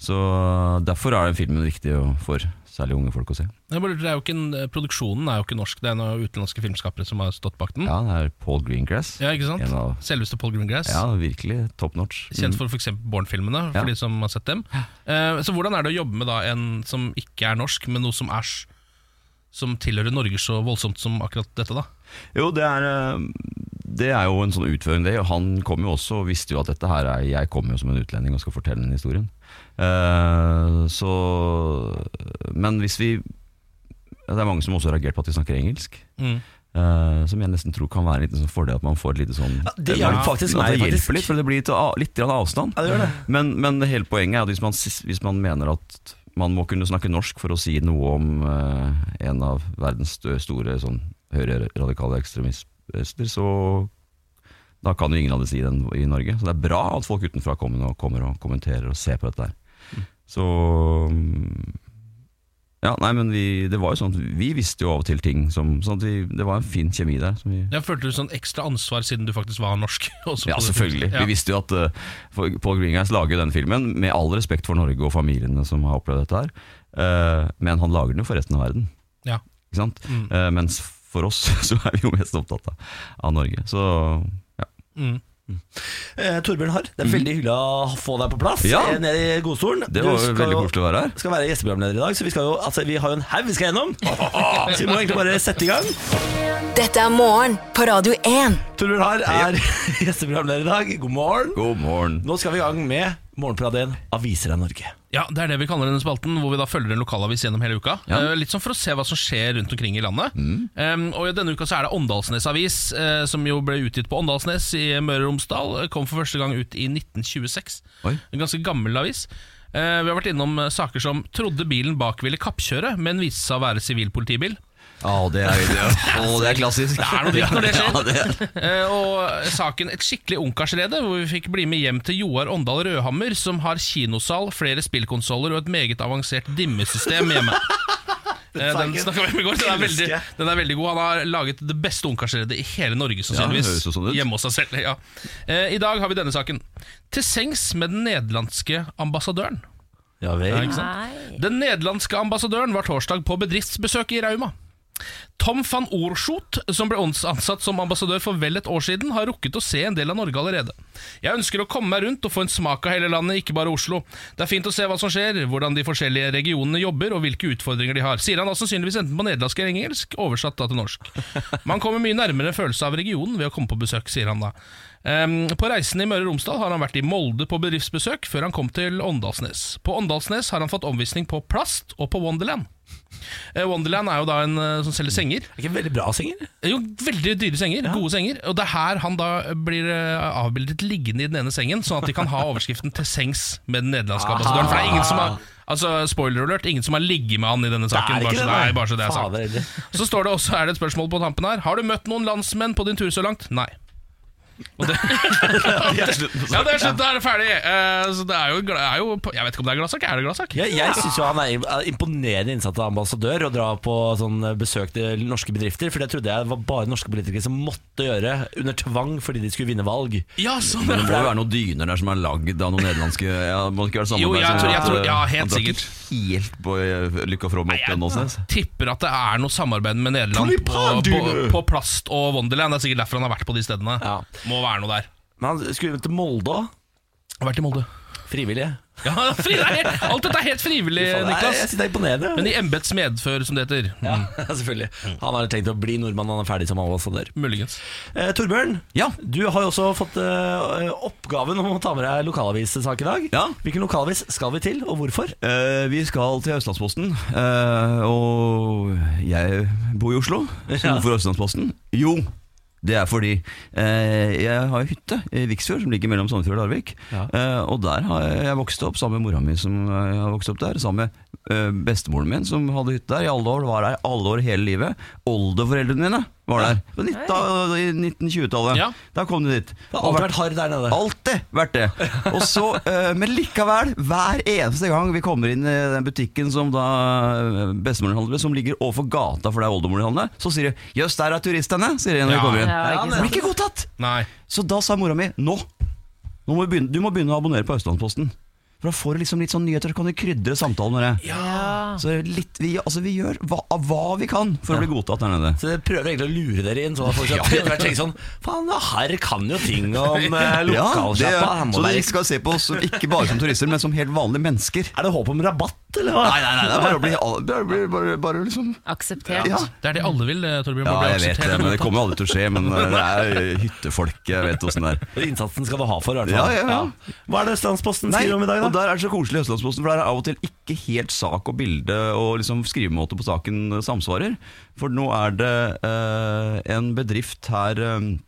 Speaker 7: Så eh, derfor er den filmen viktig å- for særlig unge folk å se.
Speaker 3: Jeg bare lurer, det er jo ikke en, eh, produksjonen er jo ikke norsk, det er noen utenlandske filmskapere som har stått bak den.
Speaker 7: Ja, det er Paul Greengrass.
Speaker 3: Ja, ikke sant?
Speaker 7: En av-
Speaker 3: Selveste Paul Greengrass.
Speaker 7: Ja, virkelig top notch.
Speaker 3: Kjent for f.eks. Born-filmene, for
Speaker 7: Mm. Ja.
Speaker 3: de som har sett dem. Eh, så hvordan er det å jobbe med da en som ikke er norsk, men noe som er s- som tilhører Norge så voldsomt som akkurat dette, da?
Speaker 7: Jo, det er, eh, det er jo en sånn utføring det, og han kom jo også og visste jo at dette her er, jeg kommer jo som en utlending og skal fortelle den historien. Eh, så, men hvis vi, det er mange som også har reagert på at de snakker engelsk,
Speaker 3: Mm.
Speaker 7: eh, som jeg nesten tror kan være en liten sånn fordel at man får et lite sånn...
Speaker 1: Ja, det gjør det faktisk,
Speaker 7: At det
Speaker 1: faktisk.
Speaker 7: hjelper litt, for det blir litt, av- litt grann avstand.
Speaker 1: Ja, det gjør det.
Speaker 7: sånn. Men, men hele poenget er at hvis man, hvis man mener at man må kunne snakke norsk for å si noe om eh, en av verdens stø- store sånn, høyreradikale ekstremister, så da kan jo ingen av det si den i Norge. Så det er bra at folk utenfra kommer og, kommer og kommenterer og ser på dette her. Så mm, ja, nei, men vi, det var jo sånn at vi visste jo av og til ting som sånn at vi, Det var en fin kjemi der. Som vi,
Speaker 3: Jeg følte du sånn ekstra ansvar siden du faktisk var norsk? også på
Speaker 7: ja,
Speaker 3: det
Speaker 7: selvfølgelig.
Speaker 3: punktet. Ja.
Speaker 7: Vi visste jo at eh, for- Paul Greengrass lager jo denne filmen, med all respekt for Norge og familiene som har opplevd dette her, eh, men han lager den jo for resten av verden.
Speaker 3: Ja. Mm.
Speaker 7: Ikke sant? Eh, mens for oss så er vi jo mest opptatt av, av Norge. Så ja.
Speaker 3: Mm.
Speaker 1: Eh, Torbjørn Harr, det er veldig hyggelig å få deg på plass
Speaker 7: Mhm. Ja.
Speaker 1: eh, nede i godstolen.
Speaker 7: Det
Speaker 1: Du
Speaker 7: var
Speaker 1: skal
Speaker 7: jo veldig
Speaker 1: jo-
Speaker 7: koselig å være her.
Speaker 1: skal være gjesteprogramleder i dag, så vi, skal jo, altså, vi har jo en haug vi skal gjennom. Så vi må egentlig bare sette i gang.
Speaker 4: Dette er morgen på Radio 1.
Speaker 1: Torbjørn Harr er gjesteprogramleder i dag. God morgen.
Speaker 7: God morgen.
Speaker 1: Nå skal vi i gang med Morgenparaden Aviser av Norge.
Speaker 3: ja, Det er det vi kaller denne spalten, hvor vi da følger en lokalavis gjennom hele uka.
Speaker 7: Ja. Mm.
Speaker 3: Eh, litt sånn for å se hva som skjer rundt omkring i landet. Eh, og Denne uka så er det Åndalsnes Avis, eh, som jo ble utgitt på Åndalsnes i Møre og Romsdal. eh, Kom for første gang ut i 1926.
Speaker 7: Oi.
Speaker 3: En ganske gammel avis. Eh, vi har vært innom eh, saker som 'Trodde bilen bak ville kappkjøre, men viste seg å være sivilpolitibil'.
Speaker 7: Å, det, er, det, er- å, det er klassisk.
Speaker 3: Det er noe dritt når det skjer.
Speaker 7: Ja, det er.
Speaker 3: Eh, og saken Et skikkelig ungkarsrede, hvor vi fikk bli med hjem til Joar Åndal Rødhammer, som har kinosal, flere spillkonsoller og et meget avansert dimmesystem hjemme. Eh, Den snakka vi om i går. Den er, veldig, den er vellig god. Han har laget det beste ungkarsredet i hele Norge,
Speaker 7: høres jo
Speaker 3: sannsynligvis.
Speaker 7: sånn ut.
Speaker 3: Hjemme hos seg selv. Ja. Eh, I dag har vi denne saken. Til sengs med den nederlandske ambassadøren.
Speaker 1: Ja
Speaker 3: Ja,
Speaker 1: vel.
Speaker 3: ikke sant?
Speaker 2: Nei.
Speaker 3: Den nederlandske ambassadøren var torsdag på bedriftsbesøk i Rauma. Tom van Oorschot, som ble ansatt som ambassadør for vel et år siden, har rukket å se en del av Norge allerede. Jeg ønsker å komme meg rundt og få en smak av hele landet, ikke bare Oslo. Det er fint å se hva som skjer, hvordan de forskjellige regionene jobber og hvilke utfordringer de har, sier han da sannsynligvis enten på nederlandsk eller engelsk, oversatt da til norsk. Man kommer mye nærmere en følelse av regionen ved å komme på besøk, sier han da. Ehm, på reisen i Møre og Romsdal har han vært i Molde på bedriftsbesøk før han kom til Åndalsnes. På Åndalsnes har han fått omvisning på plast og på Wonderland. Eh, Wonderland er jo da en eh, som selger senger.
Speaker 1: Det er ikke veldig bra senger.
Speaker 3: Eh, Jo, veldig dyre senger, gode senger. Og det er her han da blir eh, avbildet liggende i den ene sengen, sånn at de kan ha overskriften 'til sengs' med den
Speaker 1: Ah.
Speaker 3: nederlandske ambassadøren. For det er ingen som har Altså, Spoiler alert, ingen som har ligget med han i denne saken. bare, så, nei, bare så det er sagt.
Speaker 1: Fader, heller.
Speaker 3: Så står det også, er det et spørsmål på tampen her Har du møtt noen landsmenn på din tur så langt? Nei Og det, ja, det er slutt, da er det ferdig Eh, Så det er jo, gla- er jo Jeg vet ikke om det er gladsak, er det gladsak?
Speaker 1: Jeg, jeg syns jo han er im- imponerende innsatt av ambassadør å dra på sånn besøk til norske bedrifter, for det trodde jeg var bare norske politikere som måtte gjøre under tvang fordi de skulle vinne valg.
Speaker 3: Ja, sånn
Speaker 7: Men det må jo være noen dyner der som er lagd av noen nederlandske ja, Må det ikke være det samme
Speaker 3: Jo,
Speaker 7: der
Speaker 3: jeg
Speaker 7: som
Speaker 3: tror- jeg
Speaker 7: at,
Speaker 3: tror- ja,
Speaker 7: eh,
Speaker 3: helt
Speaker 7: han drar ikke Helt på eh, Lykke og From opp altså. til Nåsnes?
Speaker 3: Tipper at det er noe samarbeid med Nederland på, på, på plast og Wonderland Det er sikkert derfor han har vært på de stedene
Speaker 1: Ja.
Speaker 3: Må være noe der
Speaker 1: Men han skulle jo til Molde òg,
Speaker 3: Har vært i Molde
Speaker 1: frivillig.
Speaker 3: ja, fri, det er helt- Alt dette er helt frivillig,
Speaker 1: Faen, jeg- Jeg
Speaker 3: Niklas
Speaker 1: synes det er imponerende.
Speaker 3: Men i embeds medfør, som det heter Mm.
Speaker 1: ja, selvfølgelig. Han har tenkt å bli nordmann, han er ferdig som ambassadør.
Speaker 3: Muligens
Speaker 1: Eh, Torbjørn,
Speaker 7: Ja.
Speaker 1: du har jo også fått eh, oppgaven om å ta med deg lokalavissak i dag.
Speaker 7: Ja.
Speaker 1: Hvilken lokalavis skal vi til, og hvorfor?
Speaker 7: Eh, vi skal til Østlandsposten, eh, og jeg bor i Oslo. Så hvorfor Østlandsposten? Jo, det er fordi eh, jeg har hytte i Viksfjord, som ligger mellom Sognefjord og Larvik. Eh, og der har jeg, jeg vokst opp sammen med mora mi, som eh, har vokst opp der. Sammen med eh, bestemoren min, som hadde hytte der i alle år. Var der alle år hele livet. Oldeforeldrene mine var der på nitt- i 1920-tallet.
Speaker 3: Ja.
Speaker 7: Da kom de dit.
Speaker 1: Det har alltid vært hard der nede.
Speaker 7: Alltid vært det. Og så, eh, men likevel, hver eneste gang vi kommer inn i den butikken som da eh, bestemoren handler med, som ligger overfor gata for der oldemoren handler, så sier de 'jøss, der er turistene', sier de når
Speaker 3: Ja.
Speaker 7: vi kommer inn.
Speaker 2: Ja, ikke sant.
Speaker 7: Blir ikke godtatt!
Speaker 3: Nei
Speaker 7: Så da sa mora mi 'nå, nå må du, begynne, du må begynne å abonnere på Østlandsposten'. For da får du liksom litt sånn nyheter, så kan du krydre samtalen med det. Så litt, vi, altså, vi gjør hva, hva vi kan for å bli godtatt der nede.
Speaker 1: Så jeg prøver egentlig å lure dere inn, sånn at folk skal etter hvert tenke sånn Faen, her kan jo ting om eh,
Speaker 7: det,
Speaker 1: lokalsjappa. her må
Speaker 7: så de
Speaker 1: være-
Speaker 7: skal se på oss ikke bare som turister, men som helt vanlige mennesker.
Speaker 1: Er det håp om rabatt, eller hva?
Speaker 7: Nei, nei, nei, det er bare å bli, bare, bare, bare, bare liksom
Speaker 2: Akseptert.
Speaker 7: Ja,
Speaker 3: Det er det alle vil, eh, Torbjørn
Speaker 7: ja
Speaker 3: Bare
Speaker 7: jeg vet
Speaker 3: akseptere
Speaker 7: det, men
Speaker 3: den
Speaker 7: det kommer jo aldri til å skje. Men eh, det er eh, hyttefolket, jeg vet åssen det er.
Speaker 1: Innsatsen skal du ha for, i hvert
Speaker 7: Ja,
Speaker 1: fall.
Speaker 7: ja, ja.
Speaker 1: Hva er det Østlandsposten
Speaker 7: Nei,
Speaker 1: skriver om i dag, da?
Speaker 7: og der er det så koselig i Østlandsposten, for der er av og til ikke helt sak og bilde og liksom skrivemåte på saken samsvarer. For nå er det eh, en bedrift her eh,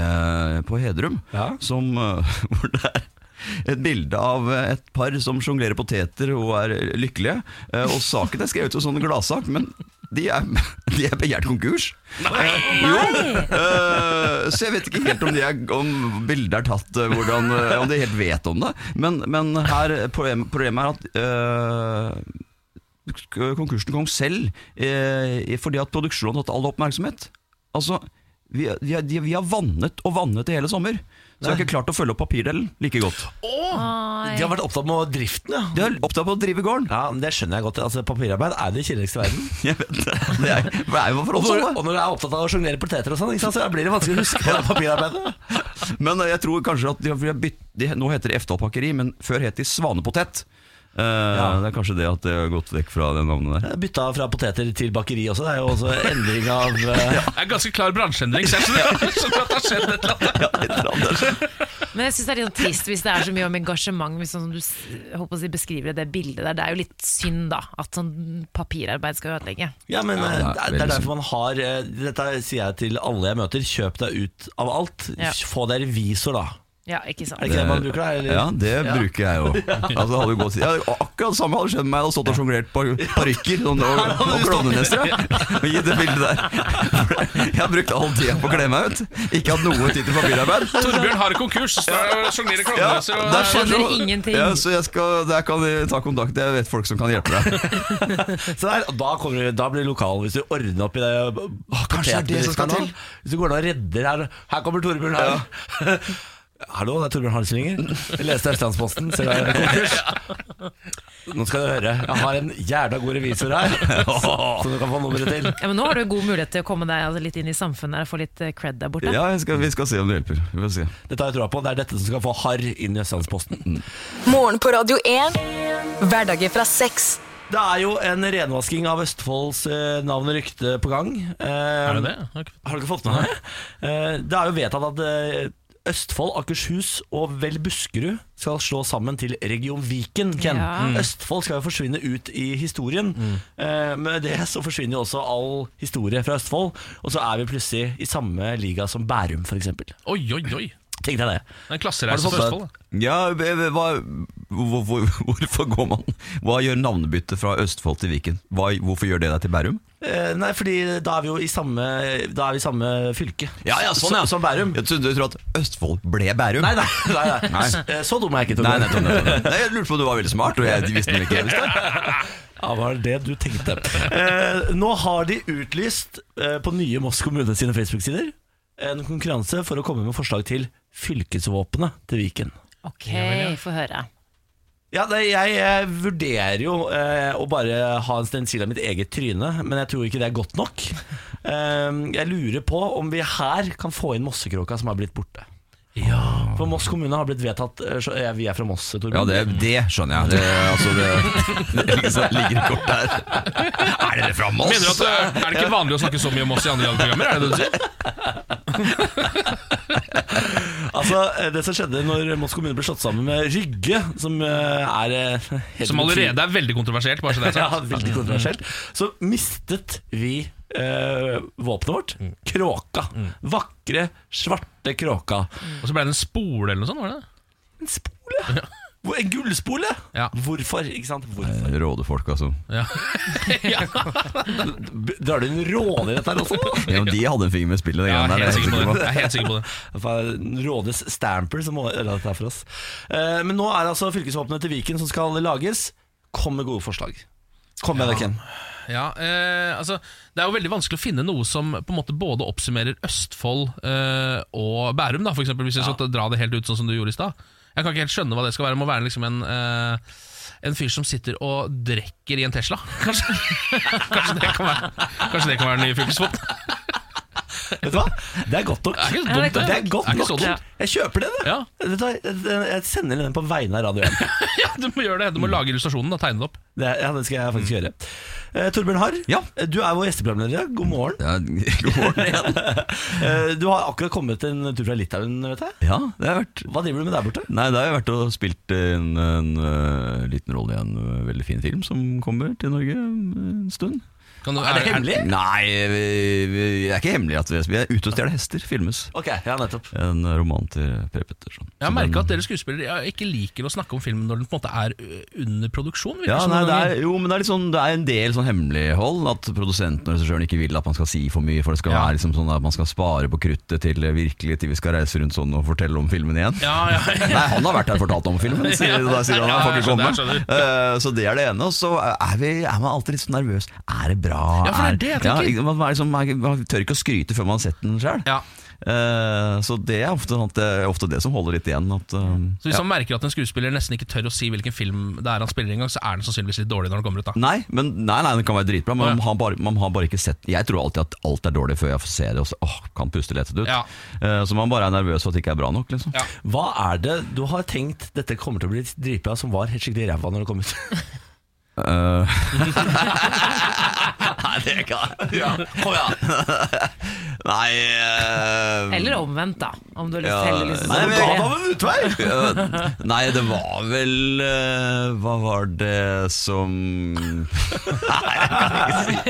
Speaker 7: eh, på Hedrum
Speaker 1: Ja.
Speaker 7: som, eh, hvor det er et bilde av eh, et par som sjonglerer poteter og er lykkelige. Eh, og saken er skrevet som sånn gladsak, men de er, de er begjært konkurs. Jo, eh, så jeg vet ikke helt om, de er, om bildet er tatt, eh, hvordan, eh, om de helt vet om det. Men, men her, problem, problemet er at eh, konkursen kom selv eh, fordi at produksjonen har hatt all oppmerksomhet. Altså, vi, vi, har- de- vi har vannet og vannet i hele sommer. Så jeg har ikke klart å følge opp papirdelen like godt.
Speaker 1: De har vært opptatt med driften, ja.
Speaker 7: De er opptatt med å drive gården.
Speaker 1: Ja, men Det skjønner jeg godt. Altså, Papirarbeid er det kjedeligste i verden.
Speaker 7: Jeg vet det. Det er, det er jo for
Speaker 1: Og
Speaker 7: oss
Speaker 1: når,
Speaker 7: alle.
Speaker 1: og når du er opptatt av å sjonglere poteter og sånn, ikke sant, så blir det vanskelig å huske det papirarbeidet.
Speaker 7: Men eh, jeg tror kanskje at de har, de har bytt, de, Nå heter det Eftal Pakkeri, men før het de Svanepotet. Eh, Det er kanskje det at det har gått vekk fra det navnet der.
Speaker 1: Jeg Bytta fra poteter til bakeri også. Det er jo også endring av eh,
Speaker 3: Det er en ganske klar bransjeendring. Så jeg skjønner, jeg skjønner at det har skjedd et eller annet.
Speaker 7: Ja, et eller annet.
Speaker 2: Men jeg syns det er litt sånn trist hvis det er så mye om engasjement. Hvis sånn som du s- holdt på å si, beskriver det, det bildet der. Det er jo litt synd, da. At sånn papirarbeid skal ødelegge.
Speaker 1: Ja, men eh,
Speaker 7: det er
Speaker 1: det, er, det
Speaker 7: veldig
Speaker 1: er derfor man har eh, Dette sier jeg til alle jeg møter. Kjøp deg ut av alt.
Speaker 2: Ja.
Speaker 1: Få deg revisor, da.
Speaker 2: Ja, ikke sant.
Speaker 1: Er det ikke det man bruker da? Eller?
Speaker 7: Ja, det bruker jeg jo. Altså, hadde jo gått, ja, akkurat det samme hadde skjedd med meg. Jeg hadde stått og sjonglert par- parykker sånn, og, og klovnenesser. ja. Og gitt det bildet der. For Jeg har brukt all tida på å kle meg ut. Ikke hatt noe tid til papirarbeid.
Speaker 3: Torbjørn har konkurs. så da Sjonglerer
Speaker 7: Ja,
Speaker 3: klovnenesser og
Speaker 7: der skjer
Speaker 2: skjønner
Speaker 7: noe.
Speaker 2: ingenting.
Speaker 7: Ja, så jeg skal, der kan vi ta kontakt. Jeg vet folk som kan hjelpe deg.
Speaker 1: Så der, da, kommer, da blir lokalen Hvis du ordner opp i det
Speaker 7: kanskje det er det som skal
Speaker 1: potetbedriften
Speaker 7: til.
Speaker 1: nå, Hvis du går ned og redder her Her kommer Torbjørn her Hallo, det er Torbjørn Hanslinger Jeg leste Østlandsposten Ser du her er konkurs Nå skal du høre Jeg har en jævla god revisor her Som du kan få nummeret til
Speaker 2: Ja, men nå har du god mulighet til å komme deg altså, litt inn i samfunnet her og få litt eh, cred der borte.
Speaker 7: Ja, jeg skal, vi skal se om det hjelper. Vi får se. Mm.
Speaker 1: Dette har jeg troa på Det er dette som skal få harr inn i Østlandsposten
Speaker 4: Morgen på Radio 1. Hverdager fra seks.
Speaker 1: Det er jo en renvasking av Østfolds eh, navn og rykte på gang Eh,
Speaker 3: Er det det? Ok.
Speaker 1: Har du ikke fått med deg det? Eh, Det er jo vedtatt at eh, Østfold, Akershus og vel Buskerud skal slå sammen til Region Viken. Ken.
Speaker 2: Ja.
Speaker 1: Østfold skal jo forsvinne ut i historien. Eh, Med det så forsvinner jo også all historie fra Østfold, og så er vi plutselig i samme liga som Bærum, f.eks.
Speaker 3: Oi, oi, oi.
Speaker 1: Tenk deg det.
Speaker 3: Det er en
Speaker 1: Har du
Speaker 3: klassereise
Speaker 1: fått
Speaker 3: for
Speaker 1: det?
Speaker 3: Østfold. da.
Speaker 7: Ja, hva, hvor, hvor, hvorfor går man Hva gjør navnebyttet fra Østfold til Viken? Hva, hvorfor gjør det deg til Bærum?
Speaker 1: Eh, Nei, fordi da er vi jo i samme, da er vi i samme fylke
Speaker 7: Så-
Speaker 1: som, som Bærum.
Speaker 7: sånn, Jeg trodde du trodde at Østfold ble Bærum.
Speaker 1: Nei, nei, nei, nei.
Speaker 7: Nei.
Speaker 1: S- eh, Så dum er jeg ikke,
Speaker 7: Nei,
Speaker 1: Torbjørn.
Speaker 7: nettopp, nettopp. nettopp. Nei, jeg lurte på om du var veldig smart, og jeg visste det ikke. Jeg visste. det.
Speaker 1: Ja, hva er det du tenkte? Eh, nå har de utlyst eh, på nye Moss kommune sine Facebook-sider en konkurranse for å komme med forslag til fylkesvåpenet til Viken.
Speaker 2: Ok, få høre.
Speaker 1: Ja, nei, jeg eh, vurderer jo eh, å bare ha en stensil av mitt eget tryne, men jeg tror ikke det er godt nok. Eh, jeg lurer på om vi her kan få inn Mossekråka som har blitt borte. For Moss kommune har blitt vedtatt eh, så- eh, Vi er fra Moss, Torbjørn.
Speaker 7: Ja, det, det skjønner jeg. Det, altså, det, det liksom ligger et kort der. Er dere fra Moss?
Speaker 3: Mener du at eh, Er det ikke vanlig å snakke så mye om oss i andre programmer? Er det det du sier?
Speaker 1: Altså, eh, Det som skjedde når Moss kommune ble slått sammen med Rygge, som eh, er eh, helt
Speaker 3: Som allerede er veldig kontroversielt. Bare så det er
Speaker 1: ja,
Speaker 3: sagt.
Speaker 1: veldig kontroversielt, så mistet vi eh, våpenet vårt. Kråka. Vakre, svarte kråka.
Speaker 3: Og så ble det en spole eller noe sånt? var det det?
Speaker 1: En spole! Hvor- En gullspole!
Speaker 3: Ja.
Speaker 1: Hvorfor? ikke sant? Hvorfor?
Speaker 7: Rådefolk, altså.
Speaker 1: B- Drar du inn råde i dette her også? nå?
Speaker 7: Ja, men de hadde en finger med spillet.
Speaker 3: Ja,
Speaker 7: Ja,
Speaker 3: jeg er
Speaker 7: der,
Speaker 3: helt
Speaker 7: det er jeg
Speaker 3: sikker på det.
Speaker 7: sikker på.
Speaker 3: Jeg er helt sikker på det.
Speaker 1: Faen, Rådes stamper som må ødelegge dette her for oss. Eh, men nå er det altså fylkesvåpenet til Viken som skal lages. Kom med gode forslag. Kom med det, Ken.
Speaker 3: Ja, eh, altså, det er jo veldig vanskelig å finne noe som på en måte både oppsummerer Østfold eh, og Bærum, da, for eksempel, hvis jeg skal dra det helt ut sånn som du gjorde i stad. Jeg kan ikke helt skjønne hva det skal være. Det må være liksom en, eh, en fyr som sitter og drikker i en Tesla. Kanskje, kanskje, det, kan være, kanskje det kan være den nye fylkesvåpen.
Speaker 1: Vet du hva? Det er godt nok.
Speaker 2: Ja,
Speaker 3: Det er ikke så dumt,
Speaker 1: Det er godt
Speaker 3: Det er
Speaker 1: nok.
Speaker 3: ikke så dumt.
Speaker 1: Jeg kjøper det, det.
Speaker 3: Ja.
Speaker 1: Vet du hva? Jeg- Jeg sender den på vegne av Radio 1.
Speaker 3: Ja, du må gjøre det. Du må lage illustrasjonen og tegne det opp. Mm.
Speaker 1: Det, ja, det skal jeg faktisk gjøre. Eh, Torbjørn Harr,
Speaker 7: Ja.
Speaker 1: du er vår gjesteprogramleder. i dag. God morgen.
Speaker 7: Ja, god morgen igjen.
Speaker 1: Eh, du har akkurat kommet en tur fra Litauen, vet jeg.
Speaker 7: Ja, det har vært
Speaker 1: Hva driver du med der borte?
Speaker 7: Nei, da har jeg vært og spilt en, en øh, liten rolle i en øh, veldig fin film som kommer til Norge om en stund.
Speaker 3: Kan du,
Speaker 7: Nei, vi, vi, det er ikke hemmelig at vi, vi er ute og stjeler hester, filmes.
Speaker 1: Ok, ja, nettopp.
Speaker 7: En roman til Per Petterson.
Speaker 3: Jeg har
Speaker 7: Så
Speaker 3: merka
Speaker 1: Mm.
Speaker 7: den-
Speaker 3: at dere skuespillere ja, ikke liker å snakke om filmen når den på en måte er ø, under produksjon. sånn, virker
Speaker 7: ja,
Speaker 3: som
Speaker 7: nei,
Speaker 3: noen
Speaker 7: det
Speaker 3: ganger.
Speaker 7: er, Jo, men det er, litt sånn, det er en del sånn hemmelighold. At produsenten og regissøren ikke vil at man skal si for mye. For det skal
Speaker 3: Ja.
Speaker 7: være liksom sånn at man skal spare på kruttet til eh, virkelig til vi skal reise rundt sånn og fortelle om filmen igjen.
Speaker 3: ja, ja,
Speaker 7: Nei, han har vært her og fortalt om filmen, sier, da sier han han får ikke
Speaker 3: Ja,
Speaker 7: komme.
Speaker 3: jeg skjønner, jeg
Speaker 7: Eh, så det er det ene. Og så er, vi, er man alltid litt sånn nervøs. Er det bra?
Speaker 3: Ja, for det er det jeg tenker.
Speaker 7: ikke- man, er liksom, man- man tør ikke å skryte før man har sett den sjøl.
Speaker 3: ja.
Speaker 7: så det er ofte, sånn at det, er ofte det som holder litt igjen. At, eh,
Speaker 3: Så hvis han merker at en skuespiller nesten ikke tør å si hvilken film det er han spiller engang, så er den sannsynligvis litt dårlig når den kommer ut. da
Speaker 7: Nei, men, nei, nei, den kan være dritbra, men
Speaker 3: Ja.
Speaker 7: man, har bare, man har bare ikke sett Jeg tror alltid at alt er dårlig før jeg får se det og så, åh, kan puste lettet ut.
Speaker 3: Ja.
Speaker 7: Eh, så man bare er nervøs for at det ikke er bra nok. Liksom.
Speaker 3: Ja.
Speaker 1: Hva er det du har tenkt dette kommer til å bli dritbra, som var helt skikkelig ræva når det kom ut?
Speaker 7: Eh, nei, det kan ja. Nei eh,
Speaker 2: Eller omvendt, da. Om du har lyst
Speaker 7: Ja,
Speaker 2: til å helle litt
Speaker 7: nei,
Speaker 2: sånn.
Speaker 7: men jeg-
Speaker 1: Hva med en utvei?
Speaker 7: eh, Nei, det var vel eh, Hva var det som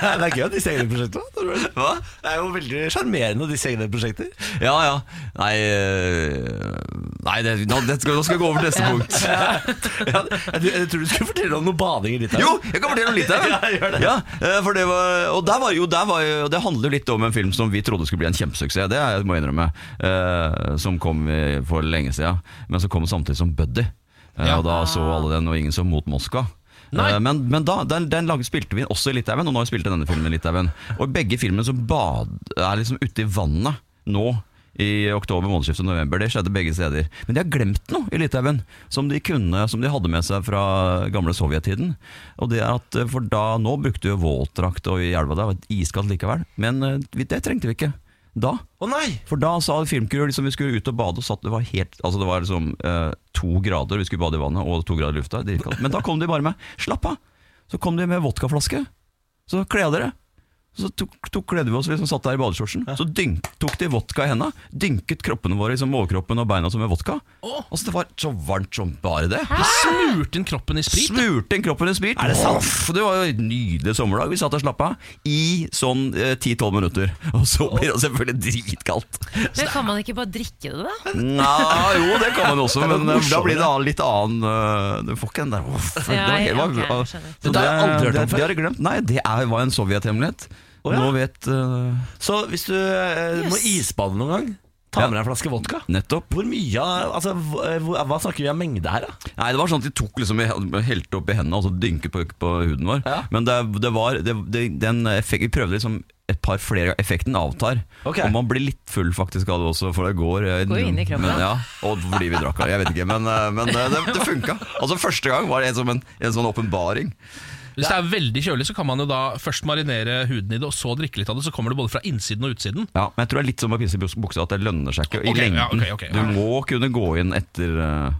Speaker 1: Det er gøy at disse egne prosjektene
Speaker 7: Hva?
Speaker 1: Det er jo veldig sjarmerende, disse egne prosjekter.
Speaker 7: Ja, ja. Nei, eh, nei det, nå, det skal, nå skal jeg gå over til neste punkt.
Speaker 1: Ja, jeg, jeg tror du skulle fortelle om noen badinger ditt her.
Speaker 7: Jo, jeg kan fortelle om litt
Speaker 1: Ja, gjør
Speaker 7: der.
Speaker 1: det.
Speaker 7: Ja, eh, for det var, og der var, jo, der var, jo- det handler jo litt om en film som vi trodde skulle bli en kjempesuksess, det er- må jeg innrømme, eh, som kom i- for lenge siden, men som kom samtidig som Buddy. Eh,
Speaker 3: Ja.
Speaker 7: Og da så alle den, og ingen så Mot Moskva.
Speaker 3: Nei.
Speaker 7: Eh, Men, men da, den, den lag- spilte vi også i Litauen, og nå har vi spilt denne filmen i Litauen. Og begge filmene som bad, er liksom ute i vannet nå i oktober, månedsskiftet november. Det skjedde begge steder. Men de har glemt noe i Litauen som de kunne, som de hadde med seg fra gamle sovjettiden. Og det er at, eh, For da, nå brukte vi jo våtdrakt og i elva der, var det iskaldt likevel. Men eh, vi- det trengte vi ikke da.
Speaker 1: Å nei!
Speaker 7: For da sa filmcrew liksom vi skulle ut og bade og satt, det var helt, altså det var liksom eh, to grader, vi skulle bade i vannet og to grader i lufta. dritkaldt. Men da kom de bare med, slapp av, så kom de med vodkaflaske, så kle av dere. Så tok, tok kledde vi oss, liksom satt der i badeskjortsen. Så dynk, tok de vodka i henda. Dynket kroppene våre, liksom overkroppen og beina som med vodka. Altså Det var så varmt som bare det.
Speaker 3: De smurte inn kroppen i sprit.
Speaker 7: Smurte inn kroppen i sprit. Er det sant? det var jo et nydelig sommerdag. Vi satt og slappa av i sånn eh, 10-12 minutter. Og så blir det selvfølgelig dritkaldt.
Speaker 2: Men kan man ikke bare drikke det, da?
Speaker 7: Nja, jo, det kan man også,
Speaker 1: Det er
Speaker 7: men
Speaker 1: nok
Speaker 7: eh, da
Speaker 1: morsommere.
Speaker 7: blir det annen, litt annen eh, Du får ikke den der uff, det var
Speaker 2: Nei,
Speaker 7: helt- var-
Speaker 2: ok, jeg
Speaker 7: ah,
Speaker 2: skjønner.
Speaker 7: så
Speaker 1: Dette har jeg aldri hørt om
Speaker 7: det, det har jeg glemt. Nei, det er, var en sovjethemmelighet.
Speaker 1: Å, ja.
Speaker 7: Nå vet eh,
Speaker 1: Så hvis du eh, må
Speaker 2: Yes.
Speaker 1: isbade noen gang, ta
Speaker 7: Ja.
Speaker 1: med deg en flaske vodka.
Speaker 7: Nettopp.
Speaker 1: Hvor mye av- Altså, hva, hvor- hva snakker vi om mengde her, da?
Speaker 7: Nei, det var sånn at de tok liksom helte opp i hendene og så dynket på, på huden vår.
Speaker 1: Ja.
Speaker 7: Men det, det var det, det, den effek- Vi prøvde liksom et par flere ganger. Effekten avtar.
Speaker 1: Ok.
Speaker 7: Og man blir litt full faktisk av det også, for det går eh,
Speaker 2: Går inn i kroppen.
Speaker 7: Men, ja, og fordi vi drakk av det. Jeg vet ikke, men, eh, men eh, det, det funka. Altså, første gang var det en, som en, en sånn åpenbaring.
Speaker 3: Hvis det er veldig kjølig, så kan man jo da først marinere huden i det, og så drikke litt av det. Så kommer det både fra innsiden og utsiden.
Speaker 7: Ja, men jeg tror det er litt som å pisse i bus- buksa, at det lønner seg ikke i
Speaker 3: Ok, ja,
Speaker 7: lengden.
Speaker 3: ok, ok.
Speaker 7: Du må kunne gå inn etter eh,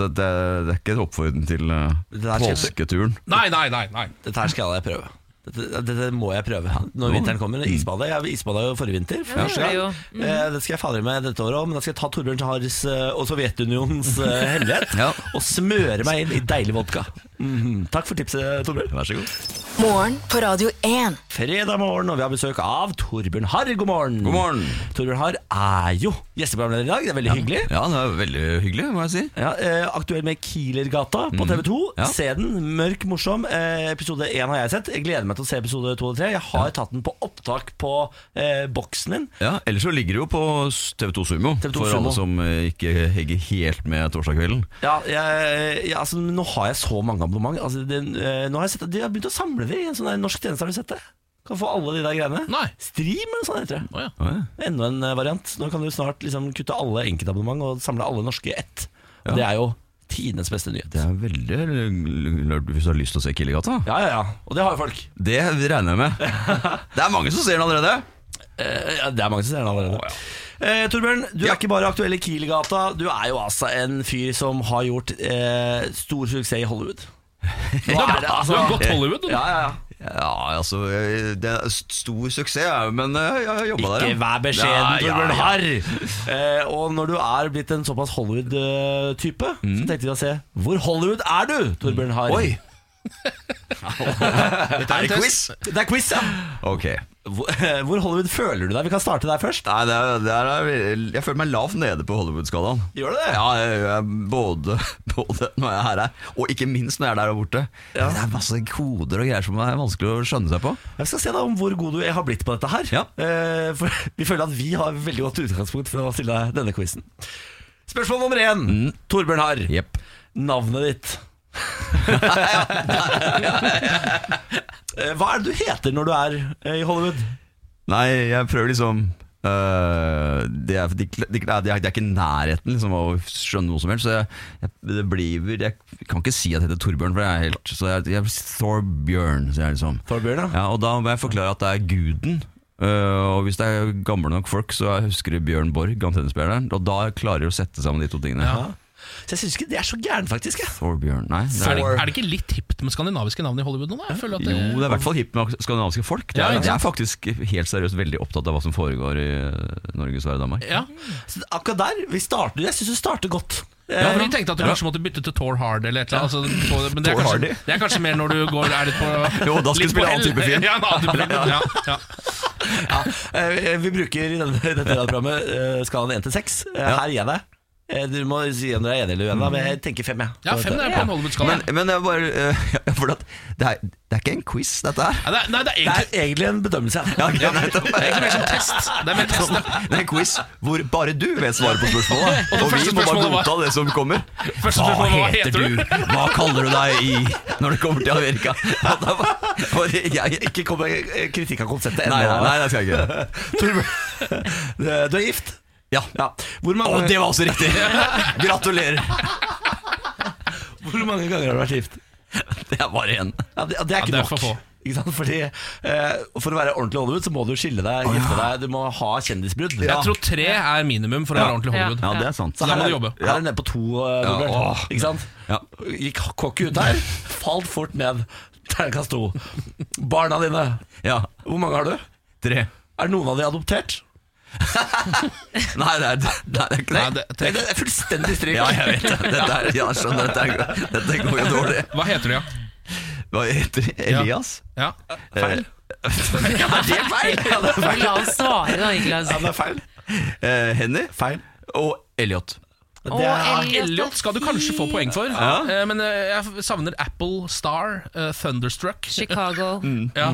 Speaker 7: Så det, det er ikke en oppfordring til eh,
Speaker 1: Det der skjer-
Speaker 7: påsketuren.
Speaker 3: Nei, nei, nei. nei
Speaker 1: Dette her skal jeg prøve. Dette, dette må jeg prøve når vinteren kommer.
Speaker 7: Mm.
Speaker 1: Isbade. Jeg isbada jo forrige vinter. for
Speaker 2: Ja,
Speaker 1: første
Speaker 2: det
Speaker 1: gang.
Speaker 2: gjorde
Speaker 1: Eh, Det skal jeg fader meg dette året òg, men da skal jeg ta Torbjørn Hares eh, og Sovjetunionens eh, hellighet
Speaker 7: Ja.
Speaker 1: og smøre meg inn i deilig vodka. Mhm. Takk for tipset, Torbjørn.
Speaker 7: Vær så god.
Speaker 4: Morgen på Radio 1.
Speaker 1: fredag morgen, og vi har besøk av Torbjørn Harr. God morgen.
Speaker 7: God morgen.
Speaker 1: Torbjørn Harr er jo gjesteprogramleder i dag. Det er veldig hyggelig.
Speaker 7: Ja, det er veldig hyggelig, må jeg si.
Speaker 1: Ja, eh, Aktuell med Kielergata
Speaker 3: Mm.
Speaker 1: på TV 2.
Speaker 7: Ja.
Speaker 1: Se den. Mørk, morsom. Eh, episode 1 har jeg sett. Jeg gleder meg til å se episode 2 og 3. Jeg har tatt den på opptak på eh, boksen din.
Speaker 7: Ja, Ellers så ligger det jo på TV2 Sumo,
Speaker 1: TV2
Speaker 7: for
Speaker 1: Sumo.
Speaker 7: alle som eh, ikke henger helt med torsdagskvelden.
Speaker 1: Ja, jeg, jeg, altså, men Nå har jeg så mange abonnement. Altså, den, eh, nå har jeg sett at De har begynt å samle det i en sånn der norsk tjeneste. Har du sett det? Kan få alle de der greiene.
Speaker 3: Nei.
Speaker 1: Stream eller noe sånt heter det.
Speaker 3: Å, ja.
Speaker 7: Å, ja.
Speaker 1: Enda en eh, variant. Nå kan du snart liksom, kutte alle enkeltabonnement og samle alle norske i ett. Og Det er jo tidenes beste nyhet.
Speaker 7: Det er veldig l- l- hvis du har lyst til å se Killegata.
Speaker 1: Ja, ja, ja. Og det har jo folk.
Speaker 7: Det regner jeg med. Det er mange som ser den allerede.
Speaker 1: Eh, ja, det er mange som ser den allerede. eh, Torbjørn, du
Speaker 7: Ja.
Speaker 1: er ikke bare aktuell i Kielgata. Du er jo altså en fyr som har gjort eh, stor suksess i Hollywood. Nå er det,
Speaker 3: Du
Speaker 1: altså,
Speaker 3: har gått Hollywood, du.
Speaker 1: ja, ja, ja.
Speaker 7: Ja, altså eh, Det er st- stor suksess, ja, men eh, jeg har jobba der. ja.
Speaker 1: Ikke vær beskjeden,
Speaker 7: Ja, ja,
Speaker 1: Torbjørn
Speaker 7: ja.
Speaker 1: Harr! Eh, og når du er blitt en såpass Hollywood-type,
Speaker 3: Mm.
Speaker 1: så tenkte vi å se Hvor Hollywood er du, Torbjørn Harr?
Speaker 7: Oi.
Speaker 3: Dette
Speaker 7: Er
Speaker 3: en
Speaker 7: det
Speaker 3: test.
Speaker 7: quiz?
Speaker 1: Det er quiz, ja!
Speaker 7: Ok.
Speaker 1: Hvor, hvor Hollywood føler du deg? Vi kan starte der først.
Speaker 7: Nei, det er, det er, jeg føler meg lavt nede på Hollywood-skalaen.
Speaker 1: Gjør du det?
Speaker 7: Ja, jeg, jeg, både, både når jeg er her, her, og ikke minst når jeg er der borte.
Speaker 1: Ja.
Speaker 7: Det er masse koder og greier som er vanskelig å skjønne seg på.
Speaker 1: Jeg skal se da om hvor god du har blitt på dette her.
Speaker 7: Ja.
Speaker 1: Eh, for vi føler at vi har veldig godt utgangspunkt for å stille deg denne quizen. Spørsmål nummer én. Torbjørn Harr,
Speaker 7: Jepp.
Speaker 1: navnet ditt. Eh, Hva er det du heter når du er eh, i Hollywood?
Speaker 7: Nei, jeg prøver liksom øh, det, er, det, det, det, er, det er ikke i nærheten liksom, av å skjønne noe som helst. Så jeg, jeg, det blir, jeg kan ikke si at jeg heter Torbjørn, for jeg er helt Så jeg, jeg Thorbjørn, sier jeg liksom.
Speaker 1: Torbjørn, ja.
Speaker 7: Ja, og da må jeg forklare at det er guden. Eh, og hvis det er gamle nok folk, så husker de Bjørn Borg, han tennisspilleren. Og da klarer de å sette sammen de to tingene.
Speaker 3: Ja.
Speaker 1: Så jeg syns ikke det er så gæren, faktisk. Jeg.
Speaker 7: Thorbjørn Nei, det
Speaker 3: Er
Speaker 7: er,
Speaker 3: det,
Speaker 1: Thor.
Speaker 3: er det ikke litt hipt med skandinaviske navn i Hollywood nå? da? Jeg føler at
Speaker 7: jo,
Speaker 3: det,
Speaker 7: det er i hvert fall hipt med skandinaviske folk. Det
Speaker 3: Ja,
Speaker 7: er,
Speaker 3: ikke
Speaker 7: jeg er faktisk helt seriøst veldig opptatt av hva som foregår i eh, Norge, Sverige og Danmark.
Speaker 3: ja.
Speaker 1: Så akkurat der vi starter, Jeg syns det starter godt.
Speaker 3: Ja,
Speaker 1: Eh,
Speaker 3: for Du tenkte at du kanskje måtte bytte til Thor Hard eller et eller annet. Altså, Thor- men det er,
Speaker 7: Thor
Speaker 3: kanskje,
Speaker 7: Hardy.
Speaker 3: det er kanskje mer når du går er litt på
Speaker 7: Jo, da
Speaker 3: litt
Speaker 7: skal du spille
Speaker 3: på L.
Speaker 7: annen type film.
Speaker 3: Ja, en annen type film. Ja, ja.
Speaker 1: ja, eh, vi bruker i denne, dette radioprogrammet eh, skalaen 1 til 6. Eh, Her gir jeg deg. Eh, Du må si om du er enig eller uenig, da, men jeg tenker fem. Jeg.
Speaker 3: ja, fem er på en Hollywood-skala.
Speaker 7: Men, men jeg bare, eh, ja, for at, det, er, det er ikke en quiz, dette her.
Speaker 3: Ja, det er- Nei, det er
Speaker 1: Det
Speaker 3: egentlig
Speaker 1: er egentlig en bedømmelse.
Speaker 7: Ja, ok, nettopp.
Speaker 3: det er egentlig mer som test. Det er mer test
Speaker 7: Sånn,
Speaker 3: ja.
Speaker 7: det er en quiz hvor bare du vet svaret på spørsmålet.
Speaker 3: Og det
Speaker 7: Og vi
Speaker 3: første
Speaker 7: må bare
Speaker 3: spørsmålet var-
Speaker 7: godta det som kommer.
Speaker 3: Første spørsmål, hva heter du?
Speaker 7: Hva kaller du deg i når det kommer til Amerika? Og da var- var det jeg,
Speaker 1: Ikke kom med eh, kritikk av konseptet
Speaker 7: nei,
Speaker 1: ennå.
Speaker 7: nei, nei, det skal jeg ikke.
Speaker 1: Torbjørn, du er gift?
Speaker 7: Ja.
Speaker 1: Ja. Hvor mange,
Speaker 7: Og det var også riktig. Gratulerer.
Speaker 1: hvor mange ganger har du vært gift?
Speaker 7: Det er bare én.
Speaker 1: Ja, det, det er ikke
Speaker 3: det er
Speaker 1: nok.
Speaker 3: for få.
Speaker 1: Ikke sant? Fordi, eh, for å være ordentlig Hollywood så må du skille deg, gifte deg, du må ha kjendisbrudd.
Speaker 3: Jeg tror tre er minimum for å være ordentlig Hollywood.
Speaker 7: Ja, det er sant.
Speaker 1: Så
Speaker 3: Da
Speaker 1: her,
Speaker 3: må
Speaker 1: er-
Speaker 3: du jobbe.
Speaker 1: her er det nede på to, eh, Robert.
Speaker 7: åh.
Speaker 1: Ikke sant?
Speaker 7: Ja.
Speaker 1: Gikk kokk ut her, falt fort ned. Terningkast to. Barna dine,
Speaker 7: Ja,
Speaker 1: hvor mange har du?
Speaker 7: tre.
Speaker 1: Er noen av de adoptert?
Speaker 7: Nei, det er, det er ikke
Speaker 3: Nei,
Speaker 7: det.
Speaker 3: det, tre.
Speaker 1: Det er fullstendig stryk.
Speaker 7: Ja, jeg vet det. Dette, er, ja, jeg skjønner, dette, er, dette går jo dårlig.
Speaker 3: Hva heter du, ja?
Speaker 7: Hva heter det? Elias? Eh,
Speaker 3: ja?
Speaker 7: Feil.
Speaker 1: det er feil! Ja, det er feil.
Speaker 2: La oss svare, da, Niklas.
Speaker 1: Ja, det er feil.
Speaker 7: Eh, Henny
Speaker 1: Feil.
Speaker 7: og Elliot.
Speaker 2: Å,
Speaker 1: Det er,
Speaker 2: Elliot,
Speaker 3: Elliot skal du kanskje få poeng for,
Speaker 7: Ja.
Speaker 3: eh, men eh, jeg savner Apple Star, eh, Thunderstruck,
Speaker 2: Chicago.
Speaker 3: ja.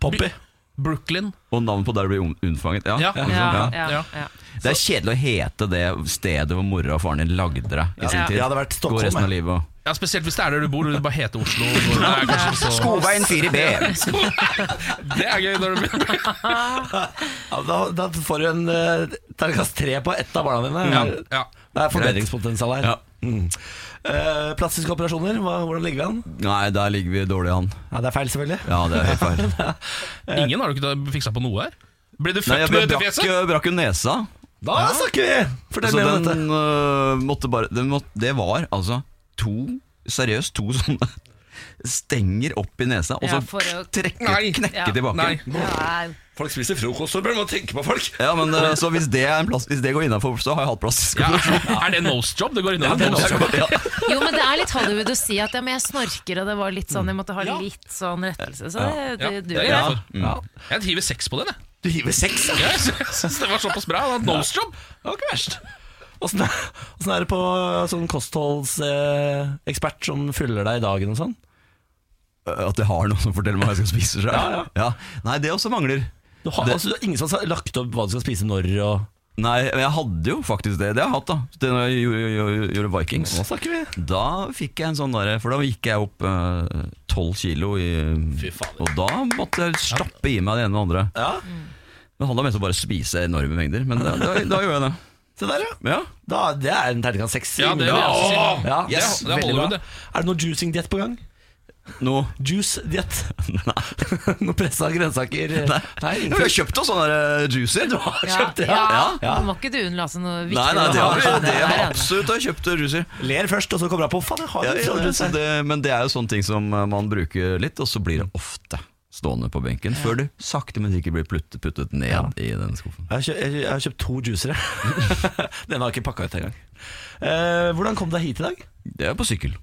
Speaker 1: Poppy.
Speaker 3: Brooklyn.
Speaker 7: Og navnet på der blir un- unnfanget. Ja.
Speaker 3: Ja.
Speaker 7: ikke sant?
Speaker 2: Ja,
Speaker 7: Ja.
Speaker 2: ja,
Speaker 3: Ja.
Speaker 2: ja.
Speaker 7: Det er kjedelig å hete det stedet hvor mora og faren din lagde deg i sin
Speaker 1: Ja.
Speaker 7: tid.
Speaker 1: Jeg hadde vært
Speaker 7: Gå
Speaker 1: Stockholm,
Speaker 7: resten av
Speaker 1: jeg.
Speaker 7: livet og
Speaker 3: Ja, Spesielt hvis det er der du bor, og du bare heter Oslo. og Det er, kanskje ikke så,
Speaker 7: Skoveien 4B!
Speaker 3: det er gøy når du blir
Speaker 1: Ja, da, da får du en uh, terningkast tre på ett av barna dine.
Speaker 3: ja, ja.
Speaker 1: Det er forbedringspotensial her.
Speaker 7: Ja.
Speaker 1: Mm. Eh, plastiske operasjoner, hva, hvordan ligger vi an?
Speaker 7: Nei, der ligger vi dårlig an.
Speaker 1: Ja, det er feil, selvfølgelig.
Speaker 7: Ja, det er helt feil.
Speaker 3: Ingen har du ikke fiksa på noe her? Ble du
Speaker 7: Nei,
Speaker 3: født
Speaker 7: jeg
Speaker 3: med dette
Speaker 7: brakk,
Speaker 3: fjeset?
Speaker 7: brakk jo nesa,
Speaker 1: Da snakker vi! Fortell
Speaker 7: så
Speaker 1: mer om
Speaker 7: den
Speaker 1: dette.
Speaker 7: øh, måtte bare den måtte, Det var altså to Seriøst, to sånne stenger opp i nesa, og så
Speaker 2: Ja, for å-
Speaker 7: trekke,
Speaker 3: Nei.
Speaker 7: knekke
Speaker 2: Ja.
Speaker 7: tilbake.
Speaker 3: Nei.
Speaker 2: Ja,
Speaker 1: Folk spiser frokost, Torbjørn. Hva tenker på folk?
Speaker 7: Ja, men øh, Så hvis det, er en plass, hvis det går innafor, så har jeg hatt plastisk
Speaker 3: Ja.
Speaker 7: operasjon.
Speaker 3: Er det nose job? Det går innom
Speaker 7: Det er
Speaker 3: nose
Speaker 7: noe
Speaker 3: job.
Speaker 7: som- Ja.
Speaker 2: Jo, men det er litt Hollywood å si at ja, men jeg snorker, og det var litt sånn, jeg måtte ha
Speaker 3: Ja.
Speaker 2: litt sånn rettelse. Så det,
Speaker 3: Ja,
Speaker 2: det
Speaker 3: det
Speaker 2: duger.
Speaker 3: er
Speaker 2: det.
Speaker 3: jeg
Speaker 7: Mm.
Speaker 3: for. Jeg hiver seks på den, jeg.
Speaker 1: Du hiver seks, ja.
Speaker 3: Jeg syns det var såpass bra. Han hadde nose job.
Speaker 1: Det var ikke verst. Åssen er, åssen er det på sånn kostholdsekspert eh, ekspert som fyller deg i dagen og sånn?
Speaker 7: Øh, At jeg har noen som forteller meg hva jeg skal spise. så-
Speaker 1: Ja, ja.
Speaker 7: Ja. Nei, det også mangler.
Speaker 1: Du har,
Speaker 7: Det-
Speaker 1: altså, du har ingen som har lagt opp hva du skal spise når og
Speaker 7: Nei, men jeg hadde jo faktisk det. Det har jeg hatt, da. Det når jeg gjorde, gjorde- gjorde Vikings.
Speaker 1: Nå snakker vi.
Speaker 7: Da fikk jeg en sånn derre For da gikk jeg opp øh, tolv kilo i
Speaker 3: fader.
Speaker 7: Og da måtte jeg stappe i meg det ene og det andre.
Speaker 1: Ja,
Speaker 7: Det handla mest om bare å spise enorme mengder, men da, da, da gjorde jeg det.
Speaker 1: Se der, ja.
Speaker 7: Ja.
Speaker 1: Da, det er en terningkast seks.
Speaker 3: Ja, det vil jeg også si.
Speaker 1: Ja,
Speaker 3: Det er-
Speaker 1: yes,
Speaker 3: det er
Speaker 1: veldig
Speaker 3: Hollywood,
Speaker 1: bra.
Speaker 3: det.
Speaker 1: Er det noe juicing-diett på gang?
Speaker 7: Nå
Speaker 1: Juice-diett?
Speaker 7: Nei.
Speaker 1: Noe pressa grønnsaker?
Speaker 7: Nei.
Speaker 1: Nei
Speaker 7: Ja,
Speaker 1: ingenting.
Speaker 7: Vi har kjøpt oss sånne der, eh, juicer. Du har
Speaker 2: Ja,
Speaker 1: Kjøpte,
Speaker 2: ja.
Speaker 1: ja.
Speaker 2: Nå må ikke du unnlate noe viktig.
Speaker 7: Nei, nei, det har
Speaker 2: å ha
Speaker 7: jeg det
Speaker 2: der,
Speaker 7: har
Speaker 2: ja.
Speaker 7: absolutt har jeg kjøpt eh, juicer.
Speaker 1: Ler først, og så kommer han på Faen, jeg har
Speaker 7: Ja,
Speaker 1: jo
Speaker 7: ja,
Speaker 1: sånn
Speaker 7: ja,
Speaker 1: rundt
Speaker 7: så
Speaker 1: seg.
Speaker 7: det, men det er jo sånne ting som eh, man bruker litt, og så blir det ofte stående på benken før du sakte, men sikkert blir plutt- puttet ned i den skuffen.
Speaker 1: Jeg har, kjøpt, jeg har kjøpt to juicere. Den har jeg ikke pakka ut engang. Eh, hvordan kom du deg hit i dag?
Speaker 7: Det er på sykkel.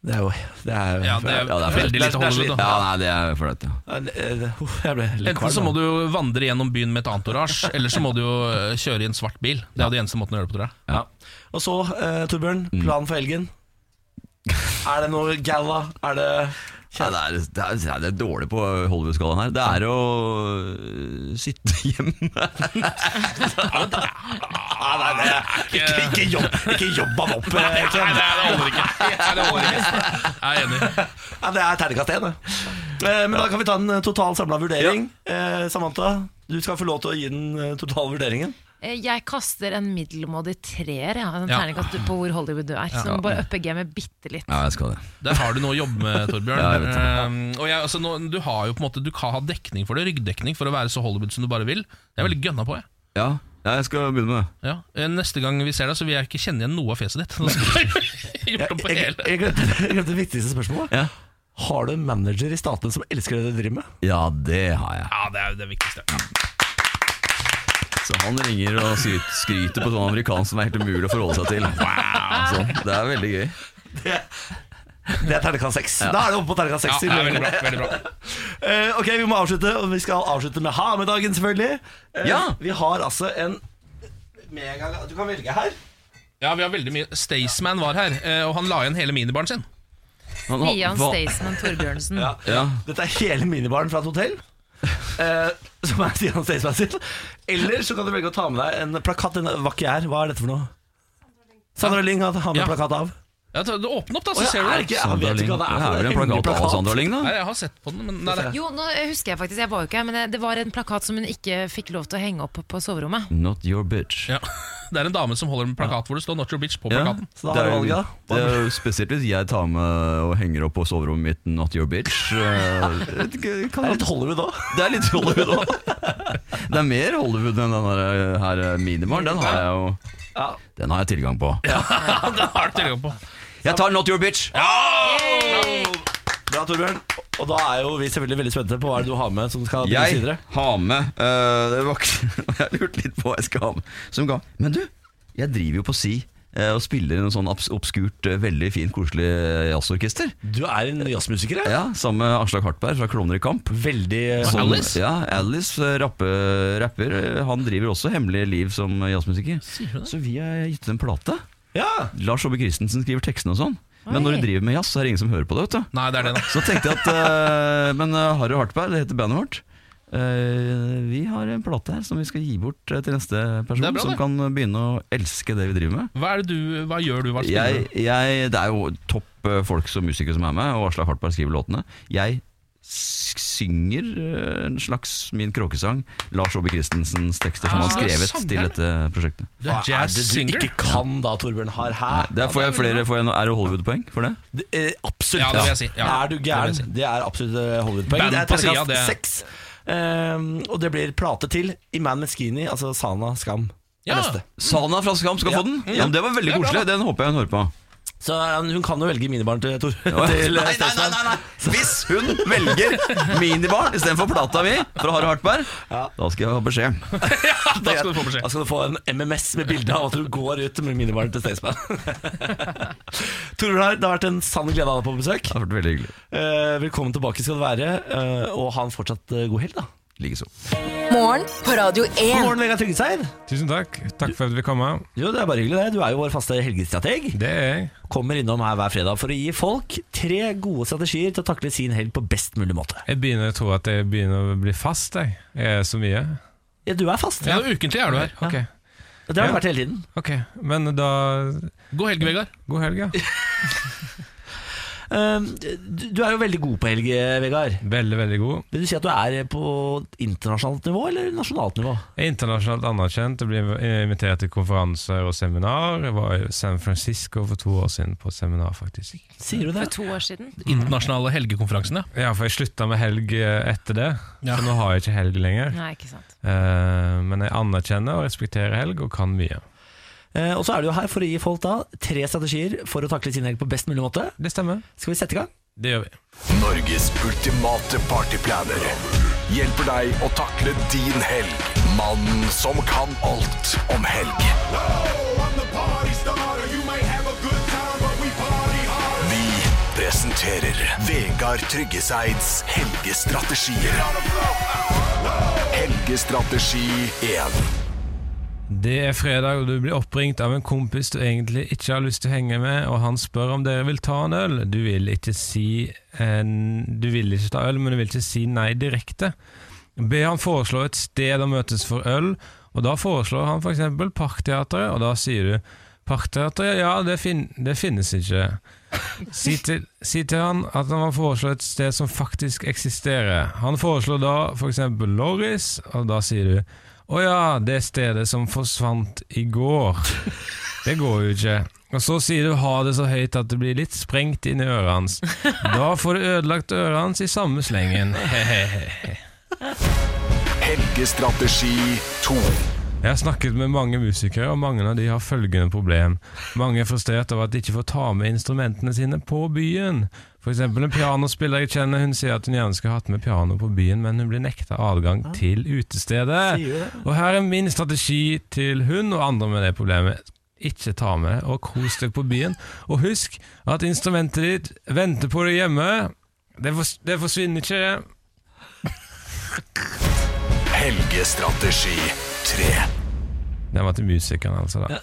Speaker 1: Det er jo det er,
Speaker 3: Ja, det er
Speaker 7: Ja, det er
Speaker 3: veldig lite Hollywood. da
Speaker 7: Ja, nei, det er for dette. ja.
Speaker 1: Eh, uff, Jeg ble litt
Speaker 3: Enten så
Speaker 1: kvalm.
Speaker 3: må
Speaker 1: nå.
Speaker 3: du jo vandre gjennom byen med et entourage, eller så må du jo eh, kjøre i en svart bil. Det er det eneste måten å gjøre det på, tror jeg.
Speaker 1: Ja. Og så, eh, Torbjørn,
Speaker 3: Mm.
Speaker 1: planen for helgen? Er det noe galla? Er det
Speaker 7: Ja, det, er, det, er, det er dårlig på Hollywood-skalaen her. Det er å øh, sitte hjemme.
Speaker 1: Ikke, ikke, jobb, ikke jobb han opp, eh,
Speaker 3: Nei,
Speaker 1: Ken.
Speaker 3: det er det holder ikke. Nei, det holder ikke. Jeg er enig.
Speaker 1: Ja, det er terningkast én, det. Eh, Men da kan vi ta en eh, total samla vurdering. Eh, Samantha, du skal få lov til å gi den eh, totale vurderingen.
Speaker 2: Eh, Jeg kaster en middelmådig treer, ja. en
Speaker 3: Ja.
Speaker 2: terningkast på hvor Hollywood du er. Så du må bare uppe gamet bitte litt.
Speaker 7: Ja, jeg skal det.
Speaker 3: Der har du noe å jobbe med, Torbjørn.
Speaker 7: Ja, jeg vet det.
Speaker 3: Eh, og jeg, altså, nå, du har jo på en måte Du kan ha dekning for det, ryggdekning, for å være så Hollywood som du bare vil. Jeg er veldig gønna på, jeg.
Speaker 7: Ja, Ja, jeg skal begynne med det.
Speaker 3: Ja. Eh, Neste gang vi ser deg, så vil jeg ikke kjenne igjen noe av fjeset ditt. Nå skal jeg gjort opp på
Speaker 1: Jeg,
Speaker 3: hele
Speaker 1: jeg, glemte, jeg glemte det viktigste spørsmålet.
Speaker 7: Ja.
Speaker 1: Har du en manager i staten som elsker det du driver med?
Speaker 7: ja, det har jeg.
Speaker 3: Ja, det er jo det viktigste.
Speaker 7: Så han ringer og skryter, skryter på sånn amerikansk som er helt umulig å forholde seg til. Wow, sånn. Det er veldig gøy.
Speaker 1: Det er terningkast seks. Da er det oppe på terningkast
Speaker 3: Ja,
Speaker 1: seks.
Speaker 3: det er veldig bra, veldig bra.
Speaker 1: Eh, ok, vi må avslutte, og vi skal avslutte med ha-med-dagen, selvfølgelig. Eh,
Speaker 7: Ja.
Speaker 1: Vi har altså en mega Du kan velge her.
Speaker 3: Ja, vi har veldig mye Staysman var her, eh, og han la igjen hele minibaren sin.
Speaker 7: Han- han-
Speaker 2: Stian
Speaker 7: hva-
Speaker 2: Staysman Torbjørnsen.
Speaker 1: Ja.
Speaker 7: Ja.
Speaker 1: Dette er hele minibaren fra et hotell. eh, som er Stian Staysman sin. Eller så kan du velge å ta med deg en plakat. En vakker her. Hva er dette for noe? Sandra Lyng har har med
Speaker 3: Ja.
Speaker 1: plakat av.
Speaker 3: Ja, ta- Åpne opp, da,
Speaker 1: Å,
Speaker 3: så
Speaker 1: ja,
Speaker 3: ser du
Speaker 1: er
Speaker 3: det.
Speaker 1: det ikke- Jeg
Speaker 7: Sandra
Speaker 1: vet
Speaker 7: Lyng.
Speaker 1: ikke hva
Speaker 7: Det
Speaker 1: det er for
Speaker 7: er vel en
Speaker 1: hemmelig
Speaker 7: plakat av
Speaker 1: plakat.
Speaker 7: Sandra Lyng, da?
Speaker 3: Nei, jeg har sett på den, men nei, nei.
Speaker 2: Jo, nå husker jeg faktisk, jeg var jo ikke her, men eh, det var en plakat som hun ikke fikk lov til å henge opp på soverommet.
Speaker 7: Not your bitch.
Speaker 3: Ja. Det er en dame som holder en plakat hvor det står 'Not your bitch' på plakaten.
Speaker 1: Så da har
Speaker 7: det,
Speaker 1: du
Speaker 7: er,
Speaker 1: valget,
Speaker 7: jo-
Speaker 1: da.
Speaker 7: det er jo spesielt hvis jeg tar med og henger opp på soverommet mitt 'Not your bitch'. Eh, det
Speaker 1: Det
Speaker 7: kan-
Speaker 1: er litt Hollywood òg.
Speaker 7: Det er litt Hollywood òg. Det er mer Hollywood enn den eh, her, her minimaren. Den har jeg jo
Speaker 1: Ja.
Speaker 7: Den har jeg tilgang på.
Speaker 3: Ja, den har du tilgang på.
Speaker 7: Jeg tar 'Not your bitch'!
Speaker 1: Bra, Torbjørn. Og da er jo vi selvfølgelig veldig spente på hva er det du har med som skal bringes
Speaker 7: Jeg
Speaker 1: videre.
Speaker 7: har med eh, Det var ikke Jeg lurte litt på hva jeg skal ha med. Som ga Men du, jeg driver jo på si eh, og spiller i noe sånn abs- obskurt, eh, veldig fint, koselig eh, jazzorkester.
Speaker 1: Du er en jazzmusiker, ja.
Speaker 7: Ja, Sammen med Aslak Hartberg fra Klovner i kamp.
Speaker 1: Veldig
Speaker 3: Så-
Speaker 1: sånn
Speaker 3: Alice?
Speaker 7: Ja, Alice, eh, rappe, rapper. eh, Han driver også hemmelige liv som eh, jazzmusiker. Så vi har gitt ut en plate.
Speaker 1: Ja,
Speaker 7: Lars Aabye Christensen skriver tekstene og sånn.
Speaker 2: Oi.
Speaker 7: Men når du driver med jazz, så er det ingen som hører på det. vet du
Speaker 3: Nei, det er det, da.
Speaker 7: Så tenkte jeg at eh, Men eh, Harry Hartberg, det heter bandet vårt. Eh, vi har en plate her som vi skal gi bort eh, til neste person,
Speaker 3: Det er bra,
Speaker 7: som
Speaker 3: det.
Speaker 7: kan begynne å elske det vi driver med.
Speaker 3: Hva, er det du, hva gjør du? Hva spiller
Speaker 7: Jeg,
Speaker 3: du?
Speaker 7: jeg, det er jo topp eh, folk som musikere som er med, og Aslak Hartberg skriver låtene. Jeg s- synger eh, en slags min kråkesang, Lars Aabye Christensens tekster
Speaker 3: Ah,
Speaker 7: som han
Speaker 3: du er
Speaker 7: skrevet
Speaker 3: sanger.
Speaker 7: til dette prosjektet.
Speaker 3: Du er
Speaker 1: hva er det du
Speaker 3: jazz-singer?
Speaker 1: ikke kan da, Torbjørn har her?
Speaker 7: Der får jeg flere, får jeg noe, er det Hollywood-poeng for det?
Speaker 1: Det er absolutt.
Speaker 3: Ja, det vil jeg si. Ja,
Speaker 1: er du
Speaker 3: det vil jeg
Speaker 1: gæren?
Speaker 3: si.
Speaker 1: Det er absolutt eh, Hollywood-poeng.
Speaker 3: Band
Speaker 1: Det er
Speaker 3: på siden, det
Speaker 1: terningkast
Speaker 3: er-
Speaker 1: seks. Ehm, og det blir plate til i Man med Skinny, altså Sana Skam. er
Speaker 3: Ja.
Speaker 1: Neste.
Speaker 7: Sana fra Skam skal
Speaker 1: Ja.
Speaker 7: få den! Ja, men det var veldig
Speaker 3: Det er bra,
Speaker 7: koselig, den håper jeg hun hører på.
Speaker 1: Så eh, hun kan jo velge minibaren til Tor.
Speaker 7: Nei,
Speaker 1: til, eh,
Speaker 7: nei, nei,
Speaker 1: Staysman.
Speaker 7: nei, nei. Hvis hun velger minibar istedenfor plata mi fra Harry Hartberg, da skal jeg ha beskjed.
Speaker 3: Da skal du få beskjed.
Speaker 1: Da skal du få en MMS med bilde av at du går ut med minibaren til Staysman. Torbjørn, det har vært en sann glede å ha deg på besøk.
Speaker 7: Det har vært veldig hyggelig.
Speaker 1: Eh, velkommen tilbake skal du være, eh, og ha en fortsatt eh, god helg, da.
Speaker 7: Likeså.
Speaker 4: Morgen på Radio 1.
Speaker 1: God morgen, Vegard Tryggeseid.
Speaker 8: Tusen takk. Takk for at vi kom. Med.
Speaker 1: Jo, det er bare hyggelig, det. Du er jo vår faste helgestrateg.
Speaker 8: Det er jeg.
Speaker 1: Kommer innom her hver fredag for å gi folk tre gode strategier til å takle sin helg på best mulig måte.
Speaker 8: Jeg begynner å tro at jeg begynner å bli fast. Jeg, jeg er så mye.
Speaker 1: Ja, du er fast.
Speaker 3: Ja, ukentlig er du her.
Speaker 8: Ok,
Speaker 1: Det har du
Speaker 8: Ja.
Speaker 1: vært hele tiden.
Speaker 8: ok. Men da
Speaker 3: God helg, Vegard.
Speaker 8: God helg, ja.
Speaker 1: Eh, du- du er jo veldig god på helg, eh, Vegard.
Speaker 8: Veldig, veldig god.
Speaker 1: Vil du si at du er på internasjonalt nivå eller nasjonalt nivå?
Speaker 8: Jeg er internasjonalt anerkjent. Jeg blir invitert til konferanser og seminar. Jeg var i San Francisco for to år siden på et seminar, faktisk.
Speaker 1: Sier du
Speaker 2: For
Speaker 1: det?
Speaker 2: to år siden.
Speaker 3: Internasjonale helgekonferansen, ja.
Speaker 8: Ja, for jeg slutta med helg eh, etter det,
Speaker 3: Ja.
Speaker 8: så nå har jeg ikke helg lenger.
Speaker 2: Nei, ikke sant.
Speaker 8: Eh, men jeg anerkjenner og respekterer helg, og kan mye.
Speaker 1: Eh, og så er du jo her for å gi folk da tre strategier for å takle sin helg på best mulig måte.
Speaker 8: Det stemmer.
Speaker 1: Skal vi sette i gang?
Speaker 8: Det gjør vi.
Speaker 6: Norges ultimate partyplaner hjelper deg å takle din helg. Mannen som kan alt om helg. Vi presenterer Vegard Tryggeseids helgestrategier. Helgestrategi 1.
Speaker 8: Det er fredag, og du blir oppringt av en kompis du egentlig ikke har lyst til å henge med, og han spør om dere vil ta en øl. Du vil ikke si en, Du vil ikke ta øl, men du vil ikke si nei direkte. Be han foreslå et sted å møtes for øl, og da foreslår han f.eks. Parkteatret, og da sier du Parkteatret, ja, det, fin det finnes ikke. Si til, si til han at han må foreslå et sted som faktisk eksisterer. Han foreslår da f.eks. Loris, og da sier du å ja, det stedet som forsvant i går. Det går jo ikke. Og så sier du ha det så høyt at det blir litt sprengt inn i øret hans. Da får du ødelagt øret hans i samme slengen.
Speaker 6: Helgestrategi 2.
Speaker 8: Jeg Jeg har snakket med mange musikere, og mange av de har følgende problem. Mange er frustrert over at de ikke får ta med instrumentene sine på byen. For eksempel en pianospiller jeg kjenner, hun sier at hun gjerne skulle hatt med piano på byen, men hun blir nekta adgang til utestedet. Og her er min strategi til hun og andre med det problemet. Ikke ta med, og kos deg på byen. Og husk at instrumentet ditt venter på deg hjemme. Det, fors det forsvinner ikke.
Speaker 6: Helgestrategi 3.
Speaker 8: Den var til musikeren, altså. da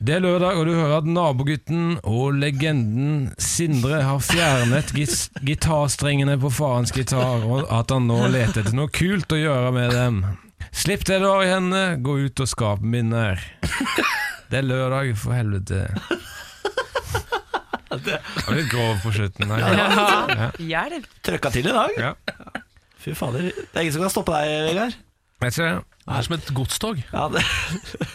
Speaker 8: Det er lørdag, og du hører at nabogutten og legenden Sindre har fjernet gis- gitarstrengene på farens gitar, og at han nå leter etter noe kult å gjøre med dem. Slipp det du har i hendene, gå ut og skap minner. Det er lørdag, for helvete. Det var litt grov på slutten. der.
Speaker 2: Ja. Hjelp!
Speaker 1: Trøkka til i dag.
Speaker 8: Ja.
Speaker 1: Fy fader. Det er ingen som kan stoppe deg, Vegard.
Speaker 8: Vet ikke det?
Speaker 3: Det er som et godstog.
Speaker 1: Ja, det.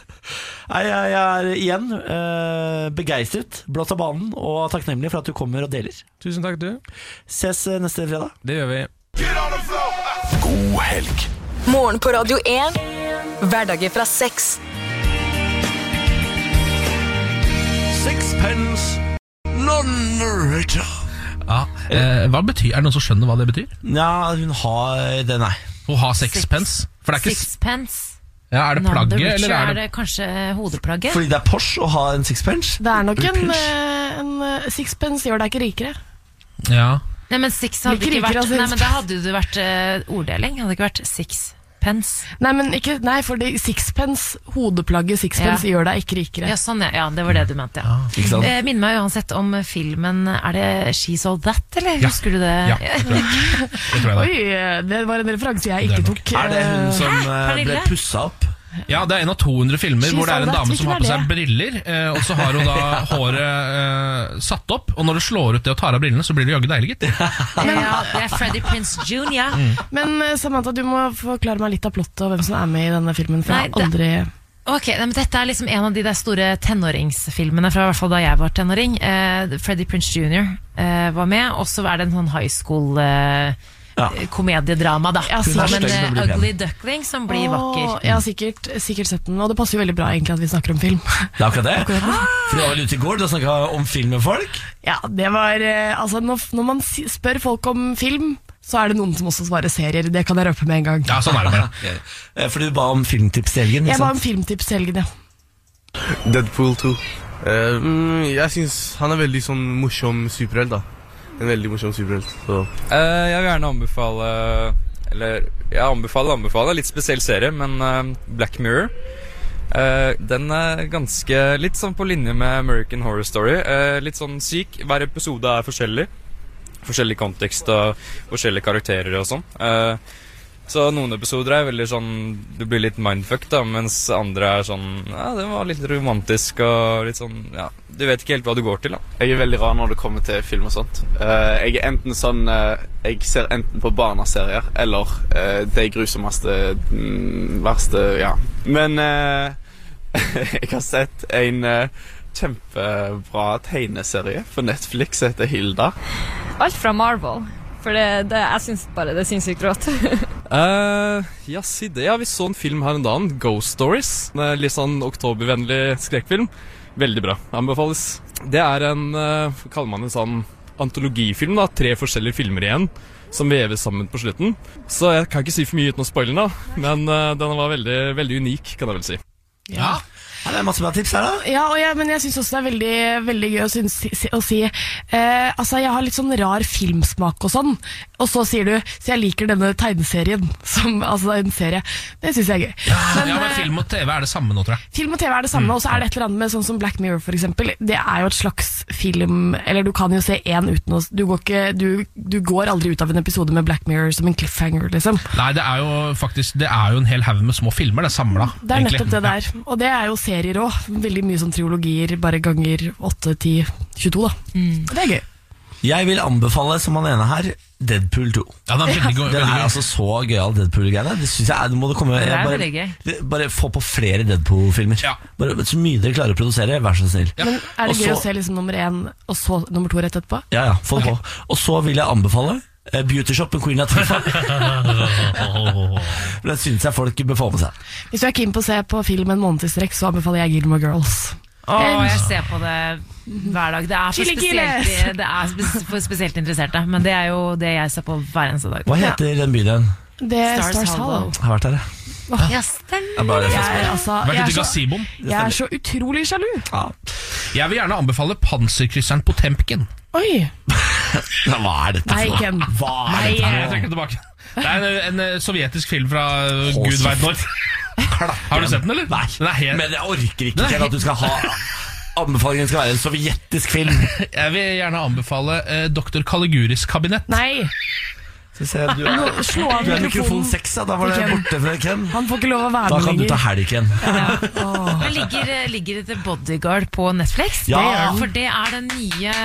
Speaker 1: Nei, jeg er igjen eh, begeistret, blått av banen, og takknemlig for at du kommer og deler.
Speaker 8: Tusen takk, du.
Speaker 1: Ses eh, neste fredag.
Speaker 8: Det gjør vi.
Speaker 6: God helg.
Speaker 4: Morgen på Radio 1. Hverdager fra seks.
Speaker 6: Sixpence non-return.
Speaker 3: Ja, eh, hva betyr, Er det noen som skjønner hva det betyr?
Speaker 1: Ja, hun har det, nei.
Speaker 3: Å ha sixpence? For det er ikke s-
Speaker 2: Sixpence.
Speaker 3: ja, Er det
Speaker 2: None the
Speaker 3: plagget,
Speaker 2: richer
Speaker 3: eller er
Speaker 2: er
Speaker 3: det
Speaker 2: det kanskje hodeplagget?
Speaker 1: Fordi det er Porsche å ha en sixpence?
Speaker 9: Det er nok en,
Speaker 1: Repinch.
Speaker 9: eh, en eh, Sixpence gjør deg ikke rikere.
Speaker 3: Ja
Speaker 2: Nei, men six hadde
Speaker 9: Blir ikke
Speaker 2: ikke vært
Speaker 9: rikere av
Speaker 2: Nei,
Speaker 9: sixpence.
Speaker 2: men Da hadde det vært eh, orddeling. Hadde det ikke vært sixpence.
Speaker 9: Nei, men ikke, nei, for det, sixpence, hodeplagget sixpence gjør deg ikke rikere.
Speaker 2: Ja, sånn, ja. ja, det var det du mente,
Speaker 3: Ah,
Speaker 2: ja.
Speaker 1: Ikke sant?
Speaker 2: Eh, Minn meg uansett om filmen Er det She's All That, eller
Speaker 3: Ja.
Speaker 2: husker du det?
Speaker 3: Ja, det tror jeg, det tror jeg
Speaker 9: Oi,
Speaker 3: det.
Speaker 9: eh, det var en referanse jeg
Speaker 3: Det er
Speaker 9: ikke
Speaker 3: nok.
Speaker 9: tok.
Speaker 1: Er det hun
Speaker 9: eh,
Speaker 1: som eh,
Speaker 2: Pernille?
Speaker 1: ble pussa opp?
Speaker 3: er. ja, det er en av 200 filmer hvor det er en dame som har på seg briller, eh, og så har hun da håret eh, satt opp, og når du slår ut det og tar av brillene, så blir det jaggu deilig, gitt.
Speaker 2: ja, det er Freddy Prince Jr.
Speaker 3: Mm.
Speaker 9: Men eh, Samantha, du må forklare meg litt av plottet og hvem som er med i denne filmen. For
Speaker 2: Nei,
Speaker 9: jeg har aldri
Speaker 2: Ok, nei, men Dette er liksom en av de der store tenåringsfilmene fra i hvert fall da jeg var tenåring. Eh, Freddy Prince Jr. Eh, var med, og så er det en sånn high school eh,
Speaker 1: Ja.
Speaker 2: komediedrama, da.
Speaker 9: Ja,
Speaker 2: Som en
Speaker 1: stygg, men
Speaker 2: eh,
Speaker 1: blir pen.
Speaker 2: ugly duckling som blir
Speaker 9: Åh,
Speaker 2: vakker.
Speaker 9: Jeg har sikkert, sikkert sett den, og det passer jo veldig bra egentlig at vi snakker om film.
Speaker 1: Det er akkurat det. For du var vel ute i går, du har snakka om film med folk.
Speaker 9: ja, det var eh, Altså, når, når man si- spør folk om film, så er det noen som også svarer serier. Det kan jeg røpe med en gang.
Speaker 3: Ja, sånn er det bare.
Speaker 1: Eh, For du ba om filmtips til helgen.
Speaker 9: Jeg
Speaker 1: Ikke
Speaker 9: var en
Speaker 1: sant?
Speaker 9: filmtips til helgen, ja.
Speaker 10: Deadpool 2. Eh, mm, jeg syns han er veldig sånn morsom superhelt, da. En veldig morsom superhelt. Så.
Speaker 11: Eh, jeg vil gjerne anbefale Eller jeg anbefaler anbefaler. Litt spesiell serie, men eh, Black Mirror. Eh, den er ganske litt sånn på linje med American Horror Story. Eh, litt sånn syk. Hver episode er forskjellig. Forskjellig kontekst og forskjellige karakterer og sånn. Eh, så noen episoder er veldig sånn Du blir litt mindfucked, da, mens andre er sånn Ja, den var litt romantisk og litt sånn Ja, du vet ikke helt hva du går til, da.
Speaker 10: Jeg er veldig rar når det kommer til film og sånt. Eh, jeg er enten sånn eh, Jeg ser enten på barneserier eller eh, de grusomste, mm, verste Ja. Men eh, jeg har sett en eh, kjempebra tegneserie på Netflix som heter Hilda.
Speaker 9: Alt fra Marvel. For jeg syns bare det er sinnssykt rått.
Speaker 11: Eh, ja, si det. Ja, vi så en film her en dag. Ghost Stories. En eh, litt sånn oktobervennlig skrekkfilm. Veldig bra. Anbefales. Det er en eh, hva Kaller man en sånn antologifilm, da. Tre forskjellige filmer igjen som veves sammen på slutten. Så jeg kan ikke si for mye uten å spoile den, da. Men eh, den var veldig, veldig unik, kan jeg vel si.
Speaker 3: Ja.
Speaker 1: Ja, det er masse bra tips her, da.
Speaker 9: Ja, og jeg, men jeg syns også det er veldig, veldig gøy å, synes, si, å si eh, Altså, jeg har litt sånn rar filmsmak og sånn, og så sier du Så jeg liker denne tegneserien, som, altså en serie. Det syns jeg er gøy.
Speaker 3: ja,
Speaker 9: eh,
Speaker 3: men film og TV er det samme nå, tror jeg.
Speaker 9: Film og TV er det samme, og så er det et eller annet med sånn som Black Mirror for eksempel. Det er jo et slags film Eller du kan jo se én uten å du går, ikke, du, du går aldri ut av en episode med Black Mirror som en cliffhanger, liksom.
Speaker 3: Nei, det er jo faktisk Det er jo en hel haug med små filmer, det er samla.
Speaker 9: Mm, Det er nettopp det det er. Og det er jo serier òg. Veldig mye sånn triologier, bare ganger 8, 10, 22, da. Det er gøy.
Speaker 1: Jeg vil anbefale, som han ene her, Deadpool 2.
Speaker 3: Ja, den er veldig god.
Speaker 1: Den
Speaker 3: Veldig
Speaker 1: er
Speaker 3: god.
Speaker 1: altså så gøyal, Deadpool-greiene. Det synes jeg er, nå må det komme
Speaker 2: Det er
Speaker 1: jeg
Speaker 2: veldig gøy.
Speaker 1: det- Bare få på flere Deadpool-filmer.
Speaker 3: Ja.
Speaker 1: Bare Så mye dere klarer å produsere, vær så snill.
Speaker 9: Men er det
Speaker 1: Og
Speaker 9: gøy
Speaker 1: så-
Speaker 9: å se liksom nummer én og så nummer to rett etterpå?
Speaker 1: Ja, ja, få det på. Og så vil jeg anbefale eh, Beautyshop med Queen Latifah. For Den syns jeg folk bør få med seg.
Speaker 9: Hvis du er keen på å se på film en måned i strekk, så anbefaler jeg Gilmore Girls.
Speaker 2: Å, jeg ser på det hver dag. Det er for
Speaker 9: Chili
Speaker 2: spesielt,
Speaker 9: Gilles.
Speaker 2: det er spes- for spesielt interesserte, men det er jo det jeg ser på hver eneste dag.
Speaker 1: Hva heter den byen igjen?
Speaker 9: Det er Stars, Hollow.
Speaker 1: Jeg har vært der, jeg.
Speaker 9: Åh,
Speaker 2: Ja, stemmer.
Speaker 1: Det er bare det som
Speaker 9: Jeg er
Speaker 1: spiller.
Speaker 9: altså-
Speaker 3: Ah. Vært
Speaker 9: jeg er
Speaker 3: ute i
Speaker 9: så-
Speaker 3: gazeboen.
Speaker 9: Jeg er så utrolig sjalu.
Speaker 3: Jeg vil gjerne anbefale Panserkrysseren på Tempken.
Speaker 9: Oi.
Speaker 1: Hva er dette
Speaker 9: Nei,
Speaker 1: for noe?
Speaker 9: Ken.
Speaker 1: Hva er
Speaker 9: Nei,
Speaker 3: Jeg
Speaker 1: dette for
Speaker 3: trekker
Speaker 1: noe?
Speaker 3: det tilbake. Det er en, en eh, sovjetisk film fra eh,
Speaker 1: Hold
Speaker 3: gud veit når. Har du sett den, eller?
Speaker 1: Nei,
Speaker 3: Den er helt,
Speaker 1: men jeg orker
Speaker 3: Den
Speaker 1: ikke
Speaker 3: er
Speaker 1: Ken, at du skal ha Anbefalingen skal være en sovjetisk film.
Speaker 3: jeg vil gjerne anbefale eh, Dr. Kaliguris kabinett.
Speaker 9: Nei,
Speaker 1: Skal vi se, du er,
Speaker 9: nå, slå av
Speaker 1: du er mikrofon
Speaker 9: mikrofonen.
Speaker 1: 6, ja. Da var det
Speaker 9: Ken.
Speaker 1: borte fra Ken.
Speaker 9: Han får ikke lov å være
Speaker 1: Da kan
Speaker 9: med
Speaker 1: du ta
Speaker 9: lenger.
Speaker 1: helg, Ken.
Speaker 2: Men ligger, ligger det The Bodyguard på Netflix?
Speaker 1: Ja.
Speaker 2: Det gjør den, For det er den nye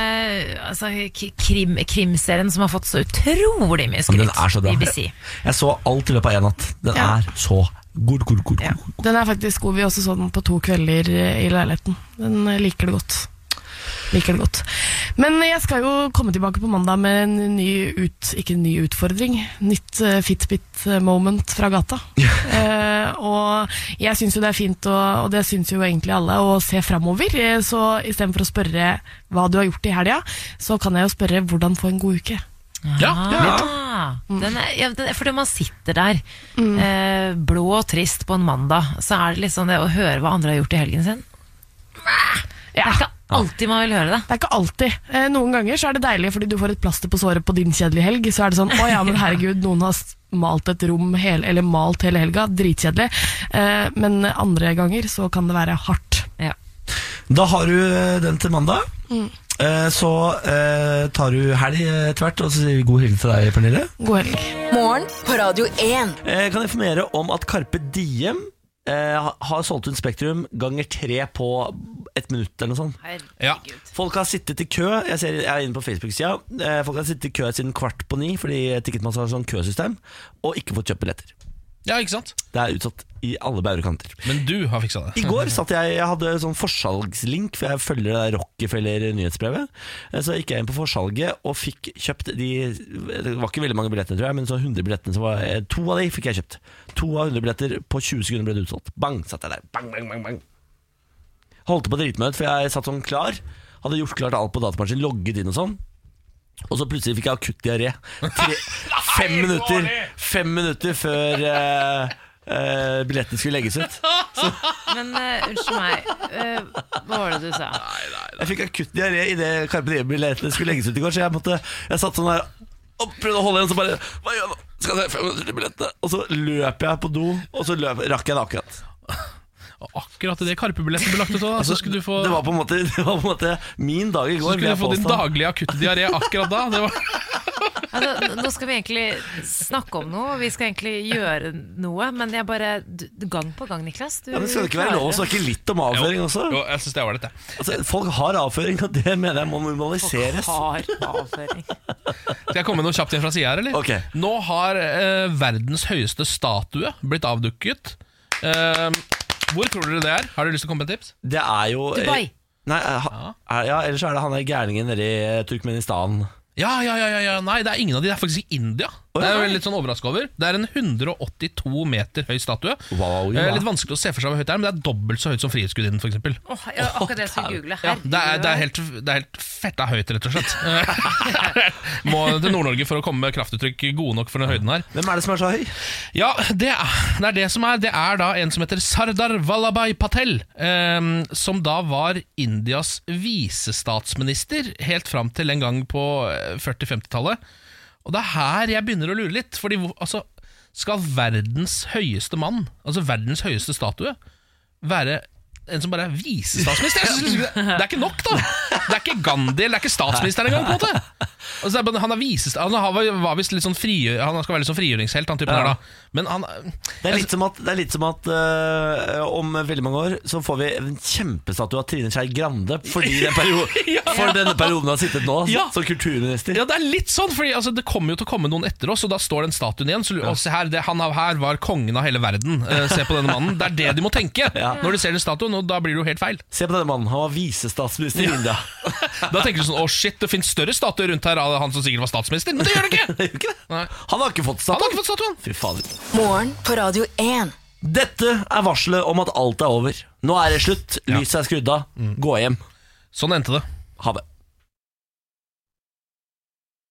Speaker 2: altså, k- krim, krimserien som har fått så utrolig mye
Speaker 1: Men
Speaker 2: skryt.
Speaker 1: den er så bra.
Speaker 2: BBC.
Speaker 1: Jeg så alt i løpet av én natt. Den
Speaker 9: Ja.
Speaker 1: er så god, god, god. god.
Speaker 9: Den er faktisk god. Vi også så den på to kvelder eh, i leiligheten. Den eh, liker det godt. Liker det godt. Men jeg skal jo komme tilbake på mandag med en ny ut, ikke en ny utfordring. Nytt eh, Fitbit-moment fra gata. Eh, og jeg syns jo det er fint, og, og det syns jo egentlig alle, å se framover. Eh, Så istedenfor å spørre hva du har gjort i helga, så kan jeg jo spørre hvordan få en god uke.
Speaker 3: Ja, ja.
Speaker 2: Ah, den er, ja, den er, fordi man sitter der eh, blå og trist på en mandag, så er det litt sånn det å høre hva andre har gjort i helgen sin. Det er ikke alltid man vil høre det.
Speaker 9: Det er ikke alltid. Eh, noen ganger så er det deilig fordi du får et plaster på såret på din kjedelige helg. Så er det sånn 'Å ja, men herregud, noen har s- malt et rom hele, eller malt hele helga'. Dritkjedelig. Eh, men andre ganger så kan det være hardt.
Speaker 2: Ja.
Speaker 1: Da har du eh, den til mandag.
Speaker 9: Mm.
Speaker 1: Eh, Så eh, tar du helg eh, etter hvert, og så sier vi god helg til deg, Pernille.
Speaker 9: God helg.
Speaker 4: Morgen på Radio 1.
Speaker 1: Jeg kan informere om at Carpe Diem eh, ha- har solgt ut Spektrum ganger tre på et minutt eller noe sånt.
Speaker 3: Ja.
Speaker 1: Folk har sittet i kø Jeg, ser, jeg er inne på Facebook-sida. Eh, Folk har sittet i kø siden kvart på ni fordi Ticketmaster har sånn køsystem, og ikke fått kjøpt billetter.
Speaker 3: ja, ikke sant?
Speaker 1: Det er utsatt i alle bauger og kanter.
Speaker 3: Men du har fiksa det.
Speaker 1: I går satt jeg, jeg hadde sånn forsalgslink, for jeg følger det der Rockefeller-nyhetsbrevet. Eh, Så gikk jeg inn på forsalget og fikk kjøpt de Det var ikke veldig mange billetter, tror jeg, men så 100 billettene som var eh, To av de fikk jeg kjøpt. To av 100 billetter på 20 sekunder ble det utsolgt. Bang, satt jeg der. Bang, bang, bang, bang. Holdt på å drite meg ut, for jeg satt sånn klar. Hadde gjort klart alt på datamaskinen, logget inn og sånn. Og så plutselig fikk jeg akutt diaré. Tre- Fem minutter Fem minutter før eh, eh, billetten skulle legges ut.
Speaker 2: Men eh, unnskyld meg, eh, hva var det du sa?
Speaker 1: Jeg fikk akutt diaré idet Carpe Diem-billettene skulle legges ut i går, så jeg måtte Jeg satt sånn her og prøvde å holde igjen, så bare Hva gjør jeg nå? Skal jeg se 500 til billettene? Og så løp jeg på do, og så løp, rakk jeg det akkurat.
Speaker 3: Og Akkurat idet Karpe-billetten ble lagt ut, da, så skulle du få,
Speaker 1: Altså, Det var på en måte, det var på en måte min dag i
Speaker 3: så
Speaker 1: går. vil
Speaker 3: skulle
Speaker 1: jeg
Speaker 3: du få din
Speaker 1: påstå.
Speaker 3: daglige akutte diaré akkurat da. Det var
Speaker 2: Altså, nå skal vi egentlig snakke om noe, vi skal egentlig gjøre noe, men jeg bare du, du- Gang på gang, Niklas. Du
Speaker 1: Ja, men skal det ikke være
Speaker 2: klarer
Speaker 1: lov å snakke litt om avføring også?
Speaker 3: Jo, jeg syns det er ålreit, jeg.
Speaker 1: Altså, folk har avføring, og det mener jeg må normaliseres.
Speaker 2: Hard avføring.
Speaker 3: Skal jeg komme med noe kjapt inn fra sida her, eller?
Speaker 1: Ok.
Speaker 3: Nå har eh, verdens høyeste statue blitt avduket. Eh, hvor tror dere det er? Har dere lyst til å komme med et tips?
Speaker 1: Det er jo
Speaker 2: Dubai.
Speaker 1: Nei, eh, ha, er, ja, ellers er det han der gærningen nede i eh, Turkmenistan.
Speaker 3: Ja, ja, ja, ja, ja. Nei, det er ingen av de. Det er faktisk i India.
Speaker 1: Oi,
Speaker 3: Det er jeg
Speaker 1: oi.
Speaker 3: veldig litt sånn overraska over. Det er en 182 meter høy statue.
Speaker 1: Wow,
Speaker 3: Eh,
Speaker 1: ja.
Speaker 3: litt vanskelig å se for seg hvor høyt det er, men det er dobbelt så høyt som Frihetsgudinnen, f.eks.
Speaker 2: Åh, ja, akkurat det jeg skulle google.
Speaker 3: Ja, det er, det, er helt, det er helt fetta høyt, rett og slett. Må til Nord-Norge for å komme med kraftuttrykk gode nok for den høyden her.
Speaker 1: Hvem er det som er så høy?
Speaker 3: Ja, det er, det er det som er. Det er da en som heter Sardar Vallabhai Patel, eh, som da var Indias visestatsminister helt fram til en gang på eh, 40-50-tallet. Og det er her jeg begynner å lure litt. Fordi hvor- altså, skal verdens høyeste mann, altså verdens høyeste statue, være en som bare er visestatsminister? Jeg synes ikke det, det er ikke nok, da! Det er ikke Gandhi, eller det er ikke statsministeren engang. på en måte altså, det er bare- Han er visest, han har- var visst litt sånn frigjø, Han skal være litt sånn frigjøringshelt, han typen
Speaker 1: Ja.
Speaker 3: her, da. Men han
Speaker 1: Det er litt som at, det er litt som at øh, om veldig mange år så får vi en kjempestatue av Trine Skei Grande fordi den perio- for denne perioden hun har sittet nå
Speaker 3: Ja.
Speaker 1: som kulturminister.
Speaker 3: Ja, det er litt sånn, fordi altså, det kommer jo til å komme noen etter oss, og da står den statuen igjen. Så, og se her, det, han av her var kongen av hele verden. Eh, se på denne mannen. Det er det de må tenke når de ser den statuen, og da blir det jo helt feil.
Speaker 1: Se på denne mannen, han var visestatsminister i India.
Speaker 3: Da tenker du sånn, å shit, det finnes større statuer rundt her av han som sikkert var statsminister, men det gjør det ikke! Nei.
Speaker 1: Han har ikke fått
Speaker 3: Han
Speaker 1: statuen.
Speaker 3: har ikke fått statuen.
Speaker 1: Fy fader.
Speaker 4: Morgen på Radio 1.
Speaker 1: Dette er varselet om at alt er over. Nå er det slutt. Lyset er skrudd av. Gå hjem.
Speaker 3: Mm. Sånn endte det.
Speaker 1: Ha det.